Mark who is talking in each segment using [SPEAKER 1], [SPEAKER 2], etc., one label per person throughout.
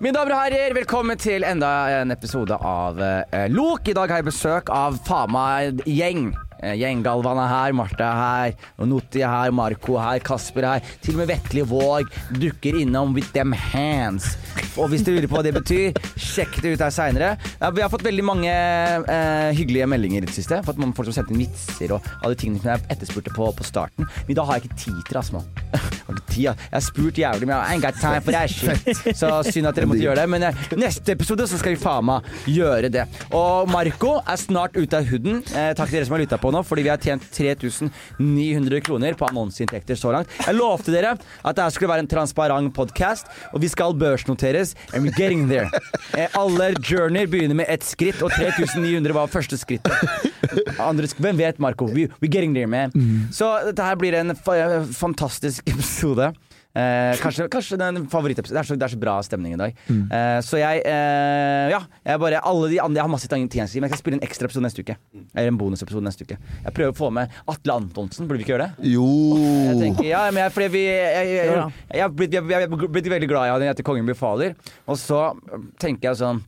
[SPEAKER 1] Mine damer og herrer, velkommen til enda en episode av eh, Lok. I dag har jeg besøk av faen meg gjeng. Eh, Gjenggalvan er her, Martha er her, og Noti er her, Marco er her, Kasper er her. Til og med Vetle Våg dukker innom with them hands. Og hvis du lurer på hva det betyr, sjekk det ut her seinere. Vi har fått veldig mange eh, hyggelige meldinger i det siste. Fått mange folk som sendte inn vitser og alle de tingene som jeg etterspurte på, på starten. Men da har jeg ikke tid til det, Asmo. Har du tid, ja? Jeg har spurt jævlig, men jeg har ikke time for that shit. Så synd at dere måtte gjøre det. Men eh, neste episode så skal vi faen meg gjøre det. Og Marco er snart ute av hooden. Eh, takk til dere som har lytta på nå, fordi vi har tjent 3900 kroner på annonseinntekter så langt. Jeg lovte dere at det her skulle være en transparent podkast, og vi skal børsnoteres. And we're getting there. Eh, alle journeyer begynner med ett skritt, og 3900 var første skrittet. Andre, sk- hvem vet, Marco? We, we're getting there, man. Så dette her blir en fa fantastisk episode. Eh, kanskje, kanskje den favorittepisoden. Det, er så- det er så bra stemning i dag. Eh, så jeg eh, Ja. Jeg, bare, alle de andre, jeg har masse ting jeg skal si, men jeg skal spille en ekstra episode neste uke. Eller en bonusepisode neste uke. Jeg prøver å få med Atle Antonsen. Burde vi ikke gjøre det?
[SPEAKER 2] Jo
[SPEAKER 1] Jeg
[SPEAKER 2] Oh.
[SPEAKER 1] tenker, ja, men jeg, fordi vi Jeg, jeg,
[SPEAKER 3] Jo
[SPEAKER 1] jeg,
[SPEAKER 3] da.
[SPEAKER 1] jeg, har blitt- jeg, jeg, har blitt veldig glad i han etter Kongen befaler, og så øh, tenker jeg sånn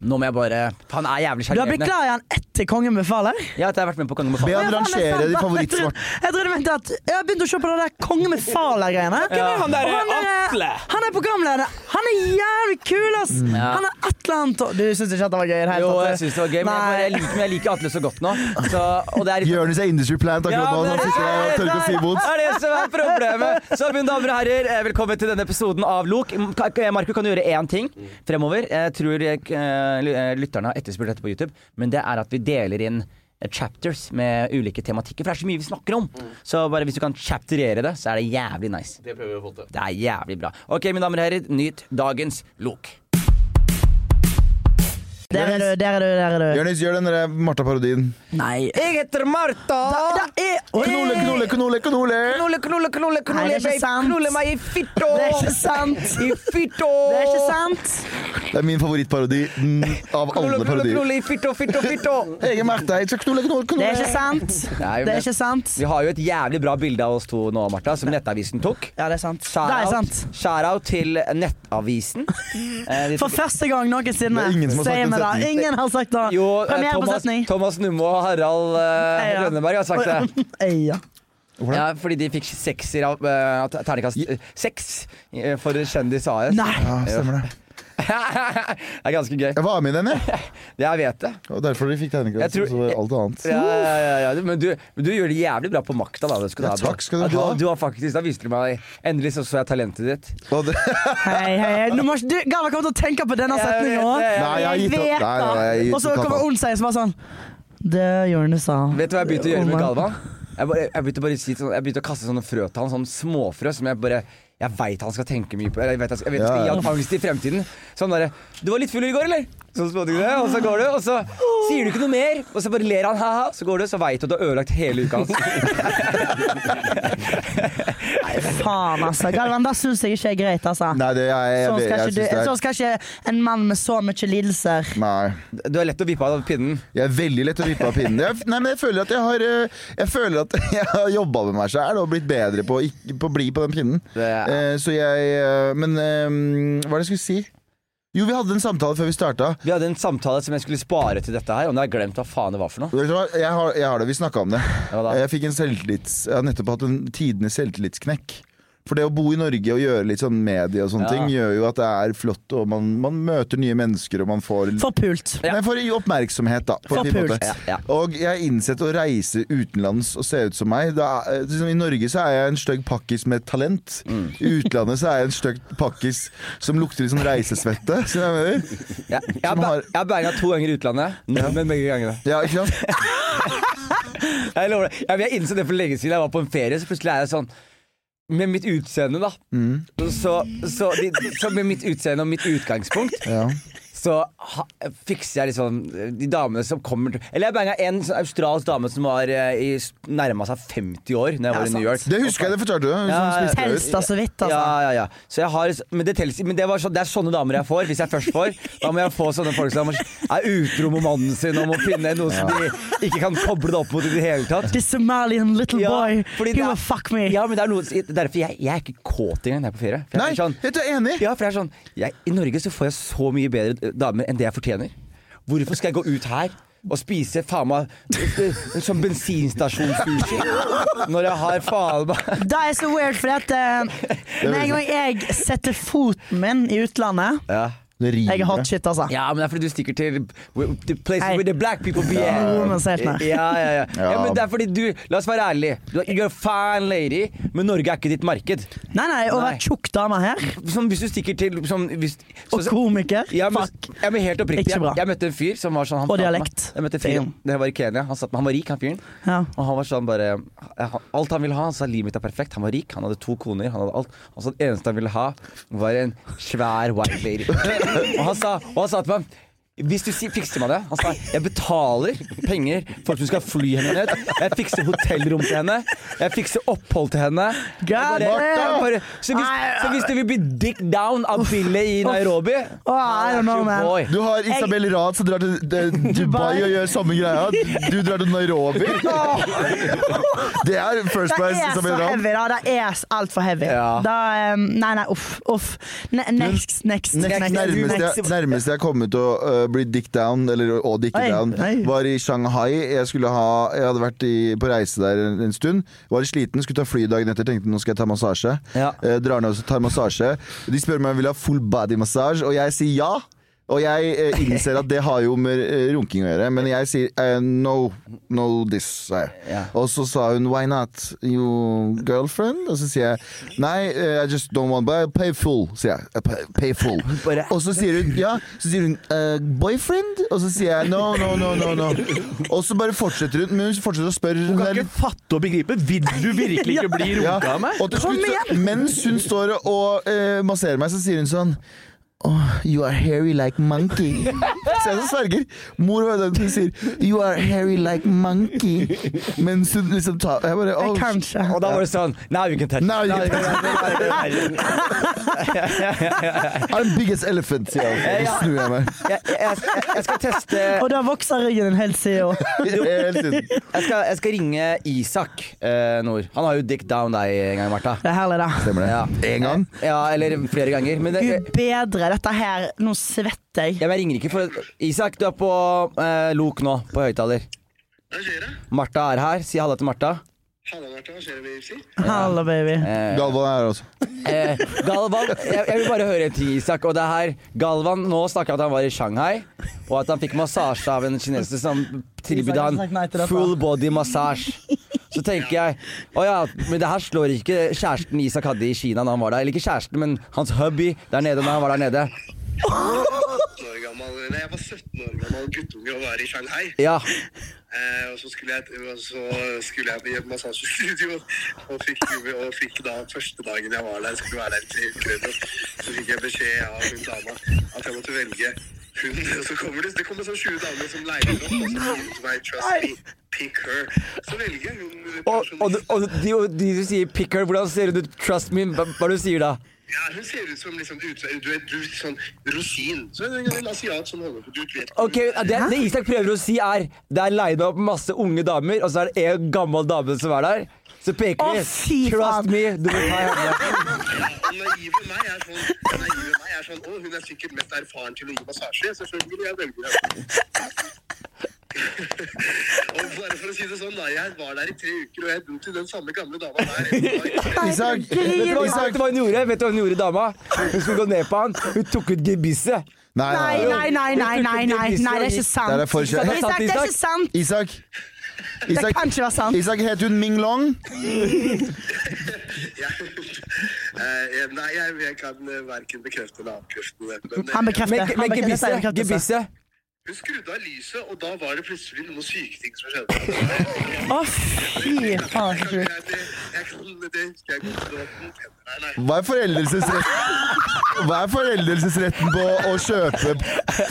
[SPEAKER 1] Nå må jeg bare Han er jævlig
[SPEAKER 3] Du har blitt
[SPEAKER 1] sjarmerende.
[SPEAKER 3] glad i han etter Kongen befaler?
[SPEAKER 1] Ja, at jeg har vært med på Kongen
[SPEAKER 2] Be
[SPEAKER 1] befaler.
[SPEAKER 2] han rangere de favorittsvarte.
[SPEAKER 3] Jeg trodde du mente at Jeg har begynt å se på det der Kongen befaler-greiene.
[SPEAKER 1] er han
[SPEAKER 3] Og
[SPEAKER 4] Atle?
[SPEAKER 3] Han er programleder. Han er jævlig kul, ass!
[SPEAKER 1] Ja.
[SPEAKER 3] Han er Atle Anton... Du syns ikke at det var gøy? i det hele
[SPEAKER 1] Jo,
[SPEAKER 3] tatt?
[SPEAKER 1] jeg syns det var gøy, men jeg, bare, jeg, liker, men jeg liker Atle så godt nå. Så, og det er litt
[SPEAKER 2] Jonis er industry plant akkurat nå.
[SPEAKER 1] men
[SPEAKER 2] Han sitter der og tør ikke å si
[SPEAKER 1] det
[SPEAKER 2] imot.
[SPEAKER 1] er det som er problemet. Så mine damer og herrer, eh, velkommen til denne episoden av Lok. Ka- ka- Marco, kan du gjøre én ting fremover? Jeg tror jeg, eh, ly- eh, lytterne har etterspurt dette på YouTube, men det er at vi deler inn eh, chapters med ulike tematikker, for det er så mye vi snakker om. Så bare hvis du kan chapterere det, så er Mm. det jævlig nice.
[SPEAKER 4] Det prøver vi å få til.
[SPEAKER 1] Det er jævlig bra. Ok, mine damer og herrer, nyt dagens Lok.
[SPEAKER 3] Der er du, der er du, der er du.
[SPEAKER 2] Jonis, gjør den der Martha-parodien.
[SPEAKER 3] Nei.
[SPEAKER 1] Jeg heter Martha.
[SPEAKER 3] Det er
[SPEAKER 2] Knolle, knolle, knolle,
[SPEAKER 1] Knulle,
[SPEAKER 2] knolle!
[SPEAKER 1] knulle, knulle, knulle,
[SPEAKER 3] Nei, det er ikke
[SPEAKER 1] babe.
[SPEAKER 3] sant.
[SPEAKER 1] Knulle meg i fitta!
[SPEAKER 3] Det er ikke sant.
[SPEAKER 1] I fitta!
[SPEAKER 3] Det er ikke sant.
[SPEAKER 2] Det er min favorittparodi mm, av alle
[SPEAKER 1] Knulle, knulle,
[SPEAKER 2] parodier.
[SPEAKER 1] knulle i fitta, fitta, fitta!
[SPEAKER 2] Jeg er Martha, jeg skal knolle, knolle,
[SPEAKER 3] Det
[SPEAKER 2] knolle.
[SPEAKER 3] er ikke sant.
[SPEAKER 1] Nei,
[SPEAKER 3] Det
[SPEAKER 1] men-
[SPEAKER 3] er ikke sant.
[SPEAKER 1] Vi har jo et jævlig bra bilde av oss to nå, Martha, som Nettavisen tok.
[SPEAKER 3] Ja, det er sant. Det er
[SPEAKER 1] Shout-out
[SPEAKER 3] sant.
[SPEAKER 1] shout-out til Nettavisen. Eh, de-
[SPEAKER 3] For første gang noensinne.
[SPEAKER 2] Det er ingen som har sagt
[SPEAKER 3] Sier
[SPEAKER 2] den
[SPEAKER 3] vi
[SPEAKER 2] setningen.
[SPEAKER 3] det. Ingen har sagt det.
[SPEAKER 1] jo, eh,
[SPEAKER 3] Premiere på
[SPEAKER 1] Thomas,
[SPEAKER 3] setning.
[SPEAKER 1] Thomas Numme og Harald eh,
[SPEAKER 3] Ja.
[SPEAKER 1] Rønneberg har sagt det.
[SPEAKER 3] Eia.
[SPEAKER 2] Hvordan?
[SPEAKER 1] Ja, fordi de fikk sekser av eh, ter- terningkast eh, seks eh, for Kjendis AS.
[SPEAKER 3] Nei!
[SPEAKER 2] Ja, stemmer det.
[SPEAKER 1] det er ganske gøy.
[SPEAKER 2] Jeg var med i den, jeg.
[SPEAKER 1] Jeg vet det.
[SPEAKER 2] Og derfor de fikk
[SPEAKER 1] Jeg
[SPEAKER 2] tegnekast.
[SPEAKER 1] tror-
[SPEAKER 2] Og så alt annet.
[SPEAKER 1] Ja, ja, ja, ja. du- Men, du, men du gjør det jævlig bra på makta. Da. Det skal du
[SPEAKER 2] Ja,
[SPEAKER 1] ha, bro.
[SPEAKER 2] takk skal du
[SPEAKER 1] Ja,
[SPEAKER 2] ha.
[SPEAKER 1] Du, har faktisk, da viste du meg Endelig så, så jeg talentet ditt.
[SPEAKER 2] Og det-
[SPEAKER 3] Hei, hei, hei. Nå må ikke du Galvan kommer til å tenke på denne
[SPEAKER 1] Jeg
[SPEAKER 3] setningen
[SPEAKER 1] vet
[SPEAKER 3] òg.
[SPEAKER 1] det,
[SPEAKER 2] Nei, jeg har gitt opp. Nei, nei, jeg har gitt
[SPEAKER 3] Og så
[SPEAKER 2] opp.
[SPEAKER 3] kommer Olsheim som var sånn Det Jonis sa.
[SPEAKER 1] Vet du hva jeg begynte å gjøre med
[SPEAKER 3] Om-
[SPEAKER 1] Galvan? Jeg, bare, jeg, begynte bare å si, sånn- jeg begynte å kaste sånne frø til han, sånne småfrø som jeg bare Jeg veit han skal tenke mye på. eller Jeg vet, han skal- jeg vet jeg skal gi
[SPEAKER 2] Ja,
[SPEAKER 1] han angst i fremtiden. Så han bare 'Du var litt full i går, eller?' Så spådde du det, og så går du, og så sier du ikke noe mer. Og så bare ler han, ha-ha, så går du, så veit du at du har ødelagt hele uka hans.
[SPEAKER 3] Faen, altså. Galvan, det syns jeg ikke er greit, altså.
[SPEAKER 2] Nei, det er jeg,
[SPEAKER 3] Sånn
[SPEAKER 2] jeg, jeg, jeg
[SPEAKER 3] skal, ikke du,
[SPEAKER 2] syns det
[SPEAKER 3] sånn
[SPEAKER 2] er
[SPEAKER 3] skal ikke en mann med så mye lidelser
[SPEAKER 2] Nei.
[SPEAKER 1] Du er lett å vippe av pinnen.
[SPEAKER 2] Jeg er veldig lett å vippe av pinnen. Jeg, nei, men jeg føler at jeg har eh, Jeg føler at jeg har jobba med meg sjæl og blitt bedre på å ikke- på å bli på den pinnen.
[SPEAKER 1] Det er-
[SPEAKER 2] Eh, så jeg eh, Men eh, hva er det jeg skulle si? Jo, vi hadde en samtale før vi starta.
[SPEAKER 1] Vi hadde en samtale som jeg skulle spare til dette her, og nå har jeg glemt hva faen det var for noe.
[SPEAKER 2] Vet du hva? Jeg har, jeg har det. Vi snakka om det.
[SPEAKER 1] Ja, da.
[SPEAKER 2] Jeg fikk en selvtillits Jeg har nettopp hatt en tidenes selvtillitsknekk. For det å bo i Norge og gjøre litt sånn medie og sånne
[SPEAKER 1] Ja.
[SPEAKER 2] ting, gjør jo at det er flott, og man, man møter nye mennesker, og man får
[SPEAKER 3] Forpult.
[SPEAKER 1] Ja.
[SPEAKER 2] Men for å gi oppmerksomhet, da. På en fin
[SPEAKER 3] Forpult.
[SPEAKER 2] måte.
[SPEAKER 1] Ja, ja.
[SPEAKER 2] Og jeg har innsett å reise utenlands og se ut som meg. Da, eh, liksom, I Norge så er jeg en stygg pakkis med talent.
[SPEAKER 1] Mm.
[SPEAKER 2] I utlandet så er jeg en stygg pakkis som lukter litt sånn reisesvette. Skjønner du hva jeg mener?
[SPEAKER 1] Jeg, jeg, har
[SPEAKER 2] Som
[SPEAKER 1] ba-
[SPEAKER 2] har-
[SPEAKER 1] jeg har banga to ganger i utlandet, men begge gangene.
[SPEAKER 2] Ja, ikke sant?
[SPEAKER 1] Jeg lover det. Jeg, jeg innså det for lenge siden. Jeg var på en ferie, så plutselig er jeg sånn Med mitt
[SPEAKER 3] Mm.
[SPEAKER 1] utseende, da. Så, så, de, så med mitt utseende og mitt utgangspunkt,
[SPEAKER 2] Ja.
[SPEAKER 1] så ha, fikser jeg liksom de damene som kommer til Eller jeg banga en sånn australsk dame som var eh, i s- nærma seg 50 år Når jeg
[SPEAKER 3] Ja,
[SPEAKER 1] var i New
[SPEAKER 3] sant.
[SPEAKER 1] York.
[SPEAKER 2] Det husker jeg det fortalte du. Hun
[SPEAKER 1] Ja,
[SPEAKER 2] som
[SPEAKER 1] ja.
[SPEAKER 2] spiste
[SPEAKER 3] Helst
[SPEAKER 2] øl.
[SPEAKER 3] da så vidt, altså.
[SPEAKER 1] Ja, ja, ja. Så jeg har, men det, tels, men det, var så, det er sånne damer jeg får, hvis jeg først får. Da må jeg få sånne folk som er utro med mannen sin og må finne noe som de ikke kan koble det opp mot i det hele tatt.
[SPEAKER 3] This Somalian little
[SPEAKER 1] Ja,
[SPEAKER 3] boy,
[SPEAKER 1] fordi
[SPEAKER 3] he
[SPEAKER 1] det er-
[SPEAKER 3] will fuck me.
[SPEAKER 1] Ja, men det er noe, derfor jeg, jeg er ikke kåt engang når jeg er på ferie. For jeg
[SPEAKER 2] Nei,
[SPEAKER 1] er sånn,
[SPEAKER 2] jeg er enig.
[SPEAKER 1] ja, for det er sånn jeg, I Norge så får jeg så mye bedre eh, damer enn det jeg fortjener. Hvorfor skal jeg gå ut her og spise faen meg en sånn bensinstasjonssushi når jeg har faen meg
[SPEAKER 3] Det er så weird, for at eh, med en gang jeg setter foten min i utlandet
[SPEAKER 1] ja.
[SPEAKER 2] Det rimer.
[SPEAKER 3] Jeg er hot shit, altså.
[SPEAKER 1] ja, men det er fordi du stikker til the places
[SPEAKER 3] Hei.
[SPEAKER 1] where the black people be at.
[SPEAKER 3] Ja, men se her.
[SPEAKER 1] Ja, ja, ja. ja,
[SPEAKER 2] Ja.
[SPEAKER 1] men det er fordi du La oss være ærlige. Du er- You're a fine lady, men Norge er ikke ditt marked.
[SPEAKER 3] Nei, nei, å
[SPEAKER 1] Nei.
[SPEAKER 3] være tjukk dame her,
[SPEAKER 1] Som hvis du stikker til som, hvis,
[SPEAKER 3] og
[SPEAKER 1] så-
[SPEAKER 3] komiker
[SPEAKER 1] Ja, men,
[SPEAKER 3] Fuck.
[SPEAKER 1] ja, men helt oppriktig.
[SPEAKER 3] Ikke
[SPEAKER 1] Jeg,
[SPEAKER 3] bra.
[SPEAKER 1] jeg møtte en fyr som var sånn han
[SPEAKER 3] Og
[SPEAKER 1] satt meg-
[SPEAKER 3] dialekt.
[SPEAKER 1] Jeg møtte en fyr,
[SPEAKER 3] Damn.
[SPEAKER 1] det var i Kenya. Han, satt, meg- han var rik, han fyren.
[SPEAKER 3] Ja.
[SPEAKER 1] Og han var sånn bare han- Alt han ville ha, han sa livet mitt er perfekt. Han var rik, han hadde to koner, han hadde alt. Han sa det eneste han ville ha, var en svær white lady. og, han sa, og han sa til meg hvis du si- fikser meg det Han sa jeg betaler penger for at du skal fly henne ned. Jeg fikser hotellrom til henne. Jeg fikser opphold til henne. Jeg
[SPEAKER 3] God damn!
[SPEAKER 1] bare, så, hvis, så hvis du vil bli dick down av Billy i Nairobi
[SPEAKER 3] Åh, I don't know, man.
[SPEAKER 1] Boy.
[SPEAKER 2] Du har Isabel Rad som drar til eh, Dubai
[SPEAKER 3] Dubai.
[SPEAKER 2] og gjør samme greia. Du drar til Nairobi. Det er first
[SPEAKER 3] Det
[SPEAKER 2] price
[SPEAKER 3] er så
[SPEAKER 2] Isabel Rad.
[SPEAKER 3] heavy, da. Det er altfor heavy.
[SPEAKER 1] Ja.
[SPEAKER 3] Da, eh, nei, nei, uff. uff. Ne next, next, next.
[SPEAKER 2] Nærmeste jeg, nærmeste jeg kom ut å eh, bli dick down, eller å dikke
[SPEAKER 3] Oi,
[SPEAKER 2] down,
[SPEAKER 3] oi.
[SPEAKER 2] var i Shanghai. Jeg, skulle ha, jeg hadde vært i, på reise der en, en stund. Var sliten, skulle ta fly dagen etter. Tenkte nå skal jeg ta massasje.
[SPEAKER 1] Ja.
[SPEAKER 2] Eh, drar ned og tar massasje. De spør meg om jeg vil ha full body massage, og jeg sier ja. Og jeg eh, innser at det har jo med eh, runking å gjøre, men jeg sier eh, no, no this, sa jeg.
[SPEAKER 1] Ja.
[SPEAKER 2] Og så sa hun why not, you girlfriend? Og så sier jeg nei, eh, I just don't want, but I pay full, sier jeg. I pay, pay full.
[SPEAKER 1] Bare-
[SPEAKER 2] Og så sier hun ja, så sier hun eh, boyfriend? Og så sier jeg no, no, no, no. no. Og så bare fortsetter hun, men hun fortsetter å spørre.
[SPEAKER 4] Du
[SPEAKER 2] hun
[SPEAKER 4] kan
[SPEAKER 2] er-
[SPEAKER 4] ikke fatte og begripe. Vil du virkelig ikke bli
[SPEAKER 2] ja,
[SPEAKER 4] runka av meg?
[SPEAKER 2] og til slutt, så, mens hun står og eh, masserer meg, så sier hun sånn Oh, you are hairy like monkey. Se, så sverger. Mor var den som sier You are hairy like monkey. Mens hun liksom tar Jeg bare oh,
[SPEAKER 3] Kanskje.
[SPEAKER 1] Og da var det sånn Now you can touch
[SPEAKER 2] Now you
[SPEAKER 1] Now
[SPEAKER 2] can I'm big as elephant, sier jeg. Så snur jeg meg.
[SPEAKER 1] jeg, jeg, jeg, jeg skal teste
[SPEAKER 3] Og da vokser ryggen din helt siden.
[SPEAKER 2] Hele tiden.
[SPEAKER 1] jeg skal, jeg skal ringe Isak eh, Nord. Han har jo dick down deg en gang, Martha.
[SPEAKER 3] Det er herlig, da.
[SPEAKER 2] Stemmer det.
[SPEAKER 1] Ja.
[SPEAKER 2] En gang.
[SPEAKER 1] Ja, eller flere ganger. Men jeg,
[SPEAKER 3] Gud bedre, dette her Nå svetter jeg.
[SPEAKER 1] jeg ringer ikke, for Isak, du er på eh, lok nå, på høyttaler.
[SPEAKER 5] Hva skjer det?
[SPEAKER 1] Martha er her. Si halla til Martha.
[SPEAKER 5] Halla, Bertha. Hva skjer det, Bibsi?
[SPEAKER 3] Hallo, baby.
[SPEAKER 2] Galvan er her også.
[SPEAKER 1] Eh, Galvan, jeg, jeg vil bare høre en ting, Isak. Og det er her Galvan nå snakker at han var i Shanghai, og at han fikk massasje av en kineser som tilbød
[SPEAKER 3] Isak har sagt nei til
[SPEAKER 1] han
[SPEAKER 3] dette.
[SPEAKER 1] full body massasje. Så tenker jeg å ja, men det her slår ikke kjæresten Isak hadde i Kina da han var der. Eller ikke kjæresten, men hans hubby der nede når han var der nede.
[SPEAKER 5] 18 år gammel, nei, jeg var 17 år gammel guttunge og var i Shanghai.
[SPEAKER 1] Ja.
[SPEAKER 5] Eh, og så skulle jeg, og så skulle jeg på et massasjestudio og fikk, og fikk da første dagen jeg var der, skulle være der i tre uker eller noe, så fikk jeg beskjed av hun dama at jeg måtte velge hun. Og så kommer det, det kommer sånn 20 damer som leier opp, og så sier hun til meg, trust me, pick her. Så velger jeg hun.
[SPEAKER 1] Og, og, og de, og de som sier 'pick her', hvordan ser hun ut? Trust me, hva, hva er det du sier da?
[SPEAKER 5] Ja, hun ser ut som liksom, ut, du vet, du, sånn rosin. Så er det en asiat som holder på, du vet.
[SPEAKER 1] Ok, det, det Isak prøver å si er Det er leid opp masse unge damer, og så er det en gammel dame som er der. Så peker
[SPEAKER 3] Å,
[SPEAKER 1] de.
[SPEAKER 3] fy
[SPEAKER 1] Trust
[SPEAKER 3] faen.
[SPEAKER 1] me. Du må ta henne.
[SPEAKER 5] Den naive meg er sånn, den naive meg er sånn, å, hun er sikkert mest erfaren til å gi massasje, selvfølgelig, jeg velger henne. og bare for å si det sånn da, jeg var der i tre uker, og jeg dro til den samme gamle dama der. Jeg
[SPEAKER 2] Isak!
[SPEAKER 1] Vet du hva, Isak, vet
[SPEAKER 2] Isak!
[SPEAKER 1] du hva hun gjorde? Vet du hva hun gjorde, dama? Hun skulle gå ned på han. Hun tok ut gebisset.
[SPEAKER 2] Nei,
[SPEAKER 3] Nei,
[SPEAKER 2] nei, nei.
[SPEAKER 3] nei, nei, nei, nei, nei, nei, det er ikke sant.
[SPEAKER 2] Der er forskjell.
[SPEAKER 3] Isak, det er ikke sant.
[SPEAKER 2] Isak.
[SPEAKER 3] Det
[SPEAKER 2] Isak,
[SPEAKER 3] kan ikke være sant.
[SPEAKER 2] Isak het hun Ming Long.
[SPEAKER 5] Eh, nei, jeg, jeg kan eh, hverken bekrefte eller avkrefte det. Men, eh,
[SPEAKER 3] Han
[SPEAKER 1] Men,
[SPEAKER 3] bekrefter.
[SPEAKER 1] men
[SPEAKER 3] Han bekrefter.
[SPEAKER 1] gebisset,
[SPEAKER 3] altså. Dette er en bekreftelse.
[SPEAKER 1] gebisset
[SPEAKER 5] Hun skrudde av lyset, og da var det plutselig noen syke ting som skjedde.
[SPEAKER 3] Å, fy faen, så sjukt.
[SPEAKER 5] Jeg- det- jeg kan- det husker jeg godt. Det var ikke noen tenner der, nei.
[SPEAKER 2] Hva er foreldelsesretten Hva er foreldelsesretten på å kjøpe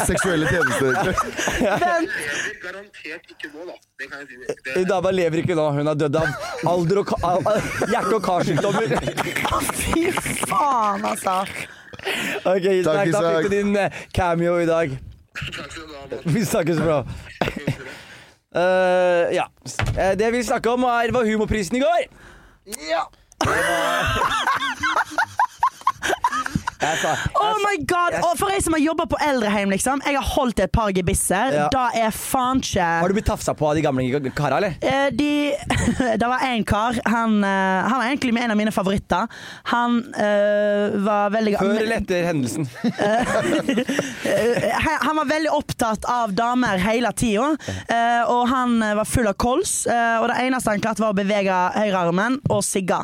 [SPEAKER 2] seksuelle tjenester?
[SPEAKER 5] Jeg lever Garantert ikke nå, da. Det kan jeg si.
[SPEAKER 1] Hun
[SPEAKER 5] Det,
[SPEAKER 1] Eh, dama lever ikke nå. Hun har dødd av alder og ka al al- hjerte- og karsykdommer.
[SPEAKER 3] Å, fy faen, altså.
[SPEAKER 1] Ok, Isak, da
[SPEAKER 2] Isak.
[SPEAKER 1] fikk du din eh, cameo i dag.
[SPEAKER 5] takk skal du ha. Mats.
[SPEAKER 1] Vi snakkes, bro. Eh, ja. Eh, det vi snakka om, er, var humorprisen i går. Ja. Jeg sa
[SPEAKER 3] Oh my god! Og for jeg som har jobba på eldreheim, liksom. Jeg har holdt et par gebisser.
[SPEAKER 1] Ja.
[SPEAKER 3] Da er faen ikke
[SPEAKER 1] Har du blitt tafsa på av de gamle kara, eller?
[SPEAKER 3] Eh, de, det var en kar. Han, eh, han var egentlig en av mine favoritter. Han eh, var veldig
[SPEAKER 1] Før eller etter hendelsen?
[SPEAKER 3] Eh, han- Han var veldig opptatt av damer hele tida. eh, og han eh, var full av kols. eh, og det eneste han klarte, var å bevege høyrearmen og sigge.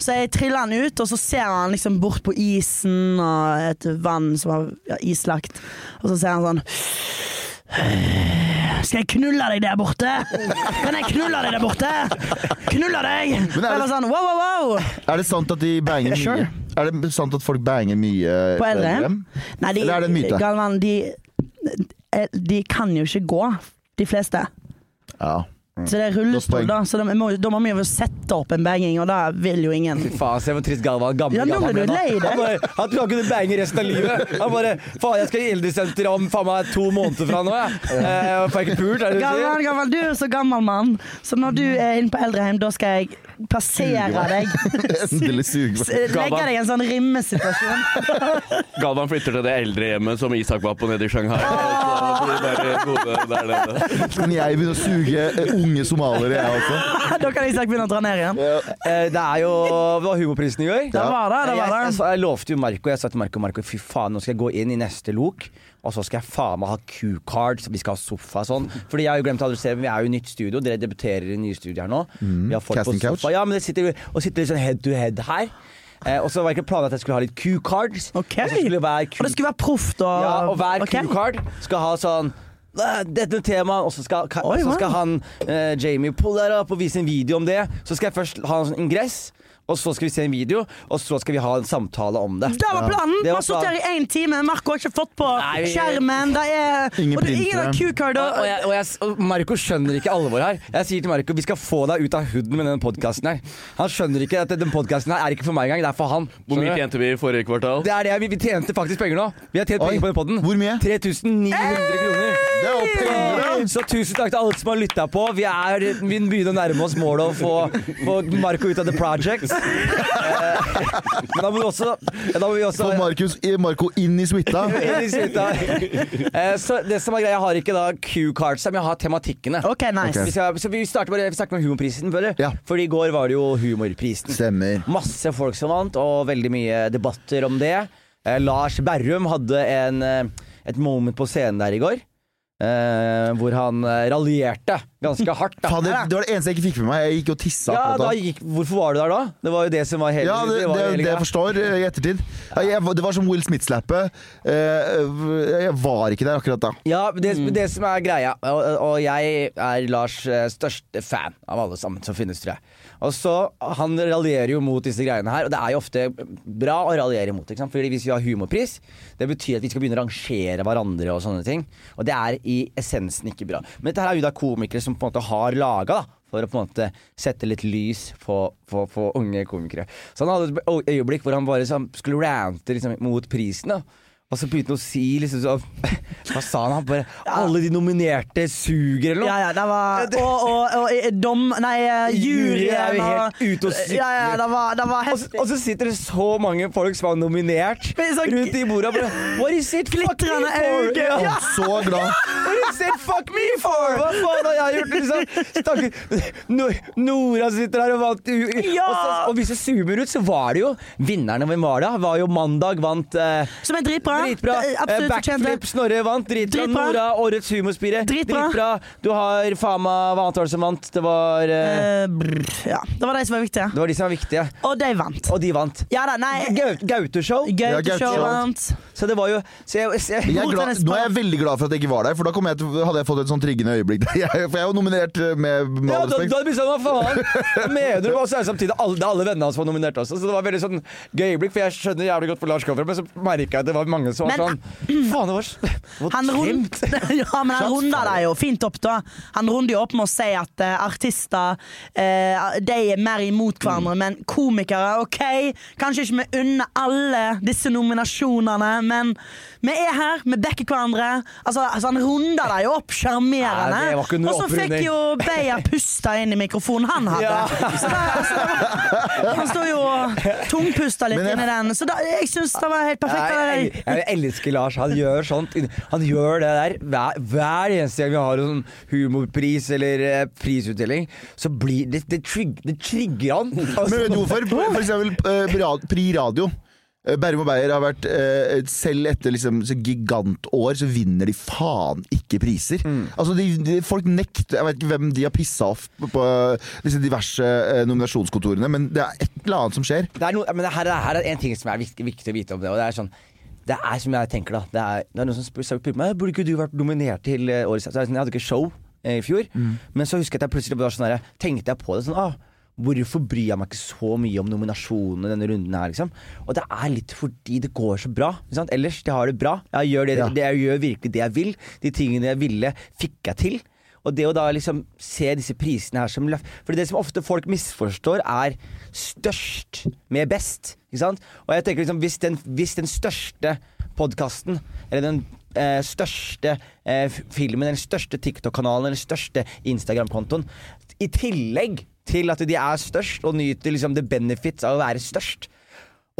[SPEAKER 3] Så jeg trilla han ut, og så ser han liksom bort på isen og et vann som var ja, islagt. Og så ser han sånn "Eh, Skal jeg knulle deg der borte? Kan jeg knulle deg der borte? Knulle deg!
[SPEAKER 2] Men
[SPEAKER 3] Og
[SPEAKER 2] er det-
[SPEAKER 3] jeg var sånn wow, wow, wow.
[SPEAKER 2] Er det sant at de banger mye?
[SPEAKER 3] Sure.
[SPEAKER 2] Er det sant at folk banger mye eh,
[SPEAKER 3] På eldrehjem? Nei, de,
[SPEAKER 2] Eller er det en myte?
[SPEAKER 3] Galvan, de, eh, de kan jo ikke gå, de fleste.
[SPEAKER 2] Ja.
[SPEAKER 3] Så det er
[SPEAKER 2] Godt
[SPEAKER 3] rullestol,
[SPEAKER 2] poeng.
[SPEAKER 3] da. Så da må, da må vi jo sette opp en banging, og det vil jo ingen.
[SPEAKER 1] Faen, se hvor trist Galvan gamle
[SPEAKER 3] Ja, nå
[SPEAKER 1] Galvan
[SPEAKER 3] ble du
[SPEAKER 1] nå.
[SPEAKER 3] lei deg.
[SPEAKER 1] Han, bare, han tror han kunne bange resten av livet. Han bare Faen, jeg skal i eldresenteret om faen meg to måneder fra nå, jeg. Eh, og får ikke pult, er det det du
[SPEAKER 3] Galvan,
[SPEAKER 1] sier?
[SPEAKER 3] Galvan, du er så gammel mann, så når du er inne på eldrehjem, da skal jeg plassere deg.
[SPEAKER 2] Endelig suger
[SPEAKER 3] S-
[SPEAKER 2] meg.
[SPEAKER 3] Legge deg i en sånn rimmesituasjon.
[SPEAKER 4] Galvan flytter til det eldrehjemmet som Isak var på nede i Shanghai. Og så blir det bare gode der nede.
[SPEAKER 2] Kan jeg begynne å suge eh, unge somaliere, jeg også?
[SPEAKER 3] da kan Isak begynne å dra ned igjen.
[SPEAKER 1] Eh, det er jo Det var humorprisen i går.
[SPEAKER 3] Da var det, da
[SPEAKER 1] Jeg, jeg,
[SPEAKER 3] var det.
[SPEAKER 1] sa- jeg lovte jo Marco, jeg sa til Marco, Marco, fy faen, nå skal jeg gå inn i neste lok, og så skal jeg faen meg ha Q-card, så vi skal ha sofa og sånn. Fordi jeg har jo glemt å adressere, men vi er jo i nytt studio, dere debuterer i nye studio her nå.
[SPEAKER 3] Mm.
[SPEAKER 1] Vi har folk på
[SPEAKER 2] Casting couch.
[SPEAKER 1] sofa. Ja, men det sitter, og sitter litt sånn head to head her. Eh, og så var det ikke planen at jeg skulle ha litt Q-cards.
[SPEAKER 3] Ok.
[SPEAKER 1] Og så skulle hver
[SPEAKER 3] Og det skulle være proft og
[SPEAKER 1] ja, og hver
[SPEAKER 3] Ah, Ok.
[SPEAKER 1] Q-card skal ha sånn "Nei, dette er temaet, og så skal, ka-
[SPEAKER 3] Oi,
[SPEAKER 1] så
[SPEAKER 3] wow.
[SPEAKER 1] skal han eh, Jamie pull that up og vise en video om det. Så skal jeg først ha en sånn ingress, og så skal vi se en video, og så skal vi ha en samtale om det.
[SPEAKER 3] Det var planen!
[SPEAKER 1] Det
[SPEAKER 3] Vi
[SPEAKER 1] var
[SPEAKER 3] har sittet her
[SPEAKER 1] planen.
[SPEAKER 3] i én time, Marco har ikke fått på
[SPEAKER 1] Nei, vi-
[SPEAKER 3] skjermen. Det er
[SPEAKER 2] Ingen
[SPEAKER 3] og det er ingen
[SPEAKER 2] printere.
[SPEAKER 3] av Q-card
[SPEAKER 1] Og, og, jeg,
[SPEAKER 3] og
[SPEAKER 1] og, jeg, og Marco skjønner ikke alvoret her. Jeg sier til Marco vi skal få deg ut av hooden med denne podkasten her. Han skjønner ikke at den podkasten her er ikke for meg engang, det er for han.
[SPEAKER 4] Hvor mye
[SPEAKER 1] Skjønner du?
[SPEAKER 4] tjente vi i forrige kvartal?
[SPEAKER 1] Det er det, vi, vi tjente faktisk penger nå. Vi har tjent
[SPEAKER 2] Oi,
[SPEAKER 1] penger på den podden.
[SPEAKER 2] hvor mye?
[SPEAKER 1] 3900 kroner.
[SPEAKER 2] Det er jo penger, da!
[SPEAKER 1] Så tusen takk til alle som har lytta på. Vi, er, vi begynner å nærme oss målet å få, få Marco ut av The Project. Eh, Men da må vi også Da må vi også
[SPEAKER 2] Få Markus, eh, Marco inn i suita.
[SPEAKER 1] Inn i suita. Eh, Så det som er greia, jeg har ikke da Q-cards, men jeg har tematikkene.
[SPEAKER 3] OK, nice.
[SPEAKER 1] Vi skal, så vi starter bare vi snakker om humorprisen, føler
[SPEAKER 2] Ja.
[SPEAKER 1] For i går var det jo humorprisen.
[SPEAKER 2] Stemmer.
[SPEAKER 1] Masse folk som vant, og veldig mye debatter om det. Eh, Lars Berrum hadde en, eh, et moment på scenen der i går. Eh, hvor han eh, raljerte ganske hardt. Da.
[SPEAKER 2] Faen, det, det var det eneste jeg ikke fikk med meg. Jeg gikk og tissa.
[SPEAKER 1] ja,
[SPEAKER 2] akkurat
[SPEAKER 1] da
[SPEAKER 2] da.
[SPEAKER 1] gikk, hvorfor var du der da? Det var jo det som var hele
[SPEAKER 2] Ja, det,
[SPEAKER 1] var
[SPEAKER 2] det,
[SPEAKER 1] hele
[SPEAKER 2] det
[SPEAKER 1] greia.
[SPEAKER 2] jeg forstår eh, i ettertid. Ja, jeg, var- det var som Will Smith-slappet. Eh, Jeg var ikke der akkurat da.
[SPEAKER 1] ja det, det som er greia, og, og jeg er Lars eh, største fan av alle sammen som finnes, tror jeg. Og så, Han raljerer jo mot disse greiene her, og det er jo ofte bra å raljere imot. Ikke sant? Fordi Hvis vi har humorpris, det betyr at vi skal begynne å rangere hverandre og sånne ting. Og det er i essensen ikke bra. Men dette her er jo da komikere som på en måte har laga, da. For å på en måte sette litt lys på, på, på unge komikere. Så han hadde et øyeblikk hvor han bare sånn skulle rante liksom, mot prisen. da og så begynte han å si liksom sånn Hva sa han? Han bare Alle de nominerte suger, eller noe.
[SPEAKER 3] Ja, ja, det var Og, og, og eh, dom... Nei, eh,
[SPEAKER 1] Jury er
[SPEAKER 3] juryen
[SPEAKER 1] jo
[SPEAKER 3] og
[SPEAKER 1] helt ute og sykler.
[SPEAKER 3] Ja, ja, det var, det var
[SPEAKER 1] Og, så-
[SPEAKER 3] heftig.
[SPEAKER 1] og så sitter det så mange folk som er nominert,
[SPEAKER 3] Men sånn-
[SPEAKER 1] rundt i bordet og bare What is it fucking
[SPEAKER 3] Glitrende
[SPEAKER 1] for?
[SPEAKER 3] øyne.
[SPEAKER 1] Ja.
[SPEAKER 2] Så glad.
[SPEAKER 1] What is it fuck me for? Hva faen har jeg gjort? Liksom? Stakkars No- Nora sitter her og vant u- u-
[SPEAKER 3] Ja.
[SPEAKER 1] og, så, og hvis du zoomer ut, så var det jo Vinnerne, hvem var det? Var jo Mandag vant eh,
[SPEAKER 3] Som er dritbra.
[SPEAKER 1] Dritbra.
[SPEAKER 3] Det er Absolutt
[SPEAKER 1] Eh,
[SPEAKER 3] fortjent det.
[SPEAKER 1] Backflip Snorre vant. Dritbra.
[SPEAKER 3] Dritbra.
[SPEAKER 1] Nora, årets humorspire.
[SPEAKER 3] Dritbra.
[SPEAKER 1] Du har Fama, hva annet var det som vant? Det var, eh,
[SPEAKER 3] Eh, brr, ja, det var de som var viktige.
[SPEAKER 1] det var de som var viktige,
[SPEAKER 3] Og de vant.
[SPEAKER 1] og de vant.
[SPEAKER 3] Ja da, nei
[SPEAKER 1] Gaut- Gaute-show.
[SPEAKER 2] Ja, Gaute
[SPEAKER 3] Gauteshow
[SPEAKER 2] Show.
[SPEAKER 3] vant.
[SPEAKER 1] Så det var jo så jeg, så jeg,
[SPEAKER 2] Jeg er
[SPEAKER 3] God
[SPEAKER 2] glad,
[SPEAKER 3] tennis,
[SPEAKER 2] nå er jeg
[SPEAKER 3] bra.
[SPEAKER 2] veldig glad for at jeg ikke var der, for da kom jeg til, hadde jeg fått et sånn triggende øyeblikk. Der. Jeg, for jeg er jo nominert eh, med med
[SPEAKER 1] ja, da,
[SPEAKER 2] all
[SPEAKER 1] da
[SPEAKER 2] respekt.
[SPEAKER 1] blir det sånn, hva faen mener du? Og så er det samtidig alle, det er alle vennene hans som var nominert også. Så det var veldig sånn gøy øyeblikk, for jeg skjønner jævlig godt hvor Lars kommer fra, men så merka jeg at det var mange som var
[SPEAKER 3] Men-
[SPEAKER 1] sånn Faen, det var, det var
[SPEAKER 3] Han, rund,
[SPEAKER 1] tremt.
[SPEAKER 3] ja, men han runda det jo fint opp, da. Han runder jo opp med å si at eh, artister eh, De er mer imot
[SPEAKER 1] Mm.
[SPEAKER 3] hverandre, men komikere, OK. Kanskje ikke vi unner alle disse nominasjonene, men vi er her, vi backer hverandre. Altså, altså Han runda det jo opp sjarmerende.
[SPEAKER 1] Nei, det var ikke noe
[SPEAKER 3] Og så fikk
[SPEAKER 1] opprunding.
[SPEAKER 3] jo Beyer pusta inn i mikrofonen han hadde.
[SPEAKER 1] Ja.
[SPEAKER 3] Så da, altså, han sto jo og tungpusta litt
[SPEAKER 2] Men jeg-
[SPEAKER 3] inn i den, så da, jeg syns det var helt perfekt.
[SPEAKER 1] Nei, jeg, jeg, jeg elsker Lars. Han gjør sånt. Han gjør det der hver, hver eneste gang vi har en sånn humorpris eller eh, prisutdeling. Så blir det Det, trigg, det trigger han.
[SPEAKER 2] Men vet du hvorfor? For eksempel eh, rad- Pri Radio. Eh, Bærum og Beyer har vært eh, Selv etter liksom, så gigantår så vinner de faen ikke priser.
[SPEAKER 3] Mm.
[SPEAKER 2] Altså, de, de, folk nekter Jeg vet ikke hvem de har pissa off på eh, disse diverse eh, nominasjonskontorene, men det er et eller annet som skjer.
[SPEAKER 1] det er noe, men det her, det her er en ting som er viktig, viktig å vite om det. Og det er sånn det er som jeg tenker, da. Det er, det er noen som spør, spør meg Burde ikke du vært nominert til eh, årets så er det sånn, Jeg hadde ikke show eh, i fjor, men så husker jeg at jeg plutselig var sånn der, tenkte jeg på det. sånn, ah, Hvorfor bryr jeg meg ikke så mye om nominasjonene denne runden her, liksom? Og det er litt fordi det går så bra. Ikke sant? Ellers, jeg har det bra. Jeg gjør, det,
[SPEAKER 2] Ja.
[SPEAKER 1] det, jeg gjør virkelig det jeg vil. De tingene jeg ville, fikk jeg til. Og det å da liksom se disse prisene her som løft For det som ofte folk misforstår, er størst med best. Ikke sant? Og jeg tenker liksom, hvis den, hvis den største podkasten, eller den eh, største eh, f- filmen, eller den største TikTok-kanalen, eller den største Instagram-kontoen, i tillegg til at de er størst og nyter liksom the benefits av å være størst,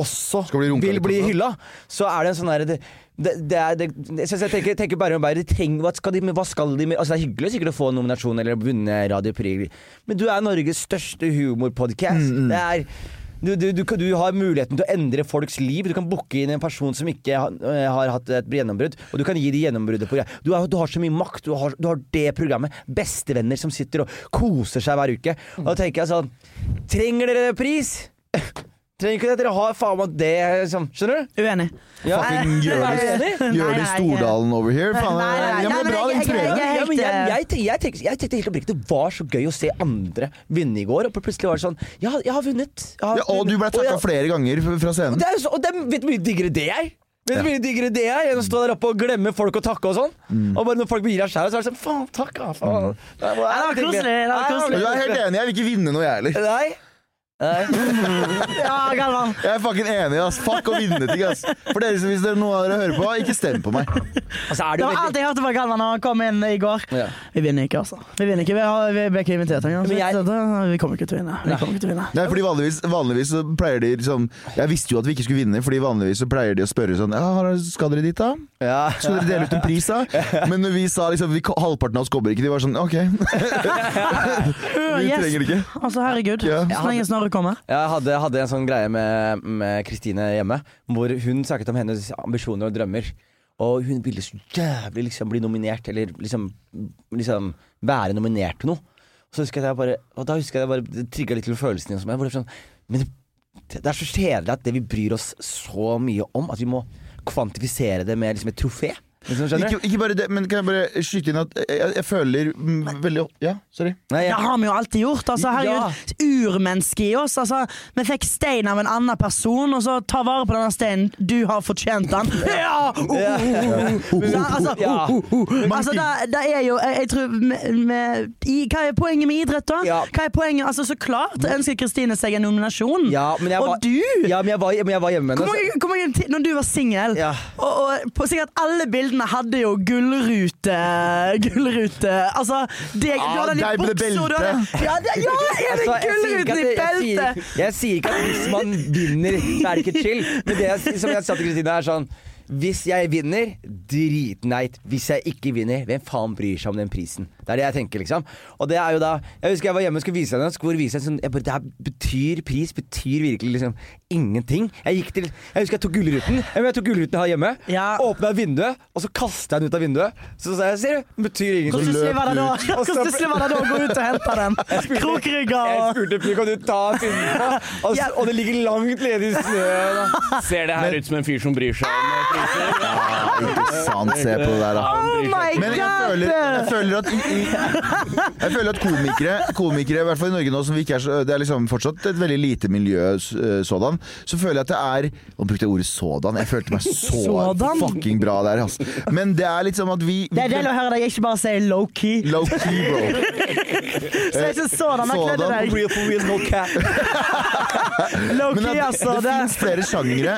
[SPEAKER 1] også
[SPEAKER 2] Skal bli runka
[SPEAKER 1] vil
[SPEAKER 2] litt
[SPEAKER 1] bli
[SPEAKER 2] også.
[SPEAKER 1] hylla, så er det en sånn derre det, det, det er, det, jeg, synes jeg tenker, tenker bare om bare, de trenger, hva skal de med, hva skal de med altså, Det er hyggelig sikkert å få en nominasjon eller vunne Radio Prix, men du er Norges største humorpodkast.
[SPEAKER 2] Mm.
[SPEAKER 1] Det er du, du, du, kan- du har muligheten til å endre folks liv. Du kan booke inn en person som ikke har, har hatt et gjennombrudd, og du kan gi de gjennombruddet på greia. Du, har- du har så mye makt. Du har, du har det programmet. Bestevenner som sitter og koser seg hver uke. Og da tenker jeg sånn Trenger dere pris? Trenger ikke det. Dere har faen meg det, liksom. Skjønner du?
[SPEAKER 3] Uenig.
[SPEAKER 1] Ja.
[SPEAKER 2] Fucking Jonis
[SPEAKER 3] Nei, nei,
[SPEAKER 2] Jonis
[SPEAKER 3] nei,
[SPEAKER 2] Stordalen over here. Faen, eh,
[SPEAKER 3] Nei, nei, nei,
[SPEAKER 2] ja, men det er bra,
[SPEAKER 3] nei,
[SPEAKER 2] den
[SPEAKER 3] jeg- jeg-
[SPEAKER 2] trøya.
[SPEAKER 3] jeg-
[SPEAKER 1] Ja, men jeg,
[SPEAKER 3] helt, eh,
[SPEAKER 1] jeg, tenk- jeg, tenkte, jeg tenkte helt oppriktig det var så gøy å se andre vinne i går, og plutselig var det sånn Ja, jeg har vunnet. Jeg har
[SPEAKER 2] Ja, og du ble
[SPEAKER 1] vunnet. jeg-
[SPEAKER 2] takka flere ganger fra
[SPEAKER 1] Og
[SPEAKER 2] scenen.
[SPEAKER 1] det er jo så, og det, er- vet du hvor mye diggere det er? Vet du hvor mye diggere det er enn å stå der oppe og glemme folk og takke og sånn?
[SPEAKER 2] Mm.
[SPEAKER 1] Og bare når folk gir deg skjæret, så er det sånn Faen, takk, ja, faen. Det
[SPEAKER 3] Ja, det var koselig, det var koselig.
[SPEAKER 2] Men Du er helt enig, Mm. jeg vil ikke vinne noe, jeg heller.
[SPEAKER 1] Nei. Nei.
[SPEAKER 3] Ja, Galvan.
[SPEAKER 2] Jeg er fucking enig, ass. Fuck å vinne ting, ass. For dere, som- hvis dere noen av dere hører på, ikke stem på meg.
[SPEAKER 1] Altså, er det jo
[SPEAKER 3] Det var alt
[SPEAKER 1] veldig
[SPEAKER 3] jeg hørte fra Galvan da han kom inn i går.
[SPEAKER 1] Ja.
[SPEAKER 3] Vi vinner ikke, altså. Vi vinner ikke, vi, har, vi ble ikke invitert engang. så
[SPEAKER 1] Men jeg-
[SPEAKER 3] dette- Vi kommer ikke til å vinne. Vi kommer ikke til å vinne.
[SPEAKER 2] Nei, fordi vanligvis, vanligvis så pleier de liksom Jeg visste jo at vi ikke skulle vinne, Fordi vanligvis så pleier de å spørre sånn Ja, har dere- skal dere dit, da?
[SPEAKER 1] ja.
[SPEAKER 2] Skal dere dele ut en pris, da? Men når vi sa liksom vi, Halvparten av oss kommer ikke, de var sånn OK.
[SPEAKER 3] Uh,
[SPEAKER 2] Vi
[SPEAKER 3] yes.
[SPEAKER 2] trenger det ikke.
[SPEAKER 3] Altså, herregud.
[SPEAKER 2] Ja.
[SPEAKER 3] Så lenge Snorre kommer.
[SPEAKER 1] Jeg hadde, hadde en sånn greie med med Kristine hjemme, hvor hun snakket om hennes ambisjoner og drømmer. Og hun ville så jævlig liksom bli nominert, eller liksom, liksom være nominert til noe. Og, så husker jeg at jeg bare, og da husker jeg at jeg bare det trigga litt til følelsen hos meg. hvor det er Sånn, men det er så kjedelig at det vi bryr oss så mye om, at vi må kvantifisere det med liksom et trofé. Liksom, skjønner du?
[SPEAKER 2] ikke, ikke bare det, men kan jeg bare skyte inn at jeg, jeg føler mm, veldig Ja, sorry.
[SPEAKER 1] Nei,
[SPEAKER 3] Det
[SPEAKER 1] jeg,
[SPEAKER 3] har vi jo alltid gjort. Altså, herregud, Urmenneske i oss. Altså, vi fikk stein av en annen person, og så ta vare på denne steinen. Du har fortjent den. Ja! Uh, uh, uh, uh. Så, Altså,
[SPEAKER 1] Ja.
[SPEAKER 3] uh, uh, uh. altså det, det er jo jeg, jeg tror, med, med, i, Hva er poenget med idrett, da?
[SPEAKER 1] Ja. Mm.
[SPEAKER 3] Hva er poenget? Altså, så klart ønsker Kristine seg en nominasjon.
[SPEAKER 1] ja, men jeg
[SPEAKER 3] og
[SPEAKER 1] var,
[SPEAKER 3] du!
[SPEAKER 1] Ja, men jeg var, men jeg var hjemme med
[SPEAKER 3] Hvor
[SPEAKER 1] henne. så-
[SPEAKER 3] mange, hvor mange ti- når du var singel,
[SPEAKER 1] Ja.
[SPEAKER 3] og, og på sikkert alle bildene hadde jo gullrute Gullrute Altså, det, du
[SPEAKER 2] Ah,
[SPEAKER 3] hadde den i
[SPEAKER 2] deg med
[SPEAKER 3] buksa, og du hadde
[SPEAKER 2] belte.
[SPEAKER 3] Ja, det, ja er det
[SPEAKER 1] Altså, jeg sier ikke
[SPEAKER 3] gullruten
[SPEAKER 1] at det-
[SPEAKER 3] i
[SPEAKER 1] jeg sier
[SPEAKER 3] beltet?
[SPEAKER 1] ikke- Jeg sier ikke at hvis man vinner, så er det ikke chill. Men det jeg, som jeg sa til Kristine, er sånn Hvis jeg vinner, dritneit. Hvis jeg ikke vinner, hvem faen bryr seg om den prisen? Det er det jeg tenker, liksom. Og det er jo da Jeg husker jeg var hjemme og skulle vise henne skulle vise henne sånn, jeg bare, Det her betyr pris, betyr virkelig liksom ingenting. Jeg gikk til Jeg husker jeg tok Gullruten. Jeg, jeg tok Gullruten her hjemme.
[SPEAKER 3] Ja.
[SPEAKER 1] Åpna vinduet, og så kasta jeg den ut av vinduet. Så sa jeg Ser du, den betyr
[SPEAKER 3] Hvor
[SPEAKER 1] ingenting.
[SPEAKER 3] stusslig var det da
[SPEAKER 1] Og så-
[SPEAKER 3] Hvor stusslig var det da å gå ut og hente den? Krokrygger
[SPEAKER 1] Jeg
[SPEAKER 3] og
[SPEAKER 1] spurte fyren kan du ta en filme på, og, s-
[SPEAKER 3] Ja.
[SPEAKER 1] og det ligger langt nede i snøen. og-
[SPEAKER 4] Ser det her ut som en fyr som bryr seg om eh, priser?
[SPEAKER 2] Ikke sant, se på det der, da.
[SPEAKER 4] Han
[SPEAKER 3] Oh
[SPEAKER 4] bryr seg
[SPEAKER 3] my
[SPEAKER 2] Men jeg
[SPEAKER 3] god!
[SPEAKER 2] føler, jeg føler at Jeg føler at komikere, komikere i hvert fall i Norge nå som vi ikke er så Det er liksom fortsatt et veldig lite miljø eh, sådan. Så føler jeg at det er Nå brukte jeg ordet sådan. Jeg følte meg så
[SPEAKER 3] Sådan?
[SPEAKER 2] fucking bra der, ass. Men det er liksom at vi, vi
[SPEAKER 3] Det er deilig å høre deg ikke bare si low-key.
[SPEAKER 1] Eh,
[SPEAKER 2] Low key, bro.
[SPEAKER 3] Så det er ikke sådan jeg sånn, kledde
[SPEAKER 2] Sådan.
[SPEAKER 3] deg.
[SPEAKER 1] Real for real, no cap.
[SPEAKER 2] Men
[SPEAKER 3] Low-key,
[SPEAKER 2] at det,
[SPEAKER 3] altså.
[SPEAKER 2] det
[SPEAKER 3] Det
[SPEAKER 2] finnes flere sjangere.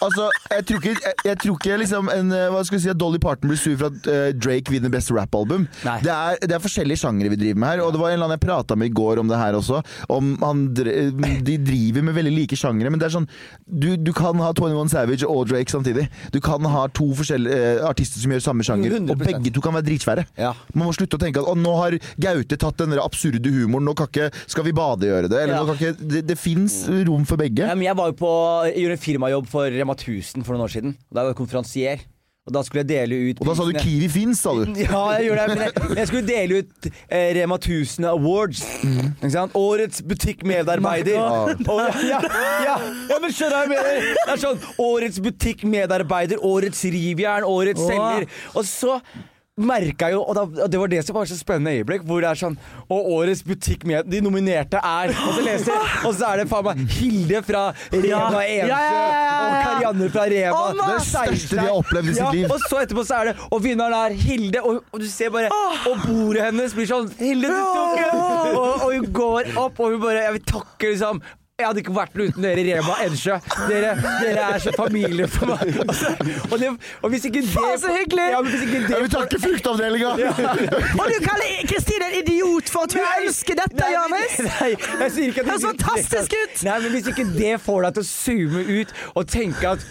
[SPEAKER 2] Altså, jeg tror ikke, jeg, jeg tror ikke liksom en, eh, hva skal jeg si, at Dolly Parton blir sur for at eh, Drake vinner Best Rap-album.
[SPEAKER 1] Nei.
[SPEAKER 2] Det, er- det er forskjellige sjangere vi driver med her. Og det var en eller annen jeg prata med i går om det her også. Om han, dr- eh, de driver med veldig like sjangere, men det er sånn du, du kan ha 21 Savage og Drake samtidig. Du kan ha to forskjellige eh, artister som gjør samme sjanger, og
[SPEAKER 1] 100%.
[SPEAKER 2] begge to kan være dritsvære.
[SPEAKER 1] Ja.
[SPEAKER 2] Man må slutte å tenke at å, nå har Gaute tatt den der absurde humoren, nå kan ikke Skal vi bade gjøre det? Eller
[SPEAKER 1] Ja.
[SPEAKER 2] nå kan ikke Det, det fins rom for begge.
[SPEAKER 1] Ja, men jeg var jo på, jeg gjorde en firmajobb for Rema 1000 for noen år siden. Og Da var jeg konferansier. Og da skulle jeg dele ut
[SPEAKER 2] Og da sa du
[SPEAKER 1] prisene.
[SPEAKER 2] Kiwi fins, sa du.
[SPEAKER 1] Ja, jeg gjorde det, men jeg, jeg skulle dele ut eh, Rema 1000 Awards. Ikke sant? Årets butikkmedarbeider. Og, ja, ja, ja, men skjønner du hva jeg mener? Det er sånn Årets butikkmedarbeider, årets rivjern, årets selger. Og så merka jeg jo og, da, og Det var det som var så spennende øyeblikk, hvor det er sånn Og årets butikkmed... De nominerte er Og så leser jeg, og så er det faen meg Hilde fra Rema
[SPEAKER 3] Ja, ja,
[SPEAKER 1] Ensjø
[SPEAKER 3] ja, ja,
[SPEAKER 1] og
[SPEAKER 3] ja.
[SPEAKER 1] Karianne fra Rema.
[SPEAKER 3] Å, nei.
[SPEAKER 2] Det er det største de har opplevd i sitt
[SPEAKER 1] Ja,
[SPEAKER 2] liv.
[SPEAKER 1] og og så etterpå så er det Og vinneren er Hilde, og, og du ser bare
[SPEAKER 2] Ah.
[SPEAKER 1] Og bordet hennes blir sånn Hilde, du tok den! Og, og hun går opp, og hun bare Jeg vil takke, liksom. Jeg hadde ikke vært noe uten dere i Rema Ensjø. Dere, dere er så familie for meg. Og, så, og, det, og hvis ikke det
[SPEAKER 3] Faen, så hyggelig!
[SPEAKER 1] Ja, men hvis ikke
[SPEAKER 2] Jeg
[SPEAKER 1] det
[SPEAKER 2] vil takke fruktavdelinga!
[SPEAKER 3] Og du kaller Kristine en idiot for at hun
[SPEAKER 1] Nei!
[SPEAKER 3] elsker dette,
[SPEAKER 1] Nei, men-
[SPEAKER 3] Jonis!
[SPEAKER 1] Nei, jeg sier ikke at
[SPEAKER 3] Høres fantastisk ut!
[SPEAKER 1] Nei, men Hvis ikke det får deg til å zoome ut og tenke at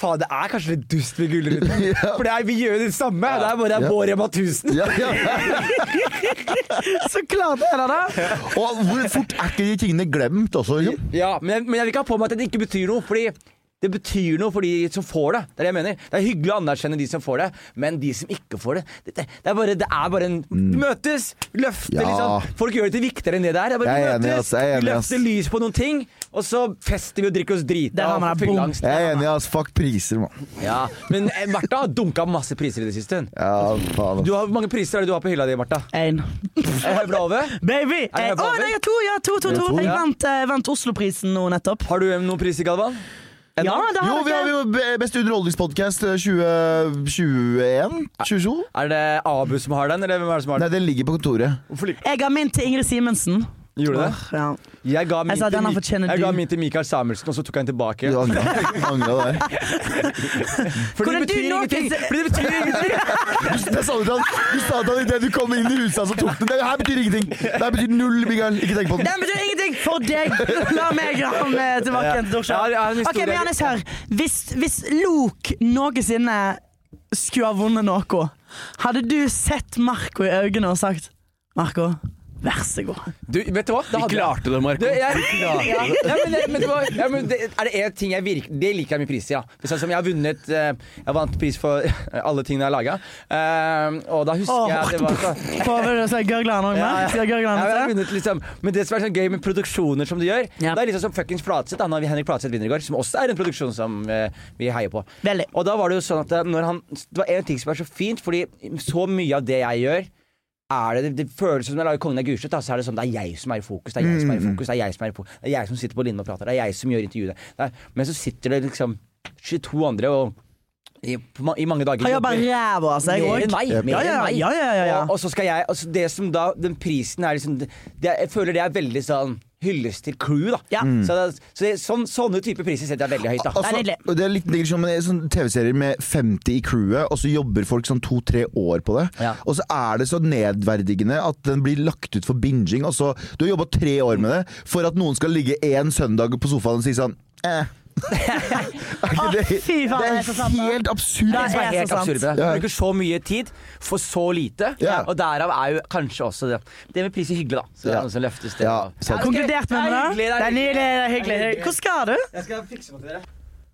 [SPEAKER 1] Faen, det er kanskje litt dust med Gullruten.
[SPEAKER 2] Ja.
[SPEAKER 1] For det er, vi gjør jo det samme. Det er bare
[SPEAKER 2] Ja.
[SPEAKER 1] vår Rema 1000.
[SPEAKER 2] Ja, ja.
[SPEAKER 3] Så klart er det det.
[SPEAKER 2] Og hvor fort er ikke de tingene glemt også? Liksom?
[SPEAKER 1] Ja, men jeg, men jeg vil ikke ha på meg at det ikke betyr noe, fordi det betyr noe for de som får det. Det er det jeg mener. Det er hyggelig å anerkjenne de som får det, men de som ikke får det Det, det, det, er, bare, det er bare en Møtes! Løfte,
[SPEAKER 2] Mm. Ja.
[SPEAKER 1] liksom. Folk gjør det til viktigere enn det det er. Det er bare
[SPEAKER 2] Jeg er enig,
[SPEAKER 1] møtes,
[SPEAKER 2] ass. Jeg er
[SPEAKER 1] vi
[SPEAKER 2] enig, ass.
[SPEAKER 1] løfter lys på noen ting, og så fester vi og drikker oss
[SPEAKER 3] Der
[SPEAKER 1] drita
[SPEAKER 3] har
[SPEAKER 1] og får
[SPEAKER 3] man deg, bom.
[SPEAKER 1] fylleangst.
[SPEAKER 2] Jeg er enig, ass. Fuck priser, mann.
[SPEAKER 1] Ja. Men eh, Martha har dunka masse priser i det siste. hun.
[SPEAKER 2] Ja, faen.
[SPEAKER 1] Du har, hvor mange priser er det du har på hylla di, Martha?
[SPEAKER 3] En.
[SPEAKER 1] Jeg høvler over.
[SPEAKER 3] Baby!
[SPEAKER 1] Er det
[SPEAKER 3] Å,
[SPEAKER 1] baby?
[SPEAKER 3] nei, jeg har to, ja, to, to,
[SPEAKER 2] Du har
[SPEAKER 3] to.
[SPEAKER 2] to,
[SPEAKER 3] Jeg
[SPEAKER 2] ja.
[SPEAKER 3] vant, eh, vant Oslo-prisen nå nettopp.
[SPEAKER 1] Har du eh, noen priser, Galvan? Ennå?
[SPEAKER 3] Ja, det
[SPEAKER 2] Jo,
[SPEAKER 3] har
[SPEAKER 2] vi har
[SPEAKER 3] dere.
[SPEAKER 2] jo be- eh, Beste underholdningspodkast 2021? 22?
[SPEAKER 1] Er det Abu som har den, eller hvem er det som har den?
[SPEAKER 2] Nei, den ligger på kontoret.
[SPEAKER 3] Jeg ga min til Ingrid Simensen.
[SPEAKER 1] Gjorde du det?
[SPEAKER 3] Åh, ja.
[SPEAKER 1] Jeg ga min,
[SPEAKER 3] Jeg sa,
[SPEAKER 1] til,
[SPEAKER 3] «Den her
[SPEAKER 1] Mi-
[SPEAKER 3] fortjener
[SPEAKER 1] jeg
[SPEAKER 3] du».
[SPEAKER 1] ga min til Mikael Samuelsen, og så tok jeg den tilbake.
[SPEAKER 2] Du angra angra der.
[SPEAKER 1] For det
[SPEAKER 3] Hvordan
[SPEAKER 1] betyr
[SPEAKER 3] du nå
[SPEAKER 1] ingenting!
[SPEAKER 3] kan se-
[SPEAKER 1] For det betyr ingenting!
[SPEAKER 2] Det sa du til han Du sa til han idet du kom inn i huset hans og tok den. Det her betyr ingenting. Det her betyr null, Mikael. Ikke tenk på den.
[SPEAKER 3] Den betyr ingenting for deg! La meg ha med tilbake
[SPEAKER 1] Ja. Ja,
[SPEAKER 3] igjen til Dorsan.
[SPEAKER 1] jeg har en
[SPEAKER 3] Ok,
[SPEAKER 1] historie.
[SPEAKER 3] men Johannes, hør. Hvis, hvis Lok noensinne skulle ha vunnet noe, hadde du sett Marco i øynene og sagt Marco, vær så god.
[SPEAKER 1] Du, vet du hva? Da
[SPEAKER 4] Vi
[SPEAKER 1] hadde jeg-
[SPEAKER 4] klarte det,
[SPEAKER 1] Du,
[SPEAKER 4] Marco.
[SPEAKER 1] jeg, ja, ja, men, jeg- men, det var- ja, men det, er det én ting jeg virk, Det liker jeg med priser, ja. For sånn som jeg har vunnet eh, Jeg vant pris for alle tingene jeg har laga. og da husker
[SPEAKER 3] Åh.
[SPEAKER 1] jeg det var så,
[SPEAKER 3] Får vi se gørglene òg,
[SPEAKER 1] Ja, ja.
[SPEAKER 3] Mark?
[SPEAKER 1] Ja, men, jeg
[SPEAKER 3] Skal
[SPEAKER 1] har
[SPEAKER 3] gørglene
[SPEAKER 1] vunnet, liksom. men det som er sånn gøy med produksjoner som de gjør
[SPEAKER 3] Ja.
[SPEAKER 1] Det er liksom som fuckings Flatseth, da, når Henrik Flatseth vinner i går, som også er en produksjon som eh, vi heier på.
[SPEAKER 3] Veldig.
[SPEAKER 1] Og da var det jo sånn at eh, når han, det var en ting som er så fint, fordi så mye av det jeg gjør er det, det føles som når jeg lager Kongen av Gulset, da, så er det sånn det er jeg som er i fokus. Det er jeg som
[SPEAKER 3] Mm.
[SPEAKER 1] er i fokus, det er jeg som er i fokus, det er jeg som sitter på linjen og prater, det er jeg som gjør intervjuene. Det er- Men så sitter det liksom 22 andre og i, på ma- i mange dager
[SPEAKER 3] Han gjør
[SPEAKER 1] jobber-
[SPEAKER 3] bare ræva av seg
[SPEAKER 1] mer
[SPEAKER 3] òg.
[SPEAKER 1] enn meg.
[SPEAKER 3] Ja,
[SPEAKER 1] Mer
[SPEAKER 3] ja,
[SPEAKER 1] enn meg.
[SPEAKER 3] ja, ja, ja, ja.
[SPEAKER 1] Og, og så skal jeg altså Det som da Den prisen er liksom det, Jeg føler det er veldig sånn hyllest til crew, da.
[SPEAKER 3] Ja. Mm.
[SPEAKER 1] Så, det, så det, sånn, sånne typer priser setter jeg veldig høyt, da.
[SPEAKER 3] Det er nydelig.
[SPEAKER 2] og Altså, det er litt digresjon, men det er sånn TV-serier med 50 i crewet, og så jobber folk sånn to-tre år på det.
[SPEAKER 1] Ja.
[SPEAKER 2] Og så er det så nedverdigende at den blir lagt ut for binging. Altså, du har jobba tre år med det for at noen skal ligge én søndag på sofaen og si sånn eh. ikke
[SPEAKER 3] Å, fy faen, det er så sant,
[SPEAKER 2] Det
[SPEAKER 3] da.
[SPEAKER 2] er helt absurd.
[SPEAKER 3] Da
[SPEAKER 1] Det som er
[SPEAKER 3] er
[SPEAKER 1] helt
[SPEAKER 3] så sant.
[SPEAKER 1] absurd med det. Du
[SPEAKER 2] Ja.
[SPEAKER 1] bruker så mye tid for så lite,
[SPEAKER 2] Ja.
[SPEAKER 1] og derav er jo kanskje også det Det med priser hyggelig, da. Så det
[SPEAKER 2] Ja.
[SPEAKER 1] er noe som løftes det
[SPEAKER 2] Ja,
[SPEAKER 1] av.
[SPEAKER 2] sant.
[SPEAKER 1] det er hyggelig.
[SPEAKER 3] Konkludert med det?
[SPEAKER 1] Det er hyggelig.
[SPEAKER 3] det er hyggelig. det er hyggelig. Hvor skal du?
[SPEAKER 1] Jeg skal fikse noe til dere.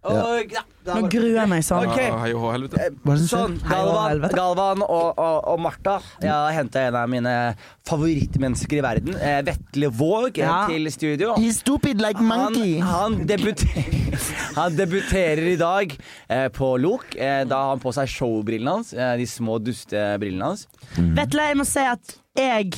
[SPEAKER 2] Ja.
[SPEAKER 1] Og, ja, det er
[SPEAKER 3] Nå
[SPEAKER 1] bare-
[SPEAKER 3] gruer jeg meg sånn.
[SPEAKER 1] Ok.
[SPEAKER 6] Ja, Ah, Hei og hå, helvete.
[SPEAKER 2] Eh, Hva er det som skjer?
[SPEAKER 1] Sånn,
[SPEAKER 3] Hei, hva i
[SPEAKER 1] Galvan,
[SPEAKER 3] helvete?
[SPEAKER 1] Galvan og, og, og Martha. Jeg har henta en av mine favorittmennesker i verden. Eh, Vetle Våg eh,
[SPEAKER 3] Ja.
[SPEAKER 1] til studio.
[SPEAKER 2] He's stupid like
[SPEAKER 1] Han,
[SPEAKER 2] monkey.
[SPEAKER 1] han, debuter, han debuterer i dag eh, på Lok. Eh, da har han på seg showbrillene hans. Eh, de små dustebrillene hans.
[SPEAKER 3] Vetle, jeg må si at jeg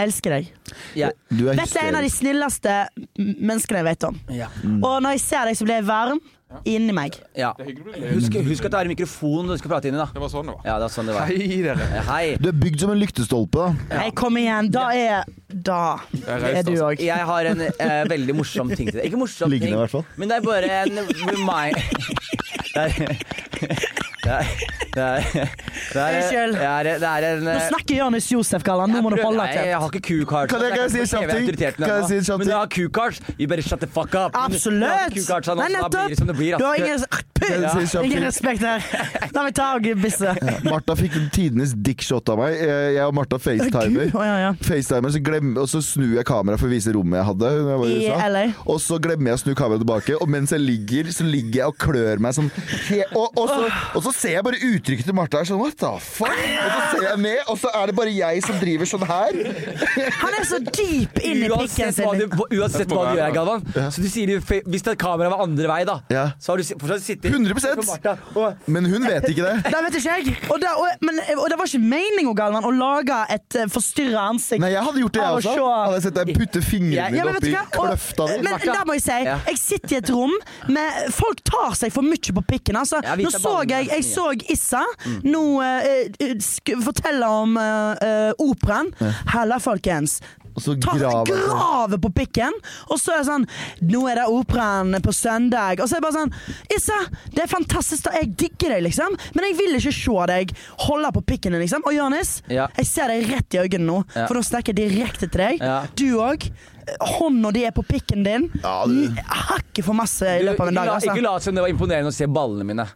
[SPEAKER 3] elsker deg.
[SPEAKER 1] Ja,
[SPEAKER 2] Du er
[SPEAKER 3] Vetle er en av de
[SPEAKER 2] hysterisk.
[SPEAKER 3] snilleste m- menneskene jeg vet om.
[SPEAKER 1] ja,
[SPEAKER 3] Og når jeg ser deg, så blir jeg varm inni meg.
[SPEAKER 1] ja.
[SPEAKER 6] Det er hyggelig å bli ledd.
[SPEAKER 1] Husk, husk at det er en mikrofon du skal prate inn i. da
[SPEAKER 6] Det var sånn det var.
[SPEAKER 1] Ja, det var sånn det var.
[SPEAKER 6] Hei, dere.
[SPEAKER 1] Eh, Hei.
[SPEAKER 2] Du er bygd som en lyktestolpe. da.
[SPEAKER 3] Nei, kom igjen. Da er Da
[SPEAKER 6] Jeg
[SPEAKER 3] er
[SPEAKER 6] reiste,
[SPEAKER 3] du
[SPEAKER 6] altså.
[SPEAKER 3] òg.
[SPEAKER 1] Jeg har en eh, veldig morsom ting til deg. Ikke morsom
[SPEAKER 2] Liggende,
[SPEAKER 1] ting,
[SPEAKER 2] i hvert fall.
[SPEAKER 1] men det er bare en remind... Det er, det er, det er, det er,
[SPEAKER 3] Unnskyld.
[SPEAKER 1] det er, det er en
[SPEAKER 3] Nå
[SPEAKER 1] eh,
[SPEAKER 3] snakker Jonis Josef, Galvan. Nå må du
[SPEAKER 1] jeg prøver-
[SPEAKER 3] holde
[SPEAKER 1] Nei,
[SPEAKER 3] deg
[SPEAKER 1] Jeg
[SPEAKER 3] til.
[SPEAKER 1] har ikke Q-cards.
[SPEAKER 2] Kan jeg- kan jeg si en kjapp ting? Kan jeg si en kjapp
[SPEAKER 1] Men jeg
[SPEAKER 2] ting?
[SPEAKER 1] har Q-cards. You better shut the fuck up. Men jeg har
[SPEAKER 3] Absolutt!
[SPEAKER 1] ikke Q-cards, sånn,
[SPEAKER 3] Nei,
[SPEAKER 1] altså, da blir det som det blir.
[SPEAKER 3] Du har
[SPEAKER 1] ass.
[SPEAKER 3] ingen, sånn
[SPEAKER 2] Kan jeg si en
[SPEAKER 3] Puh,
[SPEAKER 2] kjapp
[SPEAKER 3] ingen
[SPEAKER 2] ting?
[SPEAKER 3] respekt her. La meg ta og bisse.
[SPEAKER 2] Martha fikk tidenes dickshot av meg. Jeg jeg og Martha
[SPEAKER 3] Gud,
[SPEAKER 2] facetimer.
[SPEAKER 3] å, ja, ja.
[SPEAKER 2] FaceTimer, så glem, og så snur jeg kameraet for å vise rommet jeg hadde. Når jeg var i
[SPEAKER 3] I
[SPEAKER 2] USA.
[SPEAKER 3] LA.
[SPEAKER 2] Og så glemmer jeg å snu kameraet tilbake, og mens jeg ligger, så ligger jeg og klør meg sånn. he- Og, og, så, og så ser jeg bare uttrykket til Martha her sånn What the fuck? Og så ser jeg ned, og så er det bare jeg som driver sånn her.
[SPEAKER 3] Han er så deep inn i pikken
[SPEAKER 1] Uansett hva, du,
[SPEAKER 3] sin.
[SPEAKER 1] uansett hva du gjør, Galvan. Så du sier, jo- Hvis det kameraet var andre vei, da,
[SPEAKER 2] Ja.
[SPEAKER 1] så har du si- fortsatt sittet
[SPEAKER 2] 100%
[SPEAKER 1] på Martha, og
[SPEAKER 2] Men hun vet ikke det.
[SPEAKER 3] Det vet ikke jeg. Og det, og, men, og det var ikke meninga, Galvan, å lage et eh, forstyrra ansikt.
[SPEAKER 2] Nei, jeg hadde gjort det, jeg
[SPEAKER 3] Av å
[SPEAKER 2] også.
[SPEAKER 3] se-
[SPEAKER 2] Hadde jeg sett deg putte fingrene
[SPEAKER 1] Ja,
[SPEAKER 2] dine
[SPEAKER 3] Ja, men vet
[SPEAKER 2] oppi
[SPEAKER 3] du hva?
[SPEAKER 2] kløfta
[SPEAKER 3] Og,
[SPEAKER 2] di.
[SPEAKER 3] men der må jeg si,
[SPEAKER 1] Ja.
[SPEAKER 3] jeg sitter i et rom med Folk tar seg for mye på pikken, altså.
[SPEAKER 1] Ja, vi
[SPEAKER 3] Nå
[SPEAKER 1] tar
[SPEAKER 3] så
[SPEAKER 1] ballen
[SPEAKER 3] jeg
[SPEAKER 1] der.
[SPEAKER 3] Jeg så Issa nå eh, eh, sk- fortelle om eh, eh, operaen. Halla, folkens.
[SPEAKER 2] Og så
[SPEAKER 3] Ta,
[SPEAKER 2] graver jeg sånn.
[SPEAKER 3] grave på pikken, og så er det sånn Nå er det operaen på søndag. Og så er det bare sånn Issa, det er fantastisk, da. Jeg digger deg, liksom. Men jeg vil ikke se deg holde på pikken din, liksom. Og Jonis,
[SPEAKER 1] Ja.
[SPEAKER 3] jeg ser deg rett i øynene nå,
[SPEAKER 1] Ja.
[SPEAKER 3] for nå snakker jeg direkte til deg.
[SPEAKER 1] Ja.
[SPEAKER 3] Du òg. Hånda di er på pikken din.
[SPEAKER 2] Ja, du-
[SPEAKER 3] N- Hakket for masse i
[SPEAKER 1] Du,
[SPEAKER 3] løpet av en dag.
[SPEAKER 1] Ikke la, ikke
[SPEAKER 3] Altså.
[SPEAKER 1] lat som det var imponerende å se ballene mine.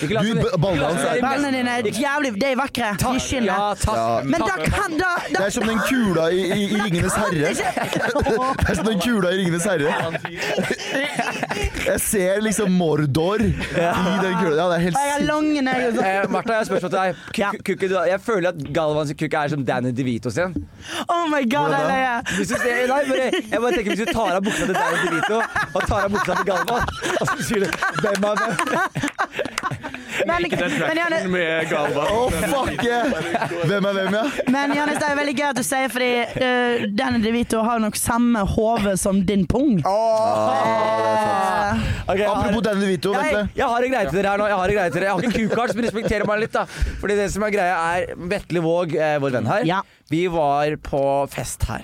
[SPEAKER 1] Ikke lat
[SPEAKER 2] Du,
[SPEAKER 1] som det-
[SPEAKER 2] ballene
[SPEAKER 1] ikke lat som det
[SPEAKER 2] hans
[SPEAKER 1] er-
[SPEAKER 3] Ballene dine er jævlig De er vakre. De
[SPEAKER 1] Ja,
[SPEAKER 3] skinner.
[SPEAKER 1] takk.
[SPEAKER 2] Ja.
[SPEAKER 3] Men da kan da, da
[SPEAKER 2] Det er som den kula i, i, i Ringenes herre. Det er som den kula i Ringenes herre. Jeg ser liksom Mordor i den kula. Ja, det er helt
[SPEAKER 3] Jeg har
[SPEAKER 2] sykt.
[SPEAKER 3] lange negler. sånn.
[SPEAKER 1] Eh, Martha, jeg har et spørsmål til deg. Ku-
[SPEAKER 3] Ja.
[SPEAKER 1] ku- kukken du har- jeg føler at Galvans kukk er som Danny DeVito sin.
[SPEAKER 3] Oh my
[SPEAKER 2] Hvordan
[SPEAKER 3] god,
[SPEAKER 2] da?
[SPEAKER 3] jeg er
[SPEAKER 1] Hvis du ser, nei, bare, jeg bare tenker Hvis du tar av buksa til Danny DeVito og tar av buksa til Galvan, og så sier du hvem av hvem?
[SPEAKER 3] Men, men, Johannes-
[SPEAKER 4] Med Galvan.
[SPEAKER 3] Oh,
[SPEAKER 2] Å, fuck yeah! Hvem er hvem, ja?
[SPEAKER 3] men Johannes, det er veldig gøy at du sier fordi uh, Danny DeVito har nok samme hode som din pung. Eh,
[SPEAKER 1] Ok, jeg har-
[SPEAKER 2] Apropos Danny DeVito, vent
[SPEAKER 1] jeg,
[SPEAKER 2] litt.
[SPEAKER 1] jeg har en greie til dere her nå. Jeg har en greie til dere Jeg har ikke kukarts, men respekterer meg litt, da. Fordi det som er greia, er Vetle Våg, eh, vår venn her,
[SPEAKER 3] Ja.
[SPEAKER 1] vi var på fest her.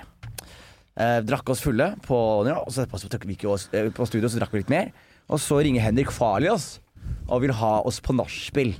[SPEAKER 1] Eh, drakk oss fulle på ja, og så etterpå så tok vi ikke oss, eh, på studio, så drakk vi litt mer. Og så ringer Henrik Farley oss og vil ha oss på nachspiel.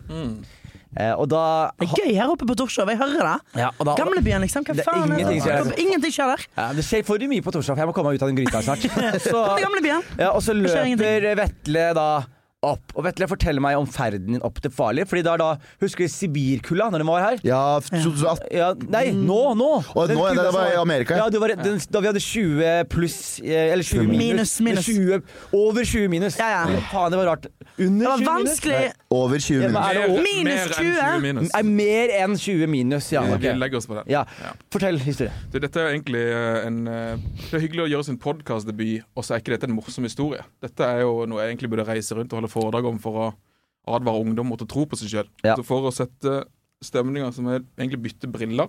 [SPEAKER 1] Eh, og da
[SPEAKER 3] Det er gøy her oppe på Torshov. Jeg hører det.
[SPEAKER 1] Ja, og da-
[SPEAKER 3] Gamlebyen, liksom. Hva
[SPEAKER 1] Det er
[SPEAKER 3] faen? er det?
[SPEAKER 1] ingenting som skjer der.
[SPEAKER 3] Ingenting skjer der.
[SPEAKER 1] Ja, det skjer for mye på Torshov. Jeg må komme meg ut av den gryta snart. Så,
[SPEAKER 3] Det er Gamlebyen.
[SPEAKER 1] ja, og så
[SPEAKER 3] skjer
[SPEAKER 1] løper Vetle da opp. Og Vetle forteller meg om ferden din opp til Farlig. Fordi det er da Husker du Sibirkulda, når den var her?
[SPEAKER 2] Ja, 2018.
[SPEAKER 1] Ja, nei, nå! nå
[SPEAKER 2] Å,
[SPEAKER 1] Den
[SPEAKER 2] nå, ja,
[SPEAKER 1] kulda
[SPEAKER 2] det
[SPEAKER 1] som
[SPEAKER 2] var i Amerika, ja.
[SPEAKER 1] Ja, det var, den, Da vi hadde 20 pluss eh, Eller 20 minus.
[SPEAKER 3] Minus, minus.
[SPEAKER 1] 20, over 20 minus.
[SPEAKER 3] Ja, ja.
[SPEAKER 1] Eller Faen, det var rart.
[SPEAKER 3] Det
[SPEAKER 1] Under
[SPEAKER 3] var
[SPEAKER 1] 20
[SPEAKER 3] vanskelig.
[SPEAKER 2] Over 20
[SPEAKER 1] minus.
[SPEAKER 2] minutter.
[SPEAKER 1] Er det
[SPEAKER 6] Mer-
[SPEAKER 1] over?
[SPEAKER 3] Minus
[SPEAKER 6] mer enn
[SPEAKER 3] 20.
[SPEAKER 6] 20 minus.
[SPEAKER 1] Nei, mer enn 20 minus, ja.
[SPEAKER 6] Vi-
[SPEAKER 1] ok.
[SPEAKER 6] Vi legger oss på den.
[SPEAKER 1] ja. Fortell historien.
[SPEAKER 6] Du, dette er jo egentlig eh, en eh, Det er hyggelig å gjøre sin podkastdebut, og så er ikke dette en morsom historie. Dette er jo noe jeg egentlig burde reise rundt og holde foredrag om for å advare ungdom mot å tro på seg sjøl.
[SPEAKER 1] Ja.
[SPEAKER 6] Så for å sette stemninga som er egentlig bytte briller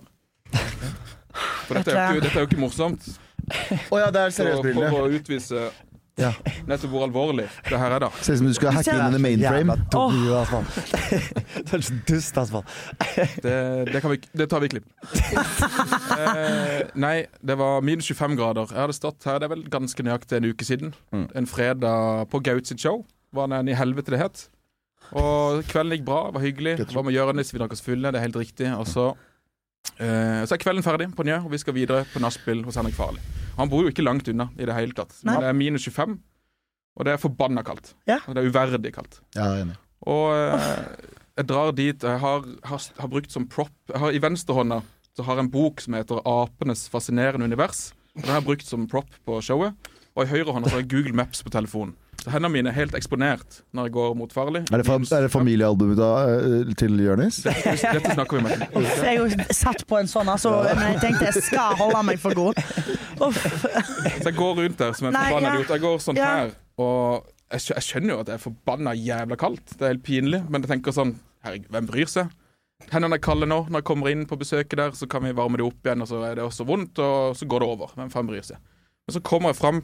[SPEAKER 6] For dette er jo ikke, dette er jo ikke morsomt.
[SPEAKER 2] Å ja, det er
[SPEAKER 6] Så
[SPEAKER 2] seriøst
[SPEAKER 6] for
[SPEAKER 2] brille.
[SPEAKER 6] å utvise
[SPEAKER 2] Ja.
[SPEAKER 6] nettopp hvor alvorlig det her er, da.
[SPEAKER 2] Ser ut som du skal hacke inn in the mainframe.
[SPEAKER 1] Du er så dust, altså.
[SPEAKER 6] Det, det, kan vi, det tar vi i klipp. eh, nei, det var minus 25 grader. Jeg hadde stått her det er vel ganske nøyaktig en uke siden.
[SPEAKER 3] Mm.
[SPEAKER 6] En fredag på Gaut sitt show. Var den i helvete det het. Og kvelden gikk bra, var hyggelig. Var med Jørnis, vi drakk oss fulle, det er helt riktig. Og så, eh, så er kvelden ferdig på Njø, og vi skal videre på nachspiel hos Henrik Farley. Han bor jo ikke langt unna i det hele tatt. Men
[SPEAKER 3] Nei.
[SPEAKER 6] det er minus 25. Og det er forbanna kaldt.
[SPEAKER 3] Ja.
[SPEAKER 6] Og Det er uverdig kaldt.
[SPEAKER 2] Ja, jeg er enig.
[SPEAKER 6] Og eh, jeg drar dit og jeg har, har, har brukt som prop jeg har, I venstrehånda så har jeg en bok som heter 'Apenes fascinerende univers'. Og Den har jeg brukt som prop på showet. Og i høyrehånda så har jeg Google Maps på telefonen. Så hendene mine er helt eksponert når jeg går mot farlig.
[SPEAKER 2] Er det, fam er det familiealbumet da, eh, til Jonis?
[SPEAKER 6] Dette snakker vi om etterpå.
[SPEAKER 3] Uff, jeg har jo satt på en sånn, altså, men jeg tenkte jeg skal holde meg for god. Uff.
[SPEAKER 6] Så jeg går rundt der som en
[SPEAKER 3] Nei,
[SPEAKER 6] forbanna
[SPEAKER 3] ja.
[SPEAKER 6] idiot. Jeg går sånn
[SPEAKER 3] Ja.
[SPEAKER 6] her, og jeg, skj- jeg skjønner jo at det er forbanna jævla kaldt. Det er helt pinlig, men jeg tenker sånn Herregud, hvem bryr seg? Hendene er kalde nå. Når jeg kommer inn på besøket der, så kan vi varme det opp igjen, og så er det også vondt, og så går det over. Hvem faen bryr seg? Men så kommer jeg fram,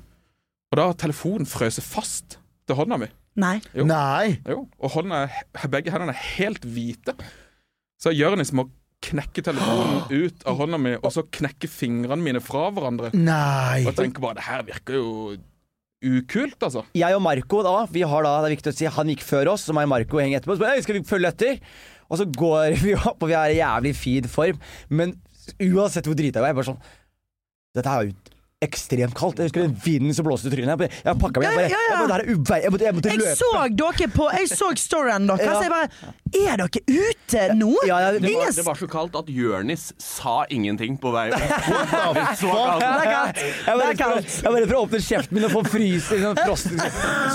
[SPEAKER 6] og da har telefonen frøset fast til hånda mi.
[SPEAKER 3] Nei.
[SPEAKER 6] Jo.
[SPEAKER 2] Nei!
[SPEAKER 6] Jo, og hånda, er- begge hendene er helt hvite. Så Jonis må liksom knekke telefonen ut av hånda mi, og så knekke fingrene mine fra hverandre.
[SPEAKER 2] Nei!
[SPEAKER 6] Og jeg tenker bare, det her virker jo ukult, altså.
[SPEAKER 1] Jeg og Marco da, vi har da, det er viktig å si, han gikk før oss, så meg og Marco henger etterpå. Så bare, «Hei, skal vi følge etter? Og så går vi opp, og vi er i jævlig fin form. Men uansett hvor drita jeg var, jeg bare sånn Dette er jo ekstremt kaldt. Jeg husker den vinden som blåste i trynet. Jeg bare- Jeg pakka meg, jeg bare,
[SPEAKER 3] Ja, ja,
[SPEAKER 1] jeg
[SPEAKER 3] ja.
[SPEAKER 1] bare, det her er uvei, jeg måtte, jeg måtte
[SPEAKER 3] Jeg
[SPEAKER 1] løpe.
[SPEAKER 3] så dere på Jeg så storyen deres.
[SPEAKER 1] Ja.
[SPEAKER 3] så Jeg bare Er dere ute nå?
[SPEAKER 1] Ja, ja,
[SPEAKER 4] Det
[SPEAKER 1] det
[SPEAKER 4] var,
[SPEAKER 3] Ingen
[SPEAKER 4] det var så kaldt at Jørnis sa ingenting på vei. Så kaldt.
[SPEAKER 1] Ja, det er kaldt. Jeg var redd
[SPEAKER 3] Det er
[SPEAKER 1] for å-
[SPEAKER 3] kaldt.
[SPEAKER 1] jeg var redd for å åpne kjeften min og få fryse. Liksom, frosten.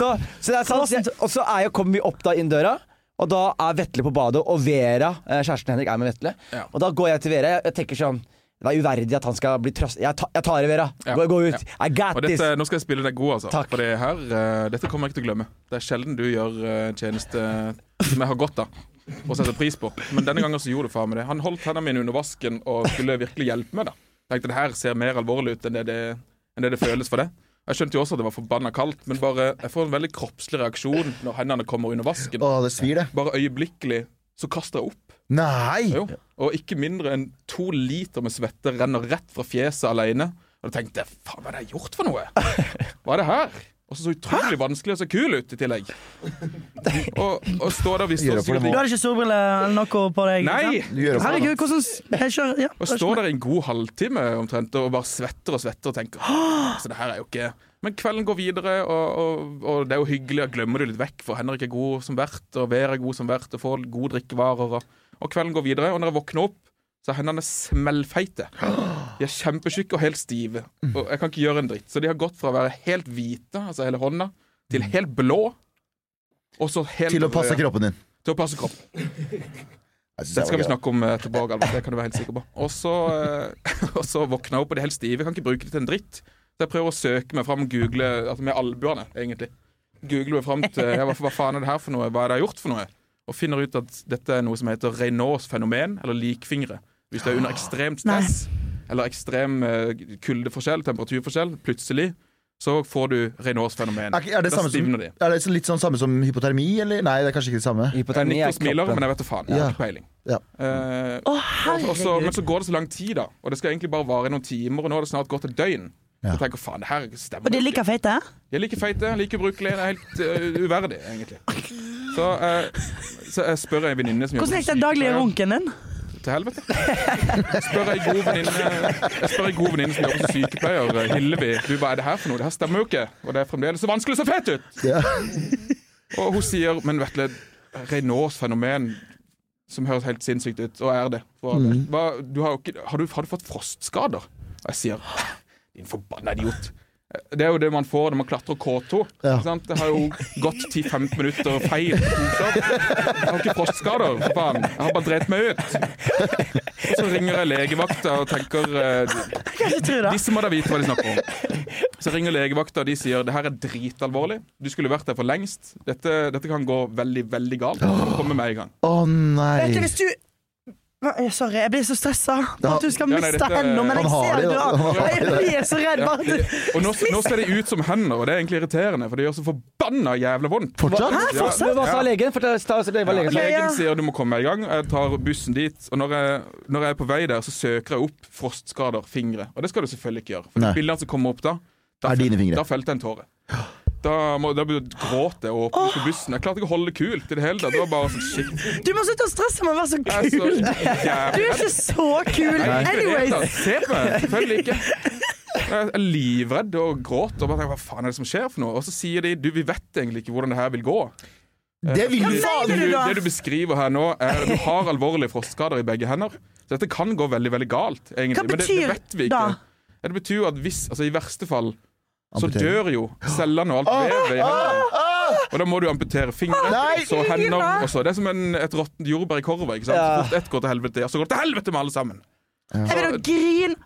[SPEAKER 1] så, så det er sant. Jeg, og så er jeg, kommer vi opp da inn døra. Og da er Vetle på badet, og Vera, eh, kjæresten Henrik, er med Vetle.
[SPEAKER 6] Ja.
[SPEAKER 1] Og da går jeg til Vera. Jeg, jeg tenker sånn Det er uverdig at han skal bli trøst... Jeg, ta, jeg tar det, Vera.
[SPEAKER 6] Ja.
[SPEAKER 1] Gå, gå ut. I
[SPEAKER 6] Og
[SPEAKER 1] got this.
[SPEAKER 6] dette, nå skal jeg spille deg god, altså.
[SPEAKER 1] Takk.
[SPEAKER 6] For det her, eh, dette kommer jeg ikke til å glemme. Det er sjelden du gjør eh, en tjeneste som jeg har godt av. Og setter pris på. Men denne gangen så gjorde faen meg det. Han holdt hendene mine under vasken og skulle virkelig hjelpe meg. da Tenkte det her ser mer alvorlig ut enn det det, enn det, det føles for det. Jeg skjønte jo også at det var forbanna kaldt, men bare, jeg får en veldig kroppslig reaksjon når hendene kommer under vasken.
[SPEAKER 2] Å, det svir, det.
[SPEAKER 6] Bare øyeblikkelig så kaster jeg opp.
[SPEAKER 2] Nei!
[SPEAKER 6] Jo. Og ikke mindre enn to liter med svette renner rett fra fjeset alene. Og da tenkte jeg faen, hva er det jeg har gjort for noe? Hva er det her? Og så så utrolig vanskelig og så kul ut i tillegg. Og, og stå der vi
[SPEAKER 2] Gjør
[SPEAKER 6] står
[SPEAKER 2] opp for
[SPEAKER 6] sikkert
[SPEAKER 2] det
[SPEAKER 3] Du
[SPEAKER 6] i-
[SPEAKER 3] hadde ikke solbriller eller noe på deg?
[SPEAKER 6] Nei!
[SPEAKER 3] liksom?
[SPEAKER 2] Du gjør opp for det.
[SPEAKER 3] Herregud, hvordan s- Jeg kjører ja,
[SPEAKER 6] Og står der i en god halvtime omtrent og bare svetter og svetter og tenker «Åh, Så det her er jo ikke Men kvelden går videre, og, og, og det er jo hyggelig. Jeg glemmer det litt vekk, for Henrik er god som vert, og Vera er god som vert, og får gode drikkevarer. Og, og kvelden går videre, og når jeg våkner opp, så er hendene smellfeite. De er kjempetjukke og helt stive. Og jeg kan ikke gjøre en dritt. Så de har gått fra å være helt hvite, altså hele hånda, til helt blå. Og så helt
[SPEAKER 2] Til å passe
[SPEAKER 6] rød.
[SPEAKER 2] kroppen din.
[SPEAKER 6] Til å passe kroppen.
[SPEAKER 2] Jeg synes
[SPEAKER 6] Det skal
[SPEAKER 2] var
[SPEAKER 6] vi
[SPEAKER 2] gøy.
[SPEAKER 6] snakke om eh, etterpå, Galvan. Det kan du være helt sikker på. Og så, eh, og så våkner jeg opp, og de er helt stive. Jeg kan ikke bruke det til en dritt. Så jeg prøver å søke meg fram, google altså med albuene, egentlig. Google meg fram til ja, hva, hva faen er det her for noe, hva er det jeg har gjort for noe? Og finner ut at dette er noe som heter Reynauds fenomen, eller likfingre. Hvis du er under ekstremt stress eller ekstrem eh, kuldeforskjell, temperaturforskjell, plutselig så får du Reynauds fenomen.
[SPEAKER 2] Er, ikke- er det,
[SPEAKER 6] da
[SPEAKER 2] samme som,
[SPEAKER 6] stivner de.
[SPEAKER 2] er det litt sånn samme som hypotermi, eller? Nei, det er kanskje ikke det samme.
[SPEAKER 6] Jeg
[SPEAKER 1] Hypotermi
[SPEAKER 6] nikker
[SPEAKER 1] er
[SPEAKER 6] og smiler, men
[SPEAKER 1] kroppen.
[SPEAKER 6] jeg vet da faen. Jeg
[SPEAKER 2] Ja.
[SPEAKER 6] har ikke peiling.
[SPEAKER 2] Ja.
[SPEAKER 6] Eh,
[SPEAKER 3] Å,
[SPEAKER 6] Og- og så- men
[SPEAKER 3] herregud.
[SPEAKER 6] så går det så lang tid, da. Og det skal egentlig bare vare i noen timer, og nå har det snart gått et døgn.
[SPEAKER 2] Ja.
[SPEAKER 6] Så jeg tenker faen, det her stemmer
[SPEAKER 3] Og de er
[SPEAKER 6] jo
[SPEAKER 3] like
[SPEAKER 6] ikke.
[SPEAKER 3] feite?
[SPEAKER 6] De er like feite, like ubrukelige. Det er helt eh, uverdig, egentlig. Så, eh, så jeg spør ei venninne som
[SPEAKER 3] Hvordan
[SPEAKER 6] jobber
[SPEAKER 3] gikk
[SPEAKER 6] som
[SPEAKER 3] den daglige
[SPEAKER 6] sykepleier-
[SPEAKER 3] runken din?
[SPEAKER 6] Til helvete. Jeg Spør ei god venninne Jeg spør ei god venninne som jobber som sykepleier, eh, Hillevi. Du, hva er det her for noe? Det her stemmer jo ikke. Og det er fremdeles så vanskelig å se fet ut!
[SPEAKER 2] Ja.
[SPEAKER 6] Og hun sier, men Vetle, Reynauds fenomen som høres helt sinnssykt ut, og er det. For,
[SPEAKER 2] Mm.
[SPEAKER 6] hva, du har, jo ikke, har, du, har du fått frostskader? Og jeg sier, din forbanna idiot. Det er jo det man får når man klatrer K2.
[SPEAKER 2] Ja.
[SPEAKER 6] Sant? Det har jo gått 10-15 minutter og feil. sant? Jeg har ikke frostskader, for faen. Jeg har bare drept meg ut. Og så ringer jeg legevakta og tenker eh,
[SPEAKER 3] Kanskje tror det.
[SPEAKER 6] disse må da vite hva de snakker om. Så ringer legevakta, og de sier det her er dritalvorlig. Du skulle vært der for lengst. Dette, dette kan gå veldig, veldig galt. Du kommer med en gang.
[SPEAKER 2] Å nei!
[SPEAKER 3] Vet du, hvis du Hva- jeg- Sorry, jeg blir så stressa for
[SPEAKER 2] Ja.
[SPEAKER 3] at du skal
[SPEAKER 6] Ja, nei,
[SPEAKER 3] miste
[SPEAKER 6] dette-
[SPEAKER 3] hendene. Men
[SPEAKER 2] Han
[SPEAKER 3] jeg
[SPEAKER 2] har
[SPEAKER 3] ser
[SPEAKER 2] det,
[SPEAKER 3] du
[SPEAKER 2] da. Han
[SPEAKER 3] har
[SPEAKER 2] har
[SPEAKER 3] Jeg blir så redd bare at du
[SPEAKER 6] Og nå, nå ser de ut som hender, og det er egentlig irriterende, for det gjør så forbanna jævla vondt.
[SPEAKER 2] Fortsatt?
[SPEAKER 6] Hva-
[SPEAKER 3] Hæ, fortsatt?
[SPEAKER 1] Men Hva sa
[SPEAKER 6] Ja.
[SPEAKER 1] legen? Fortell- ta- ta- hva legen sa.
[SPEAKER 3] Ok, ja.
[SPEAKER 6] Legen sier du må komme deg i gang. Jeg tar bussen dit. Og når jeg, når jeg er på vei der, så søker jeg opp frostskader, fingre. Og det skal du selvfølgelig ikke gjøre. For
[SPEAKER 2] Nei.
[SPEAKER 6] de bildene som kommer opp da, da,
[SPEAKER 2] Er dine fingre.
[SPEAKER 6] da felte jeg en tåre. Da, må, da gråt jeg og åpnet på bussen. Jeg klarte ikke å holde det kult i det hele tatt. Det var bare sånn shit.
[SPEAKER 3] Du må slutte å stresse med å være så
[SPEAKER 6] Jeg er så
[SPEAKER 3] kul!
[SPEAKER 6] jævlig
[SPEAKER 3] Du er ikke så kul.
[SPEAKER 6] Nei, ikke i det hele
[SPEAKER 3] Anyways.
[SPEAKER 6] tatt. Se på meg! Selvfølgelig ikke. Jeg er livredd og gråter. Og bare tenker, Hva faen er det som skjer for noe? Og så sier de du, vi vet egentlig ikke hvordan det her vil gå.
[SPEAKER 2] Det vil
[SPEAKER 6] Du-
[SPEAKER 2] du
[SPEAKER 3] sier
[SPEAKER 6] du,
[SPEAKER 3] du da?
[SPEAKER 6] det du beskriver her nå, er at du har alvorlige frostskader i begge hender. Så dette kan gå veldig veldig galt, egentlig.
[SPEAKER 3] Hva
[SPEAKER 6] Men det,
[SPEAKER 3] betyr
[SPEAKER 6] det vet vi ikke.
[SPEAKER 3] da?
[SPEAKER 6] Ja, Det betyr jo at hvis, altså i verste fall, så
[SPEAKER 2] Amputering.
[SPEAKER 6] dør jo cellene og alt vevet i hendene. Og da må du amputere fingre,
[SPEAKER 2] Nei!
[SPEAKER 6] så hender og så. Det er som en, et råttent jordbær i korva. ikke sant? Så fort ett går til helvete, ja, så går det til helvete med alle sammen.
[SPEAKER 3] Jeg begynner å grine. Jeg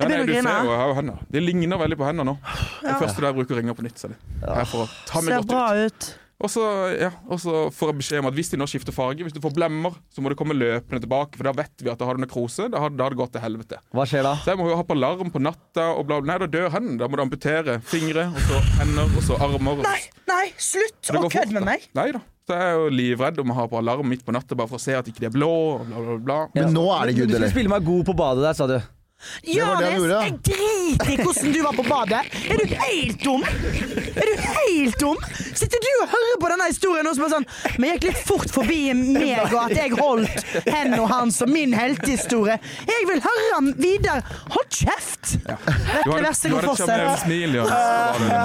[SPEAKER 6] Ja, nei,
[SPEAKER 3] begynner å
[SPEAKER 6] du ser
[SPEAKER 3] grine.
[SPEAKER 6] jo, jeg har jo hender. De ligner veldig på hender nå. Det første der jeg bruker ringer på nytt. Så det. Her for å ta meg
[SPEAKER 3] Ser
[SPEAKER 6] godt
[SPEAKER 3] bra
[SPEAKER 6] ut.
[SPEAKER 3] ut.
[SPEAKER 6] Og så, ja, og så får jeg beskjed om at hvis de nå skifter farge, hvis du får blemmer, så må du komme løpende tilbake, for da vet vi at da har du nekrose. Da har, da har det gått til helvete.
[SPEAKER 1] Hva skjer da?
[SPEAKER 6] Så jeg må jo ha på alarm på natta, og bla, bla. Nei, da dør hendene. Da må du amputere fingre, og så hender, og så armer. Og
[SPEAKER 3] Nei, nei, slutt
[SPEAKER 6] Det
[SPEAKER 3] å
[SPEAKER 6] går fort,
[SPEAKER 3] kødde med
[SPEAKER 6] da.
[SPEAKER 3] meg.
[SPEAKER 6] Nei da. Så jeg er jo livredd om å ha på alarm midt på natta bare for å se at ikke de er blå, og bla, bla, bla.
[SPEAKER 2] Men nå
[SPEAKER 1] Men
[SPEAKER 2] er det good,
[SPEAKER 1] Du skulle
[SPEAKER 2] eller?
[SPEAKER 1] spille meg god på badet der, sa du.
[SPEAKER 2] var det han
[SPEAKER 3] Jonis,
[SPEAKER 2] gjorde, da.
[SPEAKER 3] jeg driter i hvordan du var på badet. Er du helt dum? Er du helt dum? Sitter du og hører på denne historien og så bare sånn Vi gikk litt fort forbi meg, og at jeg holdt hendene hans og min heltehistorie. Jeg vil høre ham videre. Hold kjeft!
[SPEAKER 6] Du
[SPEAKER 3] Vetle,
[SPEAKER 6] hadde,
[SPEAKER 3] vær så
[SPEAKER 6] du
[SPEAKER 3] god,
[SPEAKER 6] hadde et sjarmerende
[SPEAKER 3] fortsett.
[SPEAKER 6] smil, Jonas. Det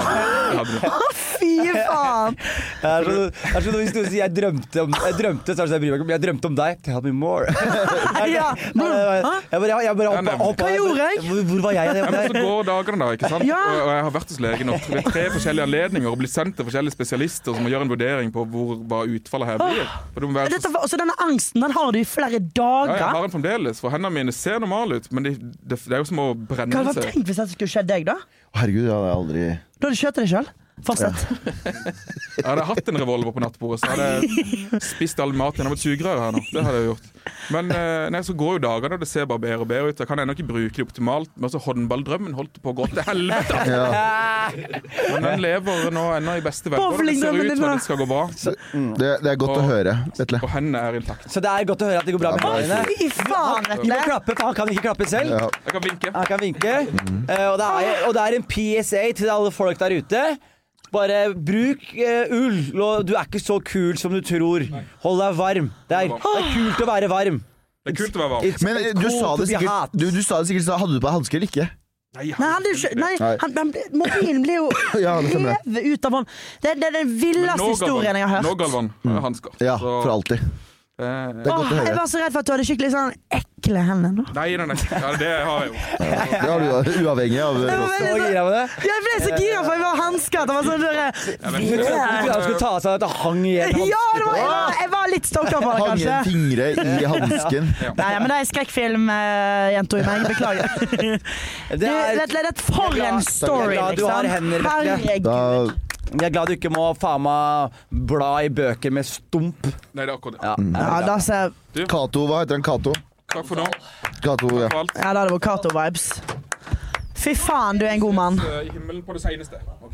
[SPEAKER 6] var det. Ja,
[SPEAKER 3] Å, fy faen.
[SPEAKER 1] Det er sånn- det er sånn hvis noen sier jeg drømte om Jeg drømte, så er det sånn jeg bryr meg ikke om Jeg drømte om deg. Tell me more.
[SPEAKER 3] Ja. Hæ?
[SPEAKER 1] Jeg bare, jeg bare hoppa,
[SPEAKER 6] nemlig.
[SPEAKER 1] hoppa
[SPEAKER 3] Hva gjorde jeg?
[SPEAKER 1] Hvor, hvor var jeg?
[SPEAKER 6] Ja, men så går dagene, da. ikke sant?
[SPEAKER 3] Ja.
[SPEAKER 6] Og, og jeg har vært hos legen og ved tre forskjellige anledninger og blitt sendt til forskjellige spesialister som må gjøre en vurdering på hvor, hva utfallet her blir. For det må være
[SPEAKER 3] Dette,
[SPEAKER 6] så...
[SPEAKER 3] var- også denne angsten den har du i flere
[SPEAKER 6] Ja, jeg har
[SPEAKER 3] dager.
[SPEAKER 6] den fremdeles, for hendene mine ser normale ut, men det, det, det er jo som å
[SPEAKER 3] Hva
[SPEAKER 6] brenne
[SPEAKER 3] hadde du
[SPEAKER 6] seg.
[SPEAKER 3] tenkt hvis dette skulle skjedd deg, da?
[SPEAKER 2] Herregud, det hadde jeg aldri
[SPEAKER 3] Da hadde du skjøt deg sjøl. Fortsett.
[SPEAKER 6] Jeg hadde jeg hatt en revolver på nattbordet, så hadde jeg spist all maten gjennom et sugerør her nå. Det hadde jeg gjort. Men eh, nei, så går jo dagene, og det ser bare bedre og bedre ut. Jeg kan ennå ikke bruke det optimalt, men også håndballdrømmen holdt på å gå til helvete. Men den lever nå ennå i beste velgående. Det ser
[SPEAKER 3] Bowlingdrømmen
[SPEAKER 6] ut
[SPEAKER 3] din,
[SPEAKER 6] som
[SPEAKER 3] da.
[SPEAKER 6] at det skal gå bra,
[SPEAKER 2] det, det er godt å
[SPEAKER 6] Og-
[SPEAKER 2] høre, Vetle.
[SPEAKER 6] og hendene er intakte.
[SPEAKER 1] Så det er godt å høre at det går bra med
[SPEAKER 2] Ja,
[SPEAKER 1] hendene.
[SPEAKER 3] Fy faen,
[SPEAKER 1] Du må
[SPEAKER 3] Vetle.
[SPEAKER 1] klappe, for han kan ikke klappe selv.
[SPEAKER 2] Ja.
[SPEAKER 6] Jeg kan vinke.
[SPEAKER 1] Han kan vinke. Eh, og, det er, og det er en PSA til alle folk der ute. Bare bruk eh, ull. Lo- Du er ikke så kul som du tror. Hold deg varm. Det er, det er kult å være varm.
[SPEAKER 6] Det er kult å være varm.
[SPEAKER 1] It's-
[SPEAKER 2] Men
[SPEAKER 1] it's
[SPEAKER 2] du
[SPEAKER 1] cool
[SPEAKER 2] sa
[SPEAKER 1] to
[SPEAKER 2] det
[SPEAKER 1] be hot.
[SPEAKER 2] sikkert, du, du sa det sikkert så hadde du på deg hansker eller ikke?
[SPEAKER 6] Nei,
[SPEAKER 3] Nei, han, ble jo ikke- nei
[SPEAKER 2] Nei.
[SPEAKER 3] han, han, ble- mobilen blir jo
[SPEAKER 2] Ja, det stemmer.
[SPEAKER 3] revet ut av hånden. Det, det er den
[SPEAKER 6] Nå,
[SPEAKER 3] villeste historien
[SPEAKER 6] Galvan,
[SPEAKER 3] jeg har
[SPEAKER 6] nå,
[SPEAKER 3] hørt.
[SPEAKER 6] Galvan har jeg hansker.
[SPEAKER 2] Ja,
[SPEAKER 6] Så,
[SPEAKER 2] for alltid.
[SPEAKER 6] eh,
[SPEAKER 2] Det er
[SPEAKER 3] Åh,
[SPEAKER 2] godt å
[SPEAKER 3] jeg
[SPEAKER 2] høre.
[SPEAKER 3] var så redd for at du hadde skikkelig sånn ekle hender nå.
[SPEAKER 6] Nei, nei, nei. Ja, det har jeg jo.
[SPEAKER 2] Det har du da, uavhengig av
[SPEAKER 3] Jeg, var
[SPEAKER 2] rost.
[SPEAKER 1] Så
[SPEAKER 3] veldig,
[SPEAKER 1] gira med det.
[SPEAKER 3] sånn- jeg ble så gira, for jeg var hanska. Det var sånn
[SPEAKER 6] men-
[SPEAKER 3] der,
[SPEAKER 1] Jeg trodde ikke han skulle
[SPEAKER 6] Eh,
[SPEAKER 1] ta av seg at det hang igjen.
[SPEAKER 3] Ja, det var, jeg, var, jeg var litt stoka på det,
[SPEAKER 2] Hang
[SPEAKER 3] kanskje.
[SPEAKER 2] igjen fingre i hansken.
[SPEAKER 3] Nei, men det er skrekkfilmjenta i meg. Beklager. Du,
[SPEAKER 1] Det er,
[SPEAKER 3] Vetle, det er for
[SPEAKER 1] Jeg er
[SPEAKER 3] en
[SPEAKER 1] glad-
[SPEAKER 3] story,
[SPEAKER 1] jeg er glad du har hender,
[SPEAKER 3] liksom.
[SPEAKER 1] Vetle.
[SPEAKER 2] Da,
[SPEAKER 3] Herregud.
[SPEAKER 1] jeg er glad du ikke må faen meg bla i bøker med stump.
[SPEAKER 6] Nei, det er akkurat det.
[SPEAKER 1] Ja,
[SPEAKER 3] Ja, da ser
[SPEAKER 2] Kato, hva heter han? Kato?
[SPEAKER 6] Takk for nå.
[SPEAKER 2] Kato, ja.
[SPEAKER 6] For alt
[SPEAKER 3] Ja, da er det Vocato-vibes. Fy faen, du er en god mann.
[SPEAKER 6] eh, i himmelen på det seneste. ok?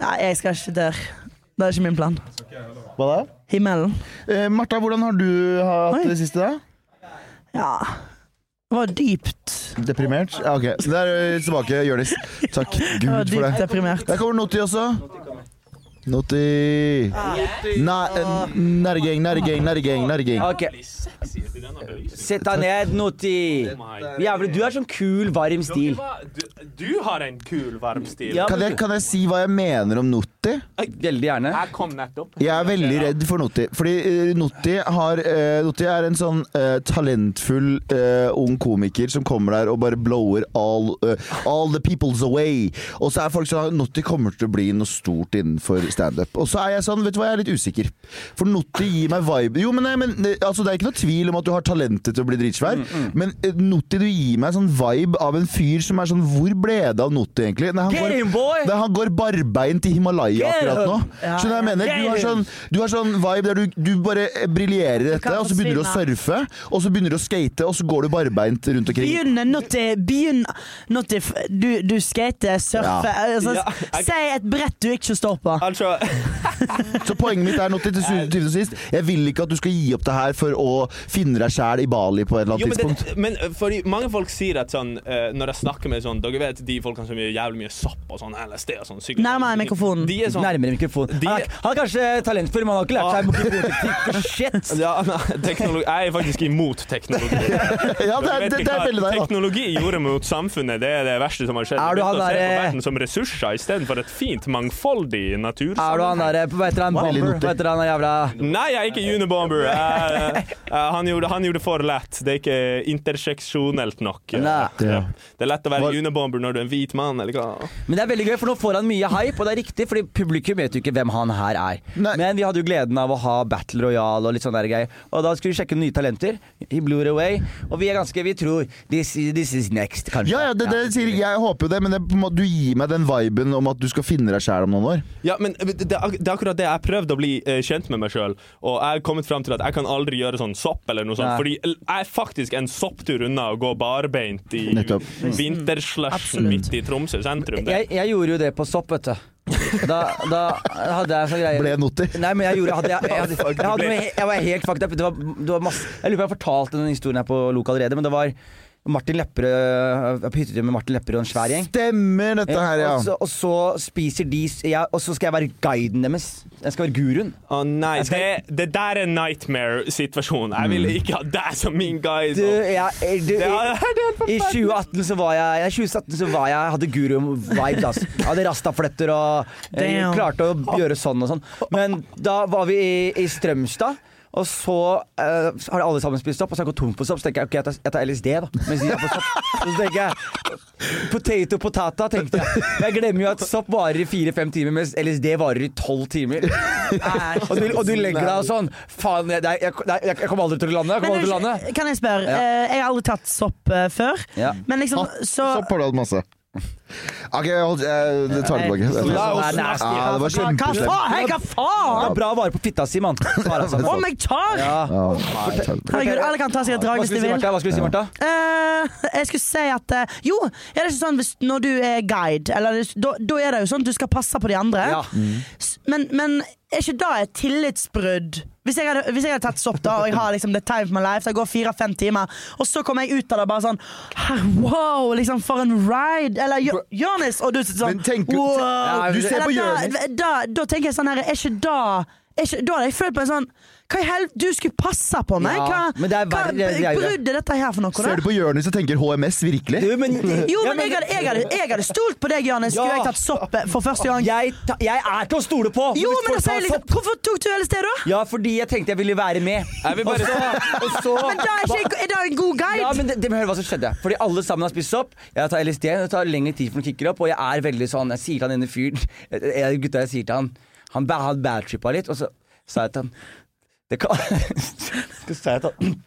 [SPEAKER 3] Nei, jeg skal ikke der. Det er ikke min plan.
[SPEAKER 2] Hva da?
[SPEAKER 3] Himmelen.
[SPEAKER 2] Eh, Martha, hvordan har du hatt
[SPEAKER 3] Oi.
[SPEAKER 2] det siste da?
[SPEAKER 3] Ja. Det var dypt.
[SPEAKER 2] Deprimert? Ja, ok. Der er vi tilbake, Jonis. Takk
[SPEAKER 3] Det var
[SPEAKER 2] Gud Mm, for
[SPEAKER 3] dypt
[SPEAKER 2] det.
[SPEAKER 3] deprimert.
[SPEAKER 2] Der kommer Noti også. Noti. eh, Nærgeng, nærgeng, nærgeng, nærgeng.
[SPEAKER 1] Ok.
[SPEAKER 7] Eh,
[SPEAKER 1] Sett deg ned, Noti. Jævlig, du er sånn kul, varm stil.
[SPEAKER 7] Du, du har en kul, varm stil.
[SPEAKER 1] Ja,
[SPEAKER 2] Kan jeg, kan jeg si hva jeg mener om Noti?
[SPEAKER 1] veldig gjerne.
[SPEAKER 7] Jeg kom nettopp.
[SPEAKER 2] Jeg er veldig redd for Noti. Fordi eh, Noti, har, eh, Noti er en sånn eh, talentfull eh, ung komiker som kommer der og bare blower all, eh, all the peoples away. Og så er folk sånn Noti kommer til å bli noe stort innenfor standup. Og så er jeg sånn, vet du hva, jeg er litt usikker. For Noti gir meg vibe Jo, men, nei, men eh, altså, det er ikke noe tvil om at du har talentet til å bli dritsvær, men eh, Noti, du gir meg sånn vibe av en fyr som er sånn Hvor ble det av Noti, egentlig? Nei, han
[SPEAKER 1] Gameboy!
[SPEAKER 2] Nei, han går barbeint i Himalaya
[SPEAKER 1] Get
[SPEAKER 2] akkurat nå.
[SPEAKER 1] him!
[SPEAKER 2] Skjønner du hva jeg mener? Du har sånn, du har sånn vibe der du, du bare eh, briljerer i dette,
[SPEAKER 3] kan
[SPEAKER 2] og så begynner du å surfe, og så begynner du å skate, og så går du barbeint rundt omkring.
[SPEAKER 3] Begynn Notty. Begynn Notty. f- Du, du skater, surfer altså,
[SPEAKER 7] Ja, jeg-
[SPEAKER 3] Si et brett du ikke står på.
[SPEAKER 7] Altså,
[SPEAKER 2] Så poenget mitt er nå til til syvende og sist, jeg vil ikke at du skal gi opp det her for å finne deg sjæl i Bali på et eller
[SPEAKER 7] jo,
[SPEAKER 2] annet
[SPEAKER 7] men,
[SPEAKER 2] tidspunkt.
[SPEAKER 7] det, men fordi mange folk sier at sånn eh, Når jeg eh, snakker med sånn Dere vet vet de folkene som gjør jævlig mye sopp og sånn LSD og sånn. psykedelisk-
[SPEAKER 3] Nærmere mikrofonen.
[SPEAKER 7] De er sånn
[SPEAKER 1] Nærmere mikrofonen.
[SPEAKER 7] De-
[SPEAKER 1] Han, er, han er kanskje talentfull, men han har ikke lært
[SPEAKER 2] Ah.
[SPEAKER 1] seg mikrofonteknikk for shit.
[SPEAKER 7] Ja, nei, teknologi Jeg er faktisk imot teknologi.
[SPEAKER 2] Ja, det er,
[SPEAKER 7] Vet
[SPEAKER 2] det,
[SPEAKER 7] ikke
[SPEAKER 2] det er
[SPEAKER 7] hva
[SPEAKER 2] veldig deg, da.
[SPEAKER 7] Teknologi gjorde mot samfunnet, det er det verste som har skjedd.
[SPEAKER 1] Er du han
[SPEAKER 7] Slutt å se
[SPEAKER 1] der,
[SPEAKER 7] på
[SPEAKER 1] eh,
[SPEAKER 7] verden som ressurser istedenfor et fint, mangfoldig
[SPEAKER 1] Er du
[SPEAKER 7] natursamfunn.
[SPEAKER 1] han derre Hva heter han
[SPEAKER 2] Veldig
[SPEAKER 1] Bomber?
[SPEAKER 2] lortig.
[SPEAKER 1] Hva heter han eh, jævla
[SPEAKER 7] Nei, jeg er ikke Unibomber. Jeg, eh, eh, han, gjorde, han gjorde for lett. Det er ikke interseksjonelt nok. eh,
[SPEAKER 1] Nei.
[SPEAKER 7] rett og slett. Det er lett å være
[SPEAKER 2] Hva-
[SPEAKER 7] Unibomber når du er en hvit mann, eller hva?
[SPEAKER 1] Men det er veldig gøy, for nå får han mye hype, og det er riktig, fordi publikum vet jo ikke hvem han her er.
[SPEAKER 2] Nei.
[SPEAKER 1] Men vi hadde jo gleden av å ha Battle Royale og litt sånne der greier. Og da skulle vi sjekke nye talenter. He blew it away. Og vi er ganske Vi tror This, this is next, kanskje.
[SPEAKER 2] Ja, ja, det, det sier jeg. Jeg håper jo det, men det, er på en måte- du gir meg den viben om at du skal finne deg sjæl om noen år.
[SPEAKER 7] Ja, men det, det er akkurat det. Jeg har prøvd å bli eh, kjent med meg sjøl, og jeg har kommet fram til at jeg kan aldri gjøre sånn sopp eller noe sånt,
[SPEAKER 1] Nei.
[SPEAKER 7] fordi l- jeg er faktisk en sopptur unna å gå barbeint i
[SPEAKER 2] Nettopp.
[SPEAKER 7] vinterslushen midt i Tromsø sentrum. Det.
[SPEAKER 1] Jeg, jeg gjorde jo det på sopp, vet du. Da, da hadde jeg sånn greie
[SPEAKER 2] Ble jeg noter?
[SPEAKER 1] Nei, men jeg gjorde hadde jeg, jeg, hadde, jeg, hadde, noe he- jeg var helt fucked up. Det var, det var masse Jeg lurer på om jeg har fortalt denne historien her på Lok allerede, men det var Martin Lepperød Jeg var på hyttetur med Martin Lepperød og en svær gjeng.
[SPEAKER 2] Stemmer dette her, ja. altså-
[SPEAKER 1] Og, så, og så spiser de jeg, Og så skal jeg være guiden deres. Jeg skal være guruen.
[SPEAKER 7] Å nei,
[SPEAKER 1] Altså, Jeg skal-
[SPEAKER 7] det, det der er nightmare-situasjonen. Jeg vil ikke ha deg som min guide.
[SPEAKER 1] Du, jeg, du,
[SPEAKER 7] det er, det er helt
[SPEAKER 1] i, I
[SPEAKER 7] forferdelig.
[SPEAKER 1] 2018 så var jeg ja, 2017 så var jeg hadde guru-vibes. ass. Jeg hadde rastafletter og eh,
[SPEAKER 3] Damn.
[SPEAKER 1] klarte å gjøre sånn og sånn. Men da var vi i, i Strømstad. Og så eh, så har alle sammen spist opp, og så har jeg gått tom for sopp. Så tenker jeg ok, jeg tar, jeg tar LSD, da. Mens de er på sopp. Så tenker jeg Potato potata, tenkte jeg. Jeg glemmer jo at sopp varer i fire-fem timer, mens LSD varer i tolv timer. Og du, og du legger deg og sånn. Faen, jeg, jeg, jeg, jeg, jeg kommer aldri til å lande. Jeg
[SPEAKER 3] Men
[SPEAKER 1] kommer aldri til å
[SPEAKER 3] du,
[SPEAKER 1] lande.
[SPEAKER 3] kan jeg spørre?
[SPEAKER 1] Ja.
[SPEAKER 3] eh, jeg har aldri tatt sopp eh, før.
[SPEAKER 1] Ja.
[SPEAKER 3] Men liksom, så
[SPEAKER 2] Så pålade masse. OK, jeg, holdt, jeg det tar det tilbake.
[SPEAKER 1] Ja,
[SPEAKER 2] Ja,
[SPEAKER 1] det er nasty.
[SPEAKER 2] det var
[SPEAKER 3] Hva
[SPEAKER 2] kjempeslemt.
[SPEAKER 3] faen? Hei, altså. hva
[SPEAKER 1] Han
[SPEAKER 3] faen?
[SPEAKER 1] har bra vare på fitta si, mann. Svarer han.
[SPEAKER 3] Om jeg tar?
[SPEAKER 1] Ja.
[SPEAKER 2] Ja, nei, tar det.
[SPEAKER 3] Herregud, alle kan ta seg et drag
[SPEAKER 1] Hva
[SPEAKER 3] hvis
[SPEAKER 1] skulle du si,
[SPEAKER 3] de vil.
[SPEAKER 1] Martha? Hva skulle du si, Martha?
[SPEAKER 3] Eh, jeg skulle si at eh, Jo, er det ikke sånn hvis, når du er guide, eller hvis- da da er det jo sånn at du skal passe på de andre.
[SPEAKER 1] Ja.
[SPEAKER 3] S- Men, men er ikke da et tillitsbrudd? Hvis jeg, hadde, hvis jeg hadde tatt sopp da, og jeg har liksom the time of my life, det går fire-fem timer, og så kommer jeg ut av det bare sånn her, Wow, liksom for en ride! Eller Jo- Jonis! Og du sitter sånn
[SPEAKER 2] Men tenk-
[SPEAKER 3] wow.
[SPEAKER 2] Ja, du ser på
[SPEAKER 3] Eller da, da, da tenker jeg sånn her Er ikke da er ikke, Da hadde jeg følt på en sånn Hva i helvete? Du skulle passe på meg!
[SPEAKER 1] Ja,
[SPEAKER 3] Hva,
[SPEAKER 1] men det er
[SPEAKER 3] hva
[SPEAKER 1] verre greier.
[SPEAKER 3] brudd er dette her for noe?
[SPEAKER 2] Ser
[SPEAKER 3] da?
[SPEAKER 2] du på Jonis og tenker HMS, virkelig?
[SPEAKER 1] Du, men,
[SPEAKER 3] Jo,
[SPEAKER 1] Ja,
[SPEAKER 3] men jeg hadde, jeg hadde, jeg hadde stolt på deg, Jonis. Skulle
[SPEAKER 1] Ja.
[SPEAKER 3] jeg tatt sopp for første gang?
[SPEAKER 1] jeg, ta, jeg er til å stole på!
[SPEAKER 3] Jo,
[SPEAKER 1] Hvis folk
[SPEAKER 3] men da sier jeg
[SPEAKER 1] tar
[SPEAKER 3] liksom
[SPEAKER 1] sopp-
[SPEAKER 3] Hvorfor tok du hele stedet, da?
[SPEAKER 1] Ja, fordi jeg tenkte jeg ville være med.
[SPEAKER 7] Jeg vil bare
[SPEAKER 1] Og så
[SPEAKER 3] Men da er, ikke, er det en god guide?
[SPEAKER 1] ja, men det, det, men hør hva som skjedde. Fordi alle sammen har spist sopp. Jeg tar LSD, det tar lengre tid for den kicker opp, og jeg er veldig sånn Jeg sier til han ene fyren jeg- Gutta, jeg sier til han Han ba- han badtrippa litt, og så sa jeg til han Det kan Så sa jeg til han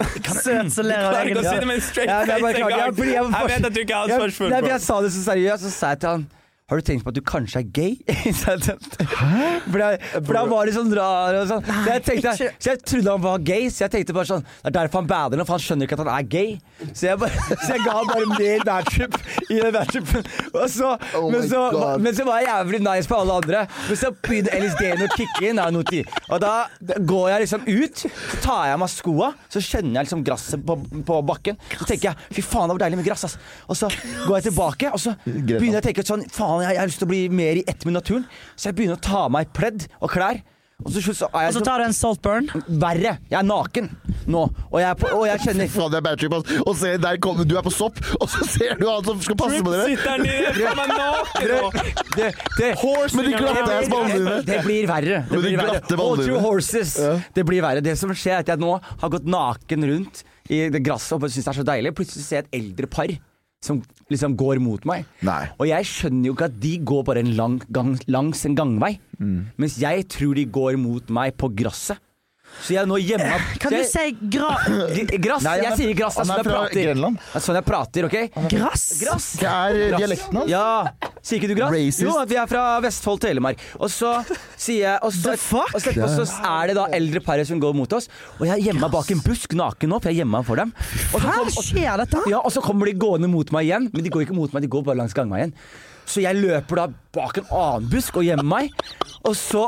[SPEAKER 3] Søt som ler av
[SPEAKER 7] Klarer ikke
[SPEAKER 3] egen
[SPEAKER 7] å si det med en straight
[SPEAKER 1] Ja, men jeg bare
[SPEAKER 7] face
[SPEAKER 1] klarer-
[SPEAKER 7] engang.
[SPEAKER 1] ja, fordi jeg-
[SPEAKER 7] Jeg vet at du ikke er
[SPEAKER 1] jeg,
[SPEAKER 7] ansvarsfull.
[SPEAKER 1] nei,
[SPEAKER 7] bro.
[SPEAKER 1] for jeg sa det så seriøst, og så sa jeg til han har du tenkt på at du kanskje er gay? Sa jeg til han. for, jeg, for han var litt sånn rar og sånn. Så jeg, tenkte,
[SPEAKER 3] ikke.
[SPEAKER 1] så jeg trodde han var gay, så jeg tenkte bare sånn Det er derfor han bader nå, for han skjønner ikke at han er gay. Så jeg, bare, så jeg ga han bare mer badtrip i den badtripen. Og så,
[SPEAKER 2] Oh
[SPEAKER 1] men,
[SPEAKER 2] my
[SPEAKER 1] så,
[SPEAKER 2] God.
[SPEAKER 1] men så var jeg jævlig nice på alle andre. Men så begynner LSD-en å kicke inn. er det noe tid. Og da går jeg liksom ut, så tar jeg av meg skoa, så kjenner jeg liksom gresset på, på bakken. Så tenker jeg fy faen, det var deilig med gress, ass. Og så går jeg tilbake, og så begynner jeg å tenke sånn faen, jeg, jeg har lyst til å bli mer i ett med naturen. Så jeg begynner å ta av meg pledd og klær. Og så, så er
[SPEAKER 3] Og
[SPEAKER 1] jeg
[SPEAKER 3] så
[SPEAKER 1] så
[SPEAKER 3] tar du en saltburn.
[SPEAKER 1] verre. Jeg er naken nå, og jeg, er på, og jeg kjenner
[SPEAKER 2] Faen, det er bad trip, ass. Og se, der kommer du er på sopp, og så ser du han som skal passe på dere.
[SPEAKER 7] Sitter nede faen meg naken og
[SPEAKER 1] det, det,
[SPEAKER 2] Men de glatte ass ballene dine.
[SPEAKER 1] Det blir verre. Det
[SPEAKER 2] Med de
[SPEAKER 1] blir verre.
[SPEAKER 2] glatte
[SPEAKER 1] All
[SPEAKER 2] ballene.
[SPEAKER 1] true horses.
[SPEAKER 2] Ja.
[SPEAKER 1] Det blir verre. Det som skjer, er at jeg nå har gått naken rundt i det gresset og bare syns det er så deilig. Plutselig ser jeg et eldre par som liksom går mot meg.
[SPEAKER 2] Nei.
[SPEAKER 1] Og jeg skjønner jo ikke at de går bare en lang gang, langs en gangvei.
[SPEAKER 2] Mm.
[SPEAKER 1] Mens jeg tror de går mot meg på gresset. Så jeg er nå hjemme
[SPEAKER 3] Kan du si gra...
[SPEAKER 1] Grass?
[SPEAKER 2] Nei, han
[SPEAKER 1] jeg
[SPEAKER 2] er-
[SPEAKER 1] sier grass. Det er
[SPEAKER 2] han
[SPEAKER 1] sånn
[SPEAKER 2] er
[SPEAKER 1] jeg
[SPEAKER 2] fra
[SPEAKER 1] prater.
[SPEAKER 2] Grenland.
[SPEAKER 1] Det er sånn jeg prater, OK?
[SPEAKER 3] Grass?
[SPEAKER 1] Grass.
[SPEAKER 2] Hva er eh, dialekten hans?
[SPEAKER 1] Ja, sier ikke du grass?
[SPEAKER 2] Racist.
[SPEAKER 1] Jo, vi er fra Vestfold, Telemark. Og så sier jeg Og så, og så, og så er det da eldre paret som går mot oss. Og jeg er gjemmer meg bak en busk naken nå, for jeg gjemmer meg for dem. Og så
[SPEAKER 3] Her
[SPEAKER 1] kom- og-
[SPEAKER 3] skjer dette.
[SPEAKER 1] ja, og så kommer de gående mot meg igjen, men de går ikke mot meg, de går bare langs gangveien. Så jeg løper da bak en annen busk og gjemmer meg. Og så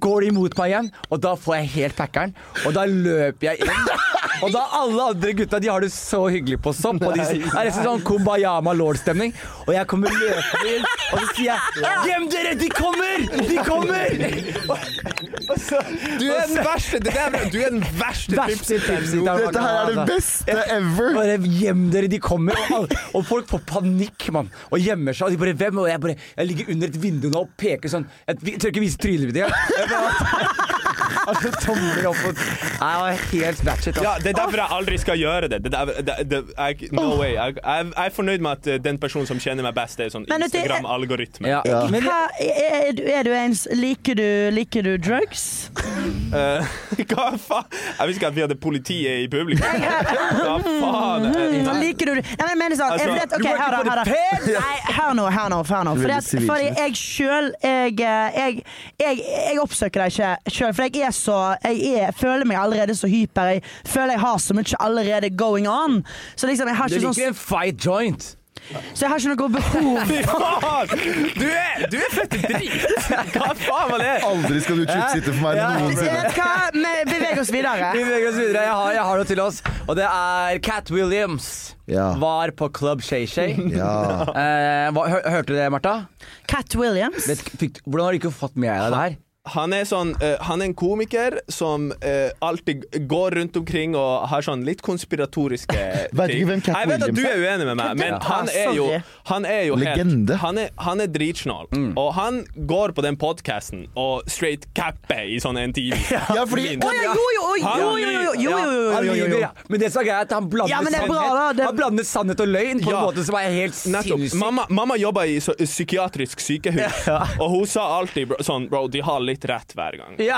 [SPEAKER 1] går de mot meg igjen, og da får jeg helt packeren. Og da løper jeg inn. Og da alle andre gutta de har det så hyggelig på sopp. Og de det er nesten sånn Kumbayama Lord-stemning. Og jeg kommer løpende inn, og så sier jeg 'Gjem dere! De kommer! De kommer!' Og, og så
[SPEAKER 8] Du er den verste det der, Du er den verste
[SPEAKER 1] Verste tipsyteren.
[SPEAKER 2] Dette her er det beste ever!
[SPEAKER 1] Altså. Bare gjem dere, de kommer. Og, alle, og folk får panikk, mann. Og gjemmer seg. Og de bare Hvem? Og jeg bare Jeg ligger under et vindu nå og peker sånn Jeg vi- tør ikke vise trynet mitt engang. Jeg bare- Altså, tomler opp og Nei, Jeg var helt batchet.
[SPEAKER 7] Ja, Det er derfor jeg aldri skal gjøre det. det, der, det, det jeg, no way. Jeg, jeg, jeg er fornøyd med at eh, den personen som kjenner meg best, er sånn
[SPEAKER 3] Men det-
[SPEAKER 7] Instagram-algoritme.
[SPEAKER 1] Ja. Men
[SPEAKER 3] Hva, er, du- er du en s- liker, du- liker du drugs?
[SPEAKER 7] Eh, hva faen? Jeg visste ikke at vi hadde politiet i publikum. Hva faen? Eh,
[SPEAKER 3] Liker du Nei, men jeg mener sånn jeg
[SPEAKER 7] Altså,
[SPEAKER 3] vet, ok, hør, da, hør, da. Nei, hør nå, hør nå. Hør nå.
[SPEAKER 2] Du er
[SPEAKER 3] Fordi,
[SPEAKER 2] veldig
[SPEAKER 3] at,
[SPEAKER 2] sivil,
[SPEAKER 3] fordi
[SPEAKER 2] synes
[SPEAKER 3] jeg sjøl jeg, eh, jeg, jeg, jeg oppsøker deg ikke sjøl, for jeg er så jeg, er, føler meg allerede så hyper. Jeg føler jeg har så mye allerede going on. Så liksom, jeg har
[SPEAKER 1] du
[SPEAKER 3] ikke,
[SPEAKER 1] liker
[SPEAKER 3] sånn,
[SPEAKER 1] en fight joint.
[SPEAKER 3] så jeg har ikke noe behov
[SPEAKER 7] Fy faen!
[SPEAKER 8] Du er, du er født i drit!
[SPEAKER 7] Hva faen var det?
[SPEAKER 2] Aldri skal du chipsitte for meg noensinne.
[SPEAKER 3] Vet du hva? Vi beveger oss videre.
[SPEAKER 1] Vi beveger oss videre. Jeg har, jeg har noe til oss. Og det er Cat Williams.
[SPEAKER 2] Ja.
[SPEAKER 1] Var på Club Shay Shay.
[SPEAKER 2] Ja.
[SPEAKER 1] Eh, hva- hør, hørte du det, Martha?
[SPEAKER 3] Cat Williams.
[SPEAKER 1] Vet, fikk, hvordan har du ikke fått med deg det her?
[SPEAKER 7] Han er, sånn, eh, han er en komiker som eh, alltid går rundt omkring og har sånn litt konspiratoriske ting.
[SPEAKER 2] Vet ikke hvem Cat
[SPEAKER 7] Jeg vet at
[SPEAKER 2] Williams
[SPEAKER 7] du er uenig med meg, men
[SPEAKER 3] Ja.
[SPEAKER 7] han er jo,
[SPEAKER 3] Sorry.
[SPEAKER 7] han er jo helt-
[SPEAKER 2] Legende. Mm.
[SPEAKER 7] Han er, han er dritsnål. Og han går på den podkasten og straight capper i sånn en time.
[SPEAKER 2] Ja, fordi-
[SPEAKER 7] Min.
[SPEAKER 3] Å ja, jo, jo, oi, jo, jo, jo, jo, jo, jo,
[SPEAKER 1] Han
[SPEAKER 3] jo, jo,
[SPEAKER 1] lyver,
[SPEAKER 3] jo.
[SPEAKER 1] ja. Men det som er greit, er at han blander,
[SPEAKER 3] Ja, men det er bra, da.
[SPEAKER 1] sannhet,
[SPEAKER 3] Det-
[SPEAKER 1] han blander sannhet og løgn på
[SPEAKER 7] Ja.
[SPEAKER 1] en måte som er helt
[SPEAKER 7] Nettopp.
[SPEAKER 1] sinnssyk.
[SPEAKER 7] Mamma, mamma jobber i så- psykiatrisk sykehus, og hun sa alltid bro, sånn Bro, de har litt rett hver gang.
[SPEAKER 1] Ja.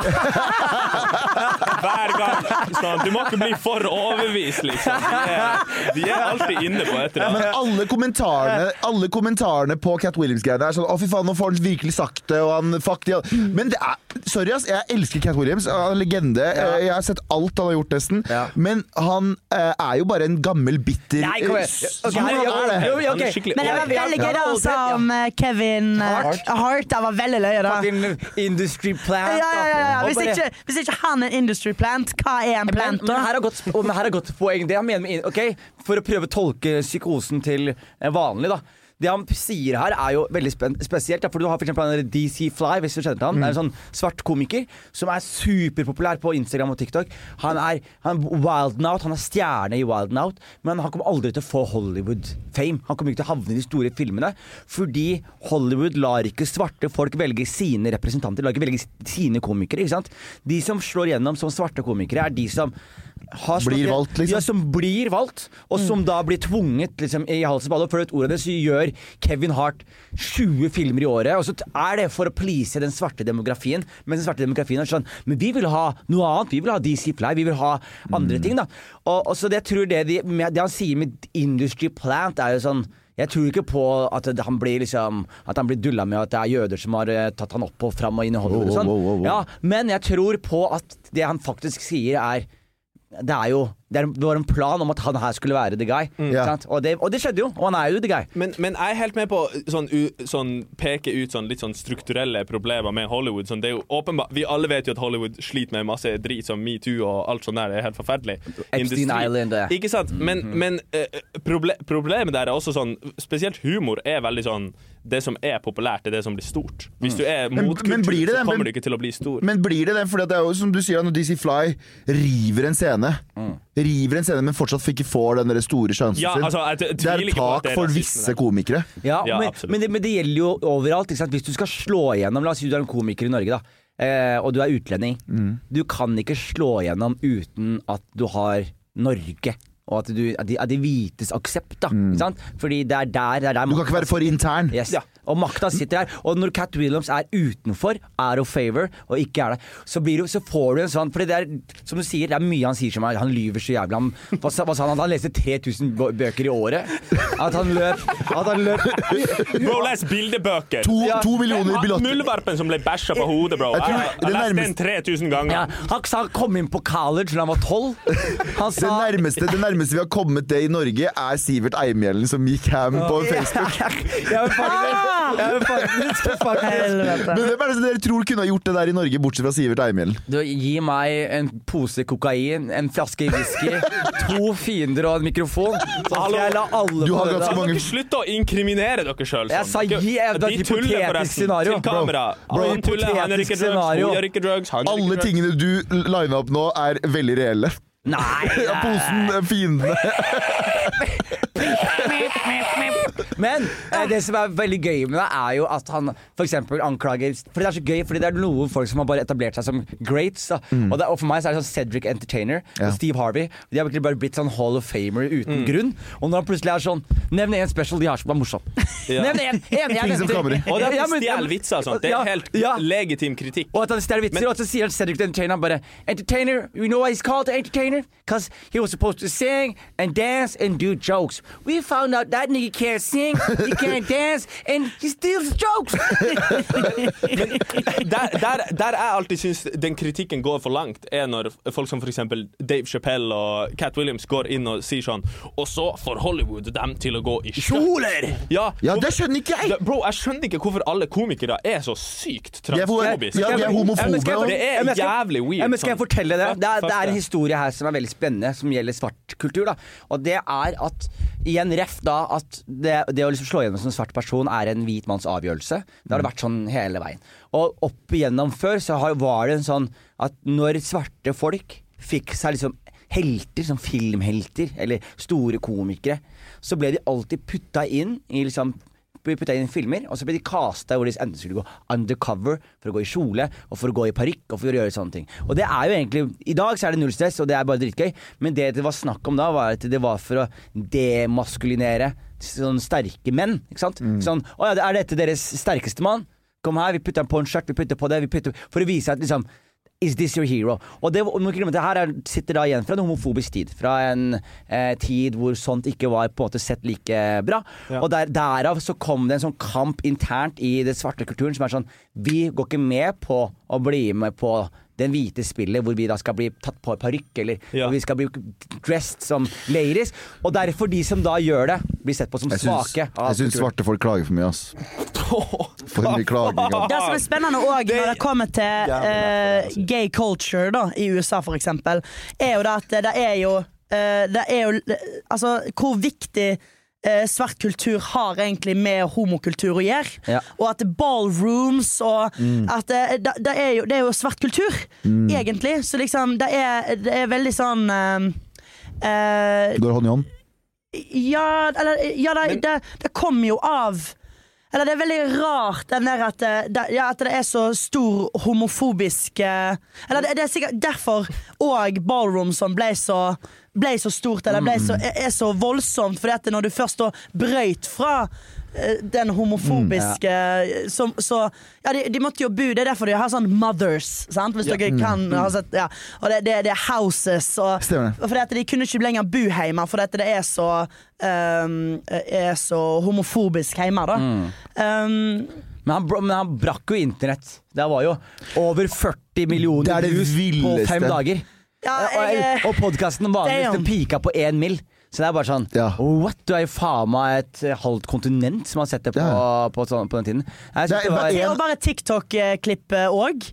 [SPEAKER 7] Hver gang! Sånn, du må ikke bli for overbevist, liksom. De er, de er alltid inne på et eller
[SPEAKER 2] Men
[SPEAKER 7] annet.
[SPEAKER 2] alle kommentarene Alle kommentarene på Cat Williams-greiene er sånn Å, fy faen, nå får han virkelig sagt det, og han Fuck de alle». Men det er Sorry, ass. Jeg elsker Cat Williams. Han er en legende. Eh, Jeg har sett alt han har gjort, nesten.
[SPEAKER 1] Ja.
[SPEAKER 2] Men han eh, er jo bare en gammel, bitter
[SPEAKER 1] Nei, kom igjen.
[SPEAKER 2] eh, s-
[SPEAKER 1] Ok,
[SPEAKER 2] Jo,
[SPEAKER 3] Sånn
[SPEAKER 1] jeg-
[SPEAKER 2] han er det.
[SPEAKER 1] Jo, jo, ok.
[SPEAKER 7] Han er skikkelig
[SPEAKER 3] Men det var
[SPEAKER 7] overbevist.
[SPEAKER 3] veldig gøy det han sa
[SPEAKER 1] Ja.
[SPEAKER 3] om eh, Kevin eh,
[SPEAKER 1] Hart.
[SPEAKER 3] Hart. Det var veldig løye, da.
[SPEAKER 1] Fucking industry plant.
[SPEAKER 3] Ja, ja, ja, ja.
[SPEAKER 1] da. Og
[SPEAKER 3] Hvis,
[SPEAKER 1] bare-
[SPEAKER 3] ikke, hvis ikke han er en industry plant, hva er en
[SPEAKER 1] Men,
[SPEAKER 3] plant
[SPEAKER 1] men
[SPEAKER 3] da?
[SPEAKER 1] her er godt, og- men her er godt poeng. Det han mener med, ok, For å prøve å tolke psykosen til eh, vanlig, da. Det han sier her, er jo veldig spen spesielt. da, For du har for eksempel han der DC Fly, hvis du kjenner til han. Det er en sånn svart komiker som er superpopulær på Instagram og TikTok. Han er, han er wild and out, han er stjerne i Wild and out, men han kommer aldri til å få Hollywood-fame. Han kommer ikke til å havne i de store filmene, fordi Hollywood lar ikke svarte folk velge sine representanter, lar ikke velge sine komikere. ikke sant? De som slår gjennom som svarte komikere, er de som har slått
[SPEAKER 2] Blir
[SPEAKER 1] igjen-
[SPEAKER 2] valgt, liksom.
[SPEAKER 1] Ja, som blir valgt,
[SPEAKER 2] Mm.
[SPEAKER 1] og som da blir tvunget liksom, i halsen på alle. Og Før du vet ordet av det, så gjør Kevin Hart 20 filmer i året. Og så er det for å please den svarte demografien. Mens den svarte demografien er sånn Men vi vil ha noe annet. Vi vil ha DC Fly. Vi vil ha andre
[SPEAKER 2] Mm.
[SPEAKER 1] ting, da. Og, og så det jeg tror det, de, med, det han sier med Industry Plant, er jo sånn jeg tror ikke på at det- han blir liksom At han blir dulla med at det er jøder som har eh, tatt han opp og fram og inn i Hollywood. og
[SPEAKER 2] Wow,
[SPEAKER 1] sånn.
[SPEAKER 2] wow, wow, wow.
[SPEAKER 1] Ja, men jeg tror på at det han faktisk sier, er det er jo det, er, det var en plan om at han her skulle være the guy.
[SPEAKER 2] Mm. Ja.
[SPEAKER 1] Sant? Og, det, og det skjedde jo, og han er jo the guy.
[SPEAKER 7] Men, men jeg er helt med på sånn, u, sånn peke ut sånn litt sånn strukturelle problemer med Hollywood. Sånn, det er jo åpenbart, vi alle vet jo at Hollywood sliter med masse drit som metoo og alt sånt der. Det er helt forferdelig. Industri-
[SPEAKER 1] Island, det.
[SPEAKER 7] Ikke sant?
[SPEAKER 2] Mhm.
[SPEAKER 7] Men, men eh, proble problemet der er også sånn Spesielt humor er veldig sånn Det som er populært, er det som blir stort. Hvis du er
[SPEAKER 2] Mm. Men-
[SPEAKER 7] mot kultur,
[SPEAKER 2] men blir det
[SPEAKER 7] så
[SPEAKER 2] det?
[SPEAKER 7] kommer
[SPEAKER 2] Men-
[SPEAKER 7] du ikke til å bli stor.
[SPEAKER 2] Men blir det det? For det er jo som du sier, når DC Fly river en scene River en scene, men fortsatt ikke får den der store sjansen
[SPEAKER 7] Mm. Ja,
[SPEAKER 2] sin.
[SPEAKER 7] altså, jeg t-
[SPEAKER 2] det er
[SPEAKER 7] tviler ikke på at
[SPEAKER 2] tak
[SPEAKER 7] det er
[SPEAKER 2] for
[SPEAKER 7] rasisme,
[SPEAKER 2] visse
[SPEAKER 7] det.
[SPEAKER 2] komikere.
[SPEAKER 1] Ja,
[SPEAKER 7] Ja,
[SPEAKER 1] men,
[SPEAKER 7] absolutt.
[SPEAKER 1] men, det, men det gjelder jo overalt. Ikke sant? Hvis du skal slå igjennom La oss si du er en komiker i Norge, da. Eh, og du er utlending.
[SPEAKER 2] Mm.
[SPEAKER 1] Du kan ikke slå igjennom uten at du har Norge. Og at, du, at, de, at de vites aksept, da. Ikke sant? Fordi det er der, det er der
[SPEAKER 2] Mm. Du kan ikke være for intern.
[SPEAKER 1] Yes. Og makta sitter her. Og når Cat Williams er utenfor, out of favor, og ikke er det, så, blir det, så får du en sånn For det er, som du sier, det er mye han sier som er Han lyver så jævlig. Han, hva sa hva sa han? At han leste 3000 bø- bøker i året? At han løp At han løp
[SPEAKER 7] Bro, les bildebøker!
[SPEAKER 2] To, to millioner
[SPEAKER 7] Ja,
[SPEAKER 2] billetter.
[SPEAKER 7] Muldvarpen som ble bæsja på hodet, bro.
[SPEAKER 2] Jeg
[SPEAKER 7] Jeg,
[SPEAKER 2] tror
[SPEAKER 7] jeg,
[SPEAKER 2] det
[SPEAKER 7] leste den
[SPEAKER 2] nærmeste-
[SPEAKER 7] 3000 ganger.
[SPEAKER 1] ja, Han sa han kom inn på college da han var tolv. Han
[SPEAKER 2] Det
[SPEAKER 1] sa
[SPEAKER 2] nærmeste, det nærmeste vi har kommet det i Norge, er Sivert Eimhjellen som gikk ham på Facebook.
[SPEAKER 1] Ja, men faktisk- ja, men faktisk, faktisk.
[SPEAKER 3] Helvete.
[SPEAKER 2] Men hvem er det som dere tror kunne ha gjort det der i Norge, bortsett fra Sivert Eimhjellen?
[SPEAKER 1] Du, gi meg en pose kokain, en flaske whisky, to fiender og en mikrofon. Så skal jeg la alle
[SPEAKER 2] Du
[SPEAKER 1] få
[SPEAKER 2] har
[SPEAKER 1] det
[SPEAKER 2] ganske
[SPEAKER 1] der.
[SPEAKER 2] mange-
[SPEAKER 7] Dere slutter å inkriminere dere sjøl.
[SPEAKER 1] Jeg sa gi et hypotetisk scenario.
[SPEAKER 7] Til kamera.
[SPEAKER 1] Bro,
[SPEAKER 7] han tuller, han gjør
[SPEAKER 1] hypotetisk
[SPEAKER 7] ikke drugs, hun
[SPEAKER 1] scenario.
[SPEAKER 7] gjør ikke drugs. Han gjør
[SPEAKER 2] Alle
[SPEAKER 7] ikke drugs.
[SPEAKER 2] tingene du lina opp nå, er veldig reelle.
[SPEAKER 1] Nei,
[SPEAKER 2] Ja,
[SPEAKER 1] nei.
[SPEAKER 2] posen, eh, fiendene
[SPEAKER 1] Men eh, det som er veldig gøy med det, er jo at han f.eks. anklager Fordi det er så gøy, fordi det er noen folk som har bare etablert seg som greats. Da. Og, det, og for meg så er det sånn Cedric Entertainer
[SPEAKER 2] Mm. Ja. Mm.
[SPEAKER 1] og Steve Harvey. De har virkelig bare blitt sånn Hall of Famer uten grunn. Og når han plutselig er sånn Nevn én special de har som er morsom. Nevn én! én jeg
[SPEAKER 2] Ting som
[SPEAKER 1] nevnte.
[SPEAKER 2] kommer i.
[SPEAKER 7] Og det
[SPEAKER 1] Ja,
[SPEAKER 7] er
[SPEAKER 1] men-
[SPEAKER 7] stjel vitser og sånt. Det
[SPEAKER 1] Ja,
[SPEAKER 7] er helt
[SPEAKER 1] ja.
[SPEAKER 7] legitim kritikk.
[SPEAKER 1] Og at han stjeler vitser,
[SPEAKER 7] Men-
[SPEAKER 1] og så sier Cedric the Entertainer han bare Entertainer, you know why he's called the Entertainer? Because he was supposed to sing and dance and do jokes. We found out that nigga can't sing, he can't dance, and he steals jokes!
[SPEAKER 7] Der, der, der jeg alltid syns den kritikken går for langt, er når folk som f.eks. Dave Chappelle og Cat Williams går inn og sier sånn Og så får Hollywood dem til å gå i kjoler! Ja,
[SPEAKER 2] Ja,
[SPEAKER 7] hvorfor-
[SPEAKER 2] det skjønner ikke jeg!
[SPEAKER 7] Da- Bro, jeg skjønner ikke hvorfor alle komikere er så sykt
[SPEAKER 2] er for-
[SPEAKER 7] transfobiske.
[SPEAKER 2] ja, de er homofobe
[SPEAKER 1] Ja, men skal jeg-
[SPEAKER 2] og-
[SPEAKER 7] Det er
[SPEAKER 1] Ja, men skal-
[SPEAKER 7] jævlig weird,
[SPEAKER 1] Ja, men skal jeg
[SPEAKER 7] sånn.
[SPEAKER 1] fortelle dere?
[SPEAKER 7] Fuck,
[SPEAKER 1] Det er,
[SPEAKER 7] fuck
[SPEAKER 1] det er en
[SPEAKER 7] det.
[SPEAKER 1] historie her som er veldig spennende, som gjelder svart kultur. da Og det er at igjen ref da at det, det å liksom slå gjennom som svart person er en hvit manns avgjørelse. Det har
[SPEAKER 7] Mm.
[SPEAKER 1] det vært sånn hele veien. Og opp igjennom før så har, var det en sånn at når svarte folk fikk seg liksom helter, som filmhelter, eller store komikere, så ble de alltid putta inn i liksom ble putta inn i filmer, og så ble de casta hvor de enten skulle gå undercover for å gå i kjole, og for å gå i parykk og for å gjøre sånne ting. Og det er jo egentlig I dag så er det null stress, og det er bare dritgøy, men det det var snakk om da, var at det var for å demaskulinere sånne sterke menn, ikke sant? Sånn Å ja, er dette deres sterkeste mann? Kom her, vi putter på en skjørt, vi putter på det, vi putter For å vise at liksom Is this your hero? Og det, og man glemmer at det her er, sitter da igjen fra en homofobisk tid. Fra en eh, tid hvor sånt ikke var på en måte sett like bra. Og der, derav så kom det en sånn kamp internt i den svarte kulturen som er sånn Vi går ikke med på å bli med på den hvite spillet hvor vi da skal bli tatt på parykk, eller
[SPEAKER 7] Ja.
[SPEAKER 1] hvor vi skal bli dressed som ladies. Og derfor de som da gjør det, blir sett på som
[SPEAKER 2] Jeg syns,
[SPEAKER 1] svake. av
[SPEAKER 2] jeg syns
[SPEAKER 1] kulturen.
[SPEAKER 2] svarte folk klager for mye, ass. For mye klaging. ass.
[SPEAKER 3] Det som er spennende òg når det kommer til eh, gay culture da, i USA, for eksempel, er jo det at det er jo, eh, det er jo Altså, hvor viktig eh, svart kultur har egentlig med homokultur å gjøre.
[SPEAKER 1] Ja. Mm.
[SPEAKER 3] Og at ballrooms og at det, det, det, er jo, det er jo svart kultur, egentlig. Så liksom, det er, det er veldig sånn eh, eh,
[SPEAKER 2] Går hånd i hånd.
[SPEAKER 3] ja, eller, ja det, det, det kommer jo av Eller det er veldig rart den der at eh, det, det- ja, at det er så stor homofobisk eh, Eller det, det er sikkert derfor òg ballroom som ble så ble så stort, eller ble
[SPEAKER 2] Mm.
[SPEAKER 3] så, er er så voldsomt. Fordi at når du først da brøyt fra eh, den homofobiske
[SPEAKER 2] Mm,
[SPEAKER 3] eh, som, Så Ja, de, de måtte jo bo. Det er derfor de har sånn mothers, sant? hvis dere kan ha sett ja. Og det, det, det er houses og
[SPEAKER 2] Mm, Stemmer det.
[SPEAKER 3] fordi at de kunne ikke lenger bo hjemme, fordi at det er så, ehm, er så homofobisk hjemme. Da. Ehm,
[SPEAKER 1] Men han, br- men han brakk jo internett. Det var jo over 40
[SPEAKER 2] Det
[SPEAKER 1] millioner
[SPEAKER 2] er det
[SPEAKER 1] views på
[SPEAKER 2] villeste.
[SPEAKER 1] fem dager.
[SPEAKER 3] ja,
[SPEAKER 1] og
[SPEAKER 3] jeg,
[SPEAKER 1] og podkasten vanligvis
[SPEAKER 3] Damn.
[SPEAKER 1] den pika på én mil. Så det er bare sånn
[SPEAKER 2] Ja.
[SPEAKER 1] What? Du er jo faen meg et eh, halvt kontinent som har sett det på,
[SPEAKER 2] Ja.
[SPEAKER 1] på, sånn, på den tiden. Jeg
[SPEAKER 2] Det
[SPEAKER 1] synes
[SPEAKER 2] er-
[SPEAKER 1] det var,
[SPEAKER 2] det
[SPEAKER 3] det og bare TikTok-klippet òg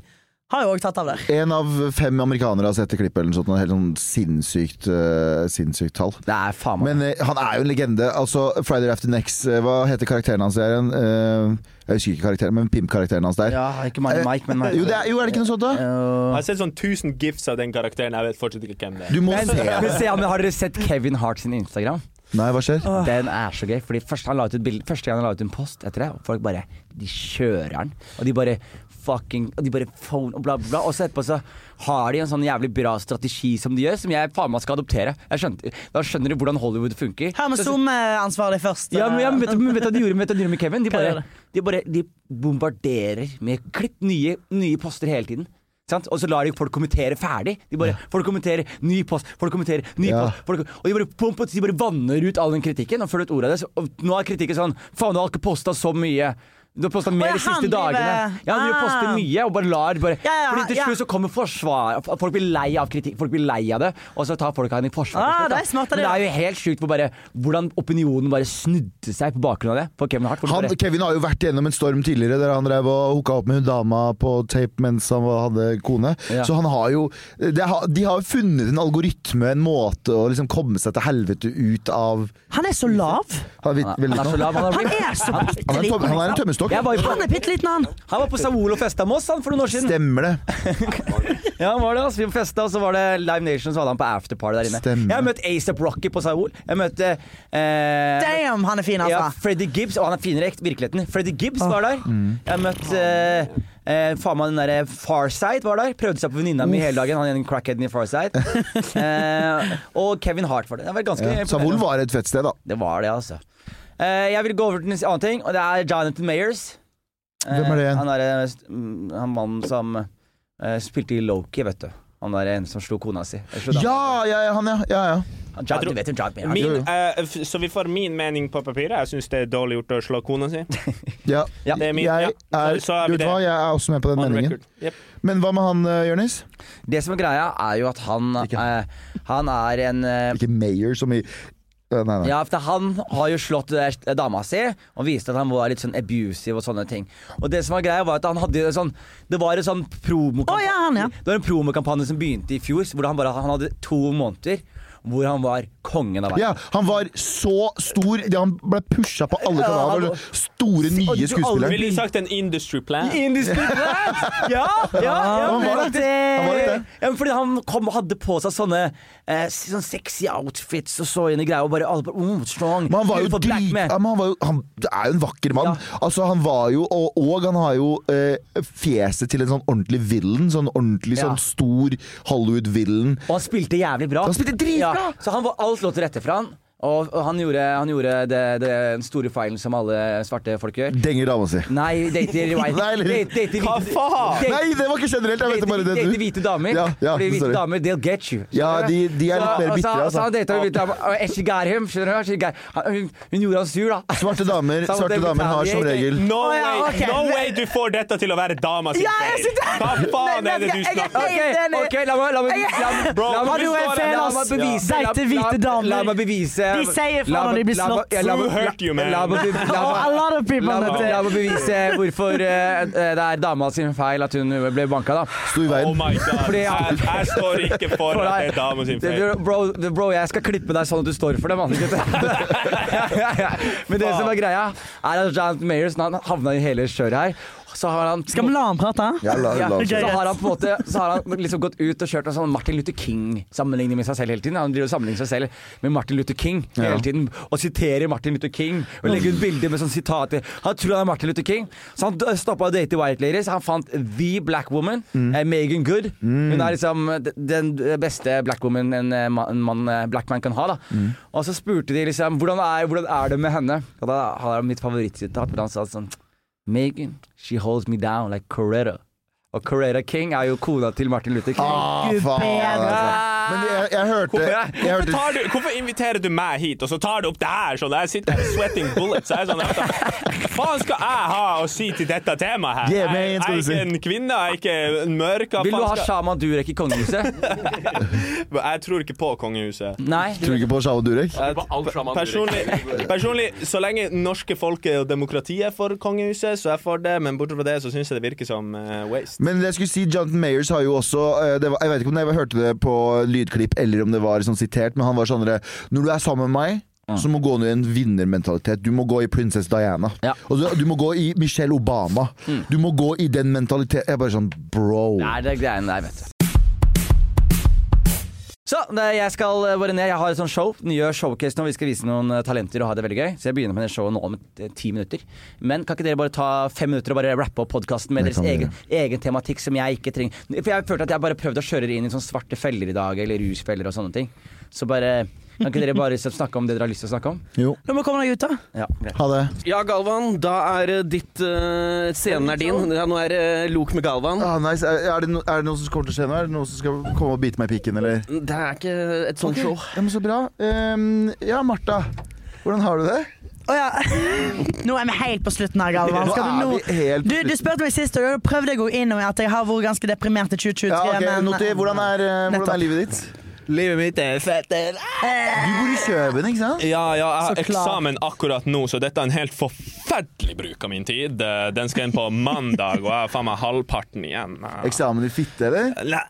[SPEAKER 3] har jo òg tatt av der.
[SPEAKER 2] En av fem amerikanere har sett det klippet, eller noe sånt. og Helt sånn sinnssykt, eh, sinnssykt tall.
[SPEAKER 1] det er faen meg
[SPEAKER 2] Men eh, han er jo en legende. Altså, Friday After Next, eh, hva heter karakteren hans der igjen? Eh, jeg husker ikke karakteren, men pimp-karakteren hans der.
[SPEAKER 1] Ja, ikke Mike, Mike men Mike. Eh,
[SPEAKER 2] Jo, det er, jo, er det ikke noe sånt, da?
[SPEAKER 7] Jeg har sett sånn 1000 gifs av den karakteren. Jeg vet fortsatt ikke hvem det
[SPEAKER 2] Du
[SPEAKER 7] er.
[SPEAKER 2] må
[SPEAKER 1] Men,
[SPEAKER 2] se.
[SPEAKER 1] men se, men har dere sett Kevin Hart sin Instagram?
[SPEAKER 2] Nei, hva skjer?
[SPEAKER 1] Den er så gøy. Fordi første, han la ut et bilde, første gang han la ut en post etter det, og folk bare De kjører den. Og de bare fucking Og de bare phone og bla, bla, bla. Og så etterpå så har de en sånn jævlig bra strategi som de gjør, som jeg faen meg skal adoptere. Jeg skjønte, da skjønner du hvordan Hollywood funker.
[SPEAKER 3] Her med
[SPEAKER 1] Så-
[SPEAKER 3] SoMe-ansvarlig først.
[SPEAKER 1] ja, men, ja, men vet, du- men vet du hva de gjorde, vet du hva de gjorde med Kevin? De
[SPEAKER 3] Hva
[SPEAKER 1] bare,
[SPEAKER 3] gjør
[SPEAKER 1] de bare de bombarderer med klipp nye, nye poster hele tiden. Sant? Og så lar de folk kommentere ferdig. De bare, Folk kommenterer ny post, folk kommenterer ny
[SPEAKER 2] Ja.
[SPEAKER 1] post folk, Og de bare, pump, de bare vanner ut all den kritikken og følger ut ordet av det. Så- Og nå er kritikken sånn Faen, du har ikke posta så mye Du har posta mer
[SPEAKER 3] ja,
[SPEAKER 1] de siste
[SPEAKER 3] han driver-
[SPEAKER 1] dagene. Ja, du
[SPEAKER 3] Ah.
[SPEAKER 1] poster mye og bare lar bare
[SPEAKER 3] Ja, ja,
[SPEAKER 1] Fordi til
[SPEAKER 3] ja.
[SPEAKER 1] slutt så kommer forsvar Folk blir lei av kritikk, folk blir lei av det, og så tar folk han i forsvar. til
[SPEAKER 3] Ah,
[SPEAKER 1] slutt, da.
[SPEAKER 3] det er smart av
[SPEAKER 1] Men det
[SPEAKER 3] dere.
[SPEAKER 1] er jo helt sjukt hvor bare, hvordan opinionen bare snudde seg på bakgrunn av det. For Kevin Hart. for
[SPEAKER 2] Han,
[SPEAKER 1] bare-
[SPEAKER 2] Kevin har jo vært gjennom en storm tidligere, der han drev og hooka opp med hun dama på tape mens han var- hadde kone.
[SPEAKER 1] Ja.
[SPEAKER 2] Så han har jo det, har- De har jo funnet en algoritme, en måte å liksom komme seg til helvete ut av
[SPEAKER 3] Han er så lav.
[SPEAKER 2] Han er,
[SPEAKER 1] han,
[SPEAKER 2] vidt-
[SPEAKER 1] er,
[SPEAKER 2] veldig
[SPEAKER 1] han er så
[SPEAKER 2] lav.
[SPEAKER 1] lav. Han,
[SPEAKER 3] Han
[SPEAKER 1] er blitt-
[SPEAKER 3] er så bitte
[SPEAKER 2] Han er en tøm-
[SPEAKER 3] liten.
[SPEAKER 2] han er en tømmestokk.
[SPEAKER 1] jeg var jo
[SPEAKER 3] Han
[SPEAKER 1] på,
[SPEAKER 3] er bitte liten, han.
[SPEAKER 1] han var på Savol og festa med oss han, for noen år siden.
[SPEAKER 2] Stemmer det.
[SPEAKER 1] Ja, han var det, altså. Vi festa, og så var det Live Nation, så hadde han på afterparty der inne.
[SPEAKER 2] Stemmer.
[SPEAKER 1] Jeg har møtt A$AP Rocky på Saul. Jeg møtte eh,
[SPEAKER 3] Damn, han er fin,
[SPEAKER 1] ja,
[SPEAKER 3] altså.
[SPEAKER 1] Freddy Gibbs. Og han er finere i ekte- virkeligheten. Freddy Gibbs var der.
[SPEAKER 2] Mm.
[SPEAKER 1] Jeg møtte eh, eh, faen meg den derre Farside var der. Prøvde seg på venninna mi hele dagen. Han er en crackheaden i Farside. eh, og Kevin Hart var det. Det var ganske
[SPEAKER 2] Ja.
[SPEAKER 1] imponerende.
[SPEAKER 2] Savol var et fett sted, da.
[SPEAKER 1] Det var det, altså. Eh, jeg vil gå over til en annen ting, og det er Jonathan Mayers. Eh,
[SPEAKER 2] Hvem er det igjen?
[SPEAKER 1] Han er eh, st- mm, han mannen som eh, spilte i Loki, vet du. Han er en som slo kona si. Eller slo dama.
[SPEAKER 2] Ja, ja, ja, han, ja. ja, ja.
[SPEAKER 1] Han- John, du vet jo Jonathan Mayers.
[SPEAKER 2] jo,
[SPEAKER 7] Min,
[SPEAKER 2] jo.
[SPEAKER 7] eh, f- så vi får min mening på papiret. Jeg syns det er dårlig gjort å slå kona si.
[SPEAKER 2] ja.
[SPEAKER 1] Ja.
[SPEAKER 7] Det er min, ja.
[SPEAKER 2] Jeg er,
[SPEAKER 7] Så- så er vi
[SPEAKER 2] vet du
[SPEAKER 7] det.
[SPEAKER 2] hva, jeg er også med på den
[SPEAKER 7] On
[SPEAKER 2] meningen.
[SPEAKER 7] record. Yep.
[SPEAKER 2] Men hva med han, eh, Jonis?
[SPEAKER 1] Det som er greia, er jo at han eh, Han er en eh,
[SPEAKER 2] Ikke Mayer som i Eh, Nei, nei.
[SPEAKER 1] Ja, for han har jo slått eh, dama si og viste at han var litt sånn abusive og sånne ting. Og det som var greia, var at han hadde jo en sånn Det var en sånn promokamp-
[SPEAKER 3] Å, ja, han, ja.
[SPEAKER 1] Det var en promokampanje som begynte i fjor, hvor han bare han hadde to måneder hvor han var kongen av verden.
[SPEAKER 2] Ja, han var så stor. Ja, Han ble pusha på alle
[SPEAKER 1] han
[SPEAKER 2] kanaler.
[SPEAKER 1] var-
[SPEAKER 2] Store, nye
[SPEAKER 1] aldri-
[SPEAKER 2] skuespillere.
[SPEAKER 7] Ville du sagt en industry plan?
[SPEAKER 1] Industry Plant! Ja! ja, ja
[SPEAKER 2] han
[SPEAKER 1] men
[SPEAKER 2] var
[SPEAKER 1] at
[SPEAKER 2] litt det. Han var litt det.
[SPEAKER 1] Ja, men fordi han kom og hadde på seg sånne eh, sånn sexy outfits og så inn i greia, og bare alle bare oh, strong.
[SPEAKER 2] Men han var jo
[SPEAKER 1] Beautiful black
[SPEAKER 2] drit...
[SPEAKER 1] man.
[SPEAKER 2] Ja, men han, var jo, han det er jo en vakker mann.
[SPEAKER 1] Ja.
[SPEAKER 2] Altså, han var jo Og, og han har jo eh, fjeset til en sånn ordentlig villain. Sånn ordentlig
[SPEAKER 1] Ja.
[SPEAKER 2] sånn stor Hollywood-villain.
[SPEAKER 1] Og han spilte jævlig bra.
[SPEAKER 2] Han spilte dritbra!
[SPEAKER 1] så han var alt lå til rette for han. Og, og han gjorde, han gjorde det, det, den store feilen som alle svarte folk gjør.
[SPEAKER 2] Denger dama si.
[SPEAKER 1] Nei, dater white
[SPEAKER 2] Nei, eller-
[SPEAKER 1] date- dater
[SPEAKER 7] Hva
[SPEAKER 1] hvite-
[SPEAKER 7] faen?
[SPEAKER 1] date-
[SPEAKER 2] Nei, det var ikke generelt! Jeg mente
[SPEAKER 1] Date,
[SPEAKER 2] bare det
[SPEAKER 1] date
[SPEAKER 2] du
[SPEAKER 1] hvite damer.
[SPEAKER 2] Ja, ja,
[SPEAKER 1] fordi hvite
[SPEAKER 2] sorry.
[SPEAKER 1] damer, they'll get you.
[SPEAKER 2] Ja, de, de er litt mer bitre,
[SPEAKER 1] Så han
[SPEAKER 2] altså.
[SPEAKER 1] data hvite damer. Og Eshi Gerhim, skjønner du? Eshi Gerhim. Han- Hun, hun gjorde han sur, da.
[SPEAKER 2] Svarte damer,
[SPEAKER 1] Så han
[SPEAKER 2] svarte
[SPEAKER 1] date-
[SPEAKER 2] damer har som regel
[SPEAKER 7] No
[SPEAKER 3] Å,
[SPEAKER 7] way,
[SPEAKER 3] ja, ok.
[SPEAKER 7] no way du får dette til å være dama sin
[SPEAKER 3] Ja, jeg
[SPEAKER 7] feil!
[SPEAKER 3] sitter-
[SPEAKER 7] Hva faen
[SPEAKER 3] Nei,
[SPEAKER 7] er det du
[SPEAKER 3] jeg- jeg-
[SPEAKER 7] snakker om?
[SPEAKER 1] Ok, ok, la meg la meg- la meg-
[SPEAKER 7] Bro,
[SPEAKER 1] la meg-
[SPEAKER 7] du er feil,
[SPEAKER 1] la meg
[SPEAKER 3] ass.
[SPEAKER 1] bevise
[SPEAKER 3] Ja.
[SPEAKER 1] la-
[SPEAKER 3] Date
[SPEAKER 1] la-
[SPEAKER 3] hvite damer.
[SPEAKER 1] La meg bevise
[SPEAKER 3] De sier faen
[SPEAKER 1] La
[SPEAKER 3] når
[SPEAKER 1] meg-
[SPEAKER 3] de blir
[SPEAKER 1] la meg-
[SPEAKER 3] slått.
[SPEAKER 1] ja, la meg-
[SPEAKER 7] Who hurt you, man?
[SPEAKER 1] La meg be- la
[SPEAKER 3] Oh,
[SPEAKER 1] meg-
[SPEAKER 3] a lot of people
[SPEAKER 1] La,
[SPEAKER 3] on that
[SPEAKER 1] meg- la
[SPEAKER 3] day.
[SPEAKER 1] meg bevise hvorfor eh, eh, det er dama sin feil at hun ble banka, da.
[SPEAKER 2] sto i
[SPEAKER 7] Oh
[SPEAKER 2] veien.
[SPEAKER 7] my god,
[SPEAKER 1] Fordi jeg-
[SPEAKER 7] jeg, jeg står ikke for at det er dama sin
[SPEAKER 1] Det-
[SPEAKER 7] feil.
[SPEAKER 1] det- Bro, det- bro, jeg skal klippe deg sånn at du står for det, mann. Men det som er greia, er at Jan Mayers han havna i hele kjøret her. Så har han
[SPEAKER 3] Skal vi la han prate?
[SPEAKER 2] Ja, la,
[SPEAKER 1] ja,
[SPEAKER 2] la,
[SPEAKER 3] Ok,
[SPEAKER 1] så
[SPEAKER 3] greit.
[SPEAKER 1] har han på en måte Så har han liksom gått ut og kjørt en sånn Martin Luther King-sammenligning med seg selv hele tiden. Han driver og sammenligner seg selv med Martin Luther King hele tiden og siterer Martin Luther King. Og legger ut bilder med sånn sitater. Han tror han er Martin Luther King. Så han stoppa å date white ladies. Han fant the black woman, eh, Megan Good. Hun er liksom d- den beste black woman en, eh, ma- en mann, eh, black man kan ha. da Og så spurte de liksom hvordan er, hvordan er det med henne. Og da har han mitt favorittsitat. hvor Han sa sånn Megan, she holds me down like Coretta. Og Coretta King er jo kona til Martin Luther King.
[SPEAKER 2] Ah,
[SPEAKER 3] Gud
[SPEAKER 2] faen,
[SPEAKER 3] bedre.
[SPEAKER 2] altså. Men jeg, jeg hørte jeg
[SPEAKER 7] Hvorfor,
[SPEAKER 2] hørte-
[SPEAKER 7] tar du, hvorfor inviterer du meg hit, og så tar du opp det her? Sånn, jeg sitter her og sweating bullets. Jeg er sånn, Hva faen skal jeg ha å si til dette temaet her?
[SPEAKER 2] Yeah, man,
[SPEAKER 7] Jeg, jeg
[SPEAKER 2] skal
[SPEAKER 7] er
[SPEAKER 2] du si.
[SPEAKER 7] ikke en kvinne, jeg er ikke en mørk. hva
[SPEAKER 1] Vil du
[SPEAKER 7] faen
[SPEAKER 1] ha
[SPEAKER 7] skal-
[SPEAKER 1] Shaman Durek i kongehuset?
[SPEAKER 7] Jeg tror ikke på kongehuset.
[SPEAKER 1] Nei.
[SPEAKER 2] Tror du ikke på Shao Durek?
[SPEAKER 6] Det var alt sammen.
[SPEAKER 7] Personlig, personlig, så lenge norske folket og demokratiet er for kongehuset, så er jeg for det, men bortsett fra det så syns jeg det virker som eh, waste.
[SPEAKER 2] Men det jeg skulle si, Jonathan Mayers har jo også eh, det var, Jeg vet ikke om jeg hørte det på lydklipp eller om det var sånn sitert, men han var sånn derre Når du er sammen med meg, så må du gå ned i en vinnermentalitet. Du må gå i prinsesse Diana.
[SPEAKER 1] Ja.
[SPEAKER 2] Og du, du må gå i Michelle Obama. Du må gå i den mentaliteten. Jeg er bare sånn bro.
[SPEAKER 1] Nei, det er greiene der, vet du. Så, det- jeg skal eh, bare ned. Jeg har et sånt show. Nye showcase nå. Vi skal vise noen eh, talenter og ha det veldig gøy. Så jeg begynner med det showet nå om eh, ti minutter. Men kan ikke dere bare ta fem minutter og bare rappe opp podkasten med
[SPEAKER 2] Det
[SPEAKER 1] deres
[SPEAKER 2] kan vi
[SPEAKER 1] egen, egen tematikk som jeg ikke trenger For jeg følte at jeg bare prøvde å kjøre inn i sånne svarte feller i dag, eller rusfeller og sånne ting. Så bare Kan ikke dere bare liksom snakke om det dere har lyst til å snakke om?
[SPEAKER 2] Jo,
[SPEAKER 3] Du må komme deg ut, da.
[SPEAKER 1] Ja, greit.
[SPEAKER 2] ha det.
[SPEAKER 8] Ja, Galvan, da er eh, ditt eh, Scenen er din. Ja, nå er det lok med Galvan.
[SPEAKER 2] Ah, nice. er, er, det no, er det noe som kommer til å skje nå? Er det noe som skal komme og bite meg i pikken, eller?
[SPEAKER 8] Det er ikke et sånt
[SPEAKER 2] Ok,
[SPEAKER 8] show.
[SPEAKER 2] Ja, men så bra. Ehm, ja, Martha. Hvordan har du det?
[SPEAKER 3] Å ja. Nå er vi helt på slutten her, Galvan.
[SPEAKER 2] Nå
[SPEAKER 3] Skal du,
[SPEAKER 2] er
[SPEAKER 3] nå...
[SPEAKER 2] vi helt
[SPEAKER 3] du, du spurte meg sist, og da prøvde jeg å gå inn i at jeg har vært ganske deprimert i 2023.
[SPEAKER 2] ja, ok,
[SPEAKER 3] men-
[SPEAKER 2] Noti, hvordan er, eh, hvordan
[SPEAKER 3] Nettopp.
[SPEAKER 2] er livet ditt?
[SPEAKER 8] Livet mitt er fetter.
[SPEAKER 2] Du bor i Kjøben, ikke sant?
[SPEAKER 7] Ja, ja, jeg har
[SPEAKER 3] Så klart.
[SPEAKER 7] eksamen akkurat nå, så dette er en helt forferdelig bruk av min tid. Eh, Den skal inn på mandag, og jeg har faen meg halvparten igjen. Eh,
[SPEAKER 2] Eksamen i fitte, eller?
[SPEAKER 7] Nei.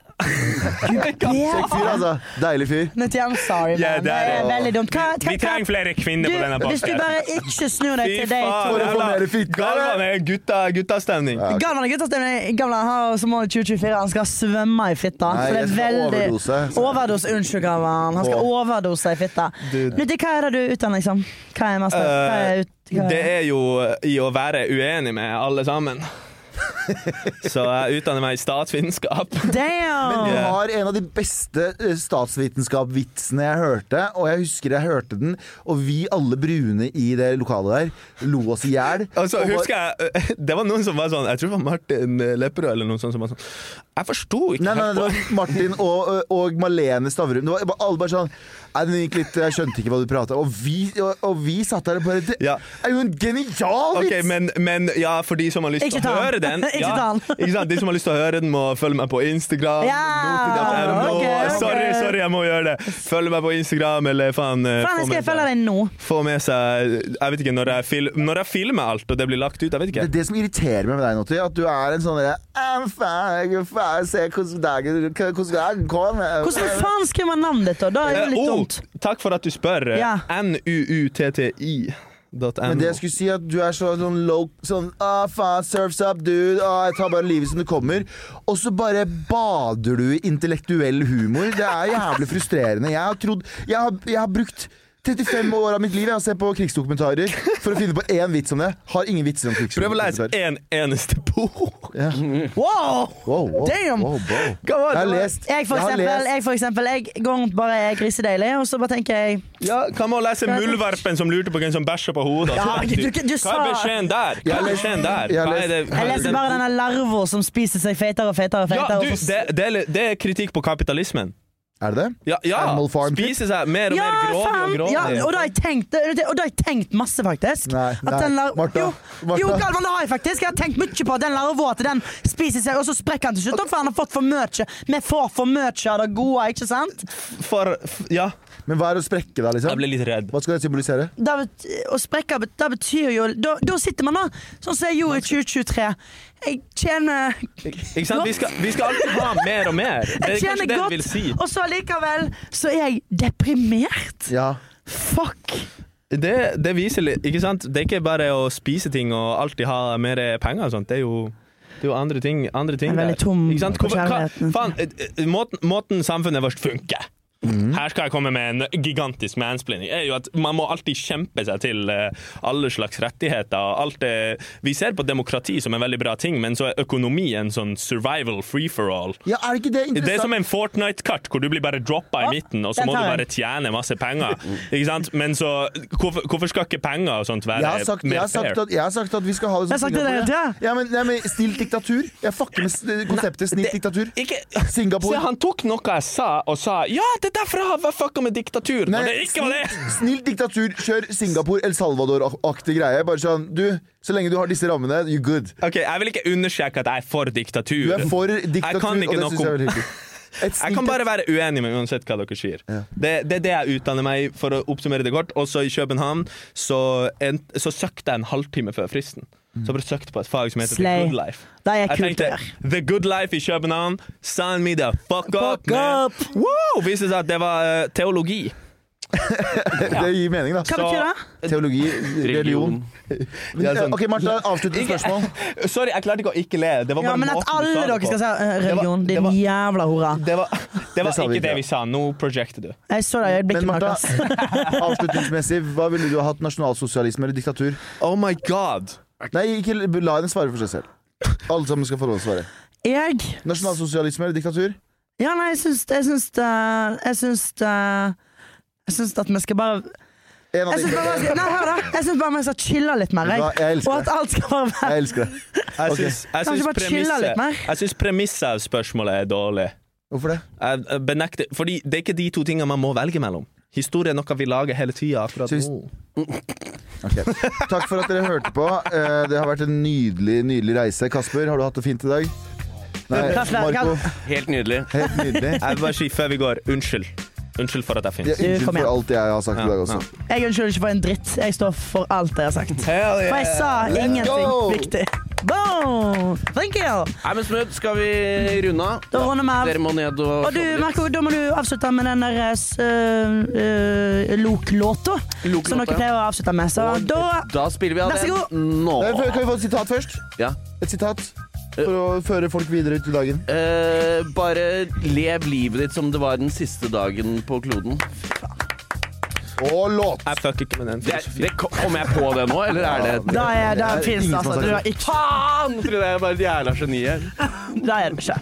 [SPEAKER 2] Kjekk fyr, altså. Deilig fyr.
[SPEAKER 3] Noti, I'm sorry, man.
[SPEAKER 7] Ja,
[SPEAKER 3] det,
[SPEAKER 7] det
[SPEAKER 3] er,
[SPEAKER 7] er-
[SPEAKER 3] veldig dumt. Hva, hva,
[SPEAKER 7] Vi trenger flere kvinner på denne
[SPEAKER 3] du, hvis du
[SPEAKER 7] podcasten.
[SPEAKER 3] bare ikke snur deg til de
[SPEAKER 2] For
[SPEAKER 3] to
[SPEAKER 2] å få
[SPEAKER 7] jævla-
[SPEAKER 2] mer fitte,
[SPEAKER 7] Galvan
[SPEAKER 2] eller?
[SPEAKER 7] er gutta, guttastemning.
[SPEAKER 3] Galvan er guttastemning. Galvan har som mål i 2024 han skal svømme i fitta.
[SPEAKER 2] Nei,
[SPEAKER 3] så det
[SPEAKER 2] jeg
[SPEAKER 3] er
[SPEAKER 2] skal
[SPEAKER 3] veldig...
[SPEAKER 2] overdose.
[SPEAKER 3] Overdose, Unnskyld, Galvan. Han skal
[SPEAKER 2] Å.
[SPEAKER 3] overdose i fitta. Noti, hva er det du utdanner, liksom? Hva er master? Hva er ut... Hva
[SPEAKER 7] Eh, Det er jo i å være uenig med alle sammen. Så jeg utdanner meg i statsvitenskap.
[SPEAKER 3] Damn!
[SPEAKER 2] Du har en av de beste eh, statsvitenskap-vitsene jeg hørte, og jeg husker jeg hørte den, og vi alle brune i det lokalet der lo oss i hjel.
[SPEAKER 7] Og så
[SPEAKER 2] Og var-
[SPEAKER 7] Altså, husker jeg Det var noen som var sånn Jeg tror det var Martin Lepperød eller noen sånn som var sånn Jeg forsto ikke
[SPEAKER 2] Nei, nei,
[SPEAKER 7] helt
[SPEAKER 2] det
[SPEAKER 7] på-
[SPEAKER 2] var Martin og, eh, og Malene Stavrum. Det var bare- alle bare sånn Nei, den gikk litt Jeg skjønte ikke hva du prata om. Og, vi- og, og vi satt der og bare Det
[SPEAKER 7] Ja.
[SPEAKER 2] er jo en genial vits!
[SPEAKER 7] Ok, men, men ja, for de som har lyst
[SPEAKER 3] Ikke
[SPEAKER 7] til
[SPEAKER 3] ta
[SPEAKER 7] å
[SPEAKER 3] den.
[SPEAKER 7] høre den
[SPEAKER 3] Ikke
[SPEAKER 7] ja,
[SPEAKER 3] ta den.
[SPEAKER 7] ikke sant? De som har lyst til å høre den, må følge meg på Instagram.
[SPEAKER 3] Ja,
[SPEAKER 7] Jeg må,
[SPEAKER 3] ok, ok.
[SPEAKER 7] Sorry, sorry, jeg må gjøre det. Følg meg på Instagram, eller faen eh,
[SPEAKER 3] Faen, jeg
[SPEAKER 7] få,
[SPEAKER 3] skal
[SPEAKER 7] med
[SPEAKER 3] følge
[SPEAKER 7] seg,
[SPEAKER 3] deg nå.
[SPEAKER 7] få med seg Jeg vet ikke når jeg, fil, når jeg filmer alt og det blir lagt ut. Jeg vet
[SPEAKER 2] Det
[SPEAKER 7] ikke.
[SPEAKER 2] er det som irriterer meg med deg, Noti, at du er en sånn derre «I'm fine, I'm fine, Se hvordan dagen hvordan dagen kom.
[SPEAKER 3] Hvordan faen skriver man navnet ditt, da? Da er det jo litt
[SPEAKER 7] Eh, oh,
[SPEAKER 3] dumt.
[SPEAKER 7] takk for at du spør. eh,
[SPEAKER 3] Ja.
[SPEAKER 7] nuutti.no.
[SPEAKER 2] Men det jeg skulle si at du er så, sånn low Sånn ah, faen, surfs up, dude. Ah, jeg tar bare livet som det kommer. Og så bare bader du i intellektuell humor. Det er jævlig frustrerende. Jeg har trodd Jeg har, jeg har brukt 35 år av mitt liv jeg har sett på krigsdokumentarer for å finne på én vits om det. Har ingen vitser om
[SPEAKER 7] Prøv å lese
[SPEAKER 2] krigsdokumentarer.
[SPEAKER 7] en eneste bok.
[SPEAKER 3] Wow!
[SPEAKER 2] Wow, wow,
[SPEAKER 3] Damn!
[SPEAKER 2] wow, wow.
[SPEAKER 7] Hva
[SPEAKER 2] Jeg
[SPEAKER 7] var det?
[SPEAKER 2] har lest.
[SPEAKER 3] Jeg, for
[SPEAKER 2] Jeg har
[SPEAKER 3] eksempel,
[SPEAKER 2] lest.
[SPEAKER 3] jeg, for eksempel, jeg går rundt bare er grisedeilig, og så bare tenker jeg
[SPEAKER 7] Ja, Hva med å lese Muldvarpen som lurte på hvem som bæsja på hodet?
[SPEAKER 3] Ja, du- du- du
[SPEAKER 7] Hva er
[SPEAKER 3] sa-
[SPEAKER 7] beskjeden der? Hva
[SPEAKER 2] Jeg
[SPEAKER 7] er
[SPEAKER 2] les-
[SPEAKER 7] beskjeden der?
[SPEAKER 2] jeg
[SPEAKER 7] Hva
[SPEAKER 2] les-
[SPEAKER 7] er det, hva
[SPEAKER 3] Jeg
[SPEAKER 7] er
[SPEAKER 3] leser
[SPEAKER 7] den-
[SPEAKER 3] bare denne larva som spiser seg fetere og fetere. og
[SPEAKER 7] ja,
[SPEAKER 3] fetere
[SPEAKER 7] du,
[SPEAKER 3] og så-
[SPEAKER 7] det, det, er, det er kritikk på kapitalismen.
[SPEAKER 2] Er det det?
[SPEAKER 7] Ja, ja.
[SPEAKER 2] Animal Farm.
[SPEAKER 7] Spiser seg mer og
[SPEAKER 3] ja,
[SPEAKER 7] mer grovig og
[SPEAKER 3] faen!
[SPEAKER 7] grovig.
[SPEAKER 3] Ja, og da har jeg tenkt Og da har jeg tenkt masse, faktisk.
[SPEAKER 2] Nei,
[SPEAKER 3] At
[SPEAKER 2] nei.
[SPEAKER 3] den lar-
[SPEAKER 2] Martha,
[SPEAKER 3] Jo,
[SPEAKER 2] Martha.
[SPEAKER 3] jo Galvan, det har jeg faktisk. Jeg har tenkt mye på at den larva at den spiser seg, og så sprekker han til slutt. og For han har fått for mye. Vi får for mye av det gode, ikke sant?
[SPEAKER 7] For, f- ja,
[SPEAKER 2] Men hva er å sprekke da,
[SPEAKER 7] jeg
[SPEAKER 2] liksom?
[SPEAKER 7] ble litt redd.
[SPEAKER 2] Hva skal det symbolisere?
[SPEAKER 3] da, bet- å sprekke bet- da betyr jo da, da sitter man da, sånn som jeg gjorde i 2023. Jeg tjener,
[SPEAKER 7] Ikke sant? Vi, skal, vi skal alltid ha mer og mer. Det
[SPEAKER 3] jeg
[SPEAKER 7] er kanskje
[SPEAKER 3] tjener
[SPEAKER 7] det jeg
[SPEAKER 3] godt,
[SPEAKER 7] vil si.
[SPEAKER 3] og så likevel så er jeg deprimert.
[SPEAKER 2] Ja.
[SPEAKER 3] Fuck!
[SPEAKER 7] Det, det viser litt, ikke sant? Det er ikke bare å spise ting og alltid ha mer penger og sånt. Det er jo, det er jo andre ting. Andre ting
[SPEAKER 3] Jeg er veldig tom
[SPEAKER 7] Ikke sant?
[SPEAKER 3] på
[SPEAKER 7] Hvorfor- hva-
[SPEAKER 3] kjærligheten.
[SPEAKER 7] Faen, eh, eh, måten, måten samfunnet vårt funker Her skal jeg komme med en gigantisk mansplaining. er jo at Man må alltid kjempe seg til eh, alle slags rettigheter. og Alt det. Vi ser på demokrati som en veldig bra ting, men så er økonomi en sånn survival free-for-all.
[SPEAKER 2] ja, er ikke det
[SPEAKER 7] Det er
[SPEAKER 2] interessant?
[SPEAKER 7] som en Fortnite-kart hvor du blir bare droppa i midten, og så
[SPEAKER 3] den
[SPEAKER 7] må du
[SPEAKER 3] tar jeg.
[SPEAKER 7] bare tjene masse penger. Ikke sant? Men så hvorfor, hvorfor skal ikke penger og sånt være
[SPEAKER 2] Jeg har, sagt, jeg,
[SPEAKER 7] mer
[SPEAKER 2] har sagt
[SPEAKER 7] fair?
[SPEAKER 2] at, jeg har sagt at vi skal ha det
[SPEAKER 3] Jeg har sagt det hele tiden.
[SPEAKER 2] Ja, men, nei, men snilt diktatur. Jeg fucker med s- konseptet snilt diktatur.
[SPEAKER 7] Ikke
[SPEAKER 2] Singapore.
[SPEAKER 7] Se, han tok noe jeg sa, og sa 'ja, det er derfor jeg har fucka med diktatur'. Når det ikke var det!
[SPEAKER 2] snilt- Snilt diktatur, kjør Singapore, El Salvador-aktig greie. Bare sånn, du, så lenge du har disse rammene, you're good.
[SPEAKER 7] Ok, Jeg vil ikke understreke at jeg er for diktatur.
[SPEAKER 2] Du er for diktatur,
[SPEAKER 7] kan ikke
[SPEAKER 2] og det
[SPEAKER 7] nok
[SPEAKER 2] syns jeg er veldig hyggelig. Et
[SPEAKER 7] Jeg
[SPEAKER 2] snilt-
[SPEAKER 7] kan bare være uenig med uansett hva dere sier. Det, det er det jeg utdanner meg i, for å oppsummere det kort. Også i København så, en, så søkte jeg en halvtime før fristen. Så jeg bare søkte på et fag som
[SPEAKER 3] Mm.
[SPEAKER 7] heter
[SPEAKER 3] Slay.
[SPEAKER 7] The Good Life.
[SPEAKER 3] Det er
[SPEAKER 7] Jeg
[SPEAKER 3] kult å
[SPEAKER 7] tenkte
[SPEAKER 3] gjøre.
[SPEAKER 7] The Good Life i København. Sign me the fuck,
[SPEAKER 3] Fuck
[SPEAKER 7] up! man.
[SPEAKER 3] up!
[SPEAKER 7] Wow! Viste seg at det var eh, teologi.
[SPEAKER 2] Det gir mening, da.
[SPEAKER 3] Hva betyr det?
[SPEAKER 2] Teologi, religion. Men,
[SPEAKER 7] Ja, sånn.
[SPEAKER 2] eh, Ok, Martha, avsluttende
[SPEAKER 7] Ikke-
[SPEAKER 2] spørsmål.
[SPEAKER 7] Sorry, jeg klarte ikke å ikke le. Det var bare
[SPEAKER 3] Ja, men at
[SPEAKER 7] måten du
[SPEAKER 3] alle
[SPEAKER 7] sa det
[SPEAKER 3] dere
[SPEAKER 7] på.
[SPEAKER 3] skal si eh, religion,
[SPEAKER 7] Det var-
[SPEAKER 3] din jævla hora.
[SPEAKER 7] Det var, det var
[SPEAKER 2] sa vi
[SPEAKER 7] ikke
[SPEAKER 2] ikke.
[SPEAKER 7] det vi sa. Nå projecter du.
[SPEAKER 3] Jeg så deg i
[SPEAKER 2] Men
[SPEAKER 3] øyeblikket,
[SPEAKER 2] Martha,
[SPEAKER 3] Markus.
[SPEAKER 2] avslutningsmessig, hva ville du ha hatt? Nasjonalsosialisme eller diktatur?
[SPEAKER 7] Oh my god!
[SPEAKER 2] Nei, ikke la henne svare for seg selv. Alle sammen skal få lov til å svare.
[SPEAKER 3] Jeg
[SPEAKER 2] Nasjonalsosialisme eller diktatur?
[SPEAKER 3] Ja, nei, jeg syns Jeg syns det Jeg syns det Jeg syns at vi skal bare
[SPEAKER 2] En av
[SPEAKER 3] Jeg
[SPEAKER 2] de
[SPEAKER 3] syns bare, man skal- nei, hør da. Jeg syns bare man skal chille litt mer, jeg.
[SPEAKER 2] Ja, jeg elsker
[SPEAKER 3] Og at
[SPEAKER 2] det.
[SPEAKER 3] alt skal bare være
[SPEAKER 2] Jeg elsker det.
[SPEAKER 7] Jeg
[SPEAKER 2] Ok.
[SPEAKER 7] syns, jeg
[SPEAKER 3] Kanskje
[SPEAKER 7] syns
[SPEAKER 3] bare chille
[SPEAKER 7] premisset-
[SPEAKER 3] litt mer?
[SPEAKER 7] jeg syns premisset av spørsmålet er dårlig.
[SPEAKER 2] Hvorfor det?
[SPEAKER 7] Jeg jeg benekter, fordi det er ikke de to tingene man må velge mellom. Historie er noe vi lager hele tida akkurat
[SPEAKER 2] Syns-
[SPEAKER 7] nå.
[SPEAKER 2] Ok. Takk for at dere hørte på. Eh, Det har vært en nydelig, nydelig reise. Kasper, har du hatt det fint i dag? Nei,
[SPEAKER 3] Kasper,
[SPEAKER 2] Marco.
[SPEAKER 8] Helt nydelig.
[SPEAKER 2] Helt nydelig.
[SPEAKER 7] Jeg vil bare si før vi går, unnskyld. Unnskyld for at jeg
[SPEAKER 2] Ja,
[SPEAKER 7] finnes.
[SPEAKER 2] Unnskyld
[SPEAKER 3] Kom igjen.
[SPEAKER 2] for alt jeg har sagt i dag også.
[SPEAKER 3] Jeg unnskylder ikke for en dritt. Jeg står for alt jeg har sagt. For jeg sa ingenting
[SPEAKER 2] go!
[SPEAKER 3] viktig. Boom! Thank you!
[SPEAKER 8] Nei, men Smooth, skal vi runde av?
[SPEAKER 3] Da runder vi av.
[SPEAKER 8] Dere må ned og
[SPEAKER 3] Og du, Marco, da må du avslutte med den der eh, uh, Lok-låta.
[SPEAKER 8] Lok-låta.
[SPEAKER 3] Som dere pleier å avslutte med. Så
[SPEAKER 8] Og
[SPEAKER 3] da
[SPEAKER 8] da spiller vi av
[SPEAKER 3] Vær så god.
[SPEAKER 8] den nå.
[SPEAKER 2] Nei, Eh, før- Kan vi få et sitat først?
[SPEAKER 8] Ja.
[SPEAKER 2] Et sitat for å føre folk videre ut i dagen.
[SPEAKER 8] Eh, bare lev livet ditt som det var den siste dagen på kloden.
[SPEAKER 2] Og låt!
[SPEAKER 7] Jeg fucker ikke med den
[SPEAKER 8] Det,
[SPEAKER 7] filosofien.
[SPEAKER 8] det, kom jeg på det nå, eller er det
[SPEAKER 3] Da er det
[SPEAKER 2] Det er
[SPEAKER 3] finnes
[SPEAKER 2] ingen som
[SPEAKER 3] det,
[SPEAKER 2] har
[SPEAKER 3] altså.
[SPEAKER 2] sagt
[SPEAKER 3] Du
[SPEAKER 2] det.
[SPEAKER 3] er ikke
[SPEAKER 8] Faen! Tror jeg er bare et jævla geni her.
[SPEAKER 3] Da er det ikke.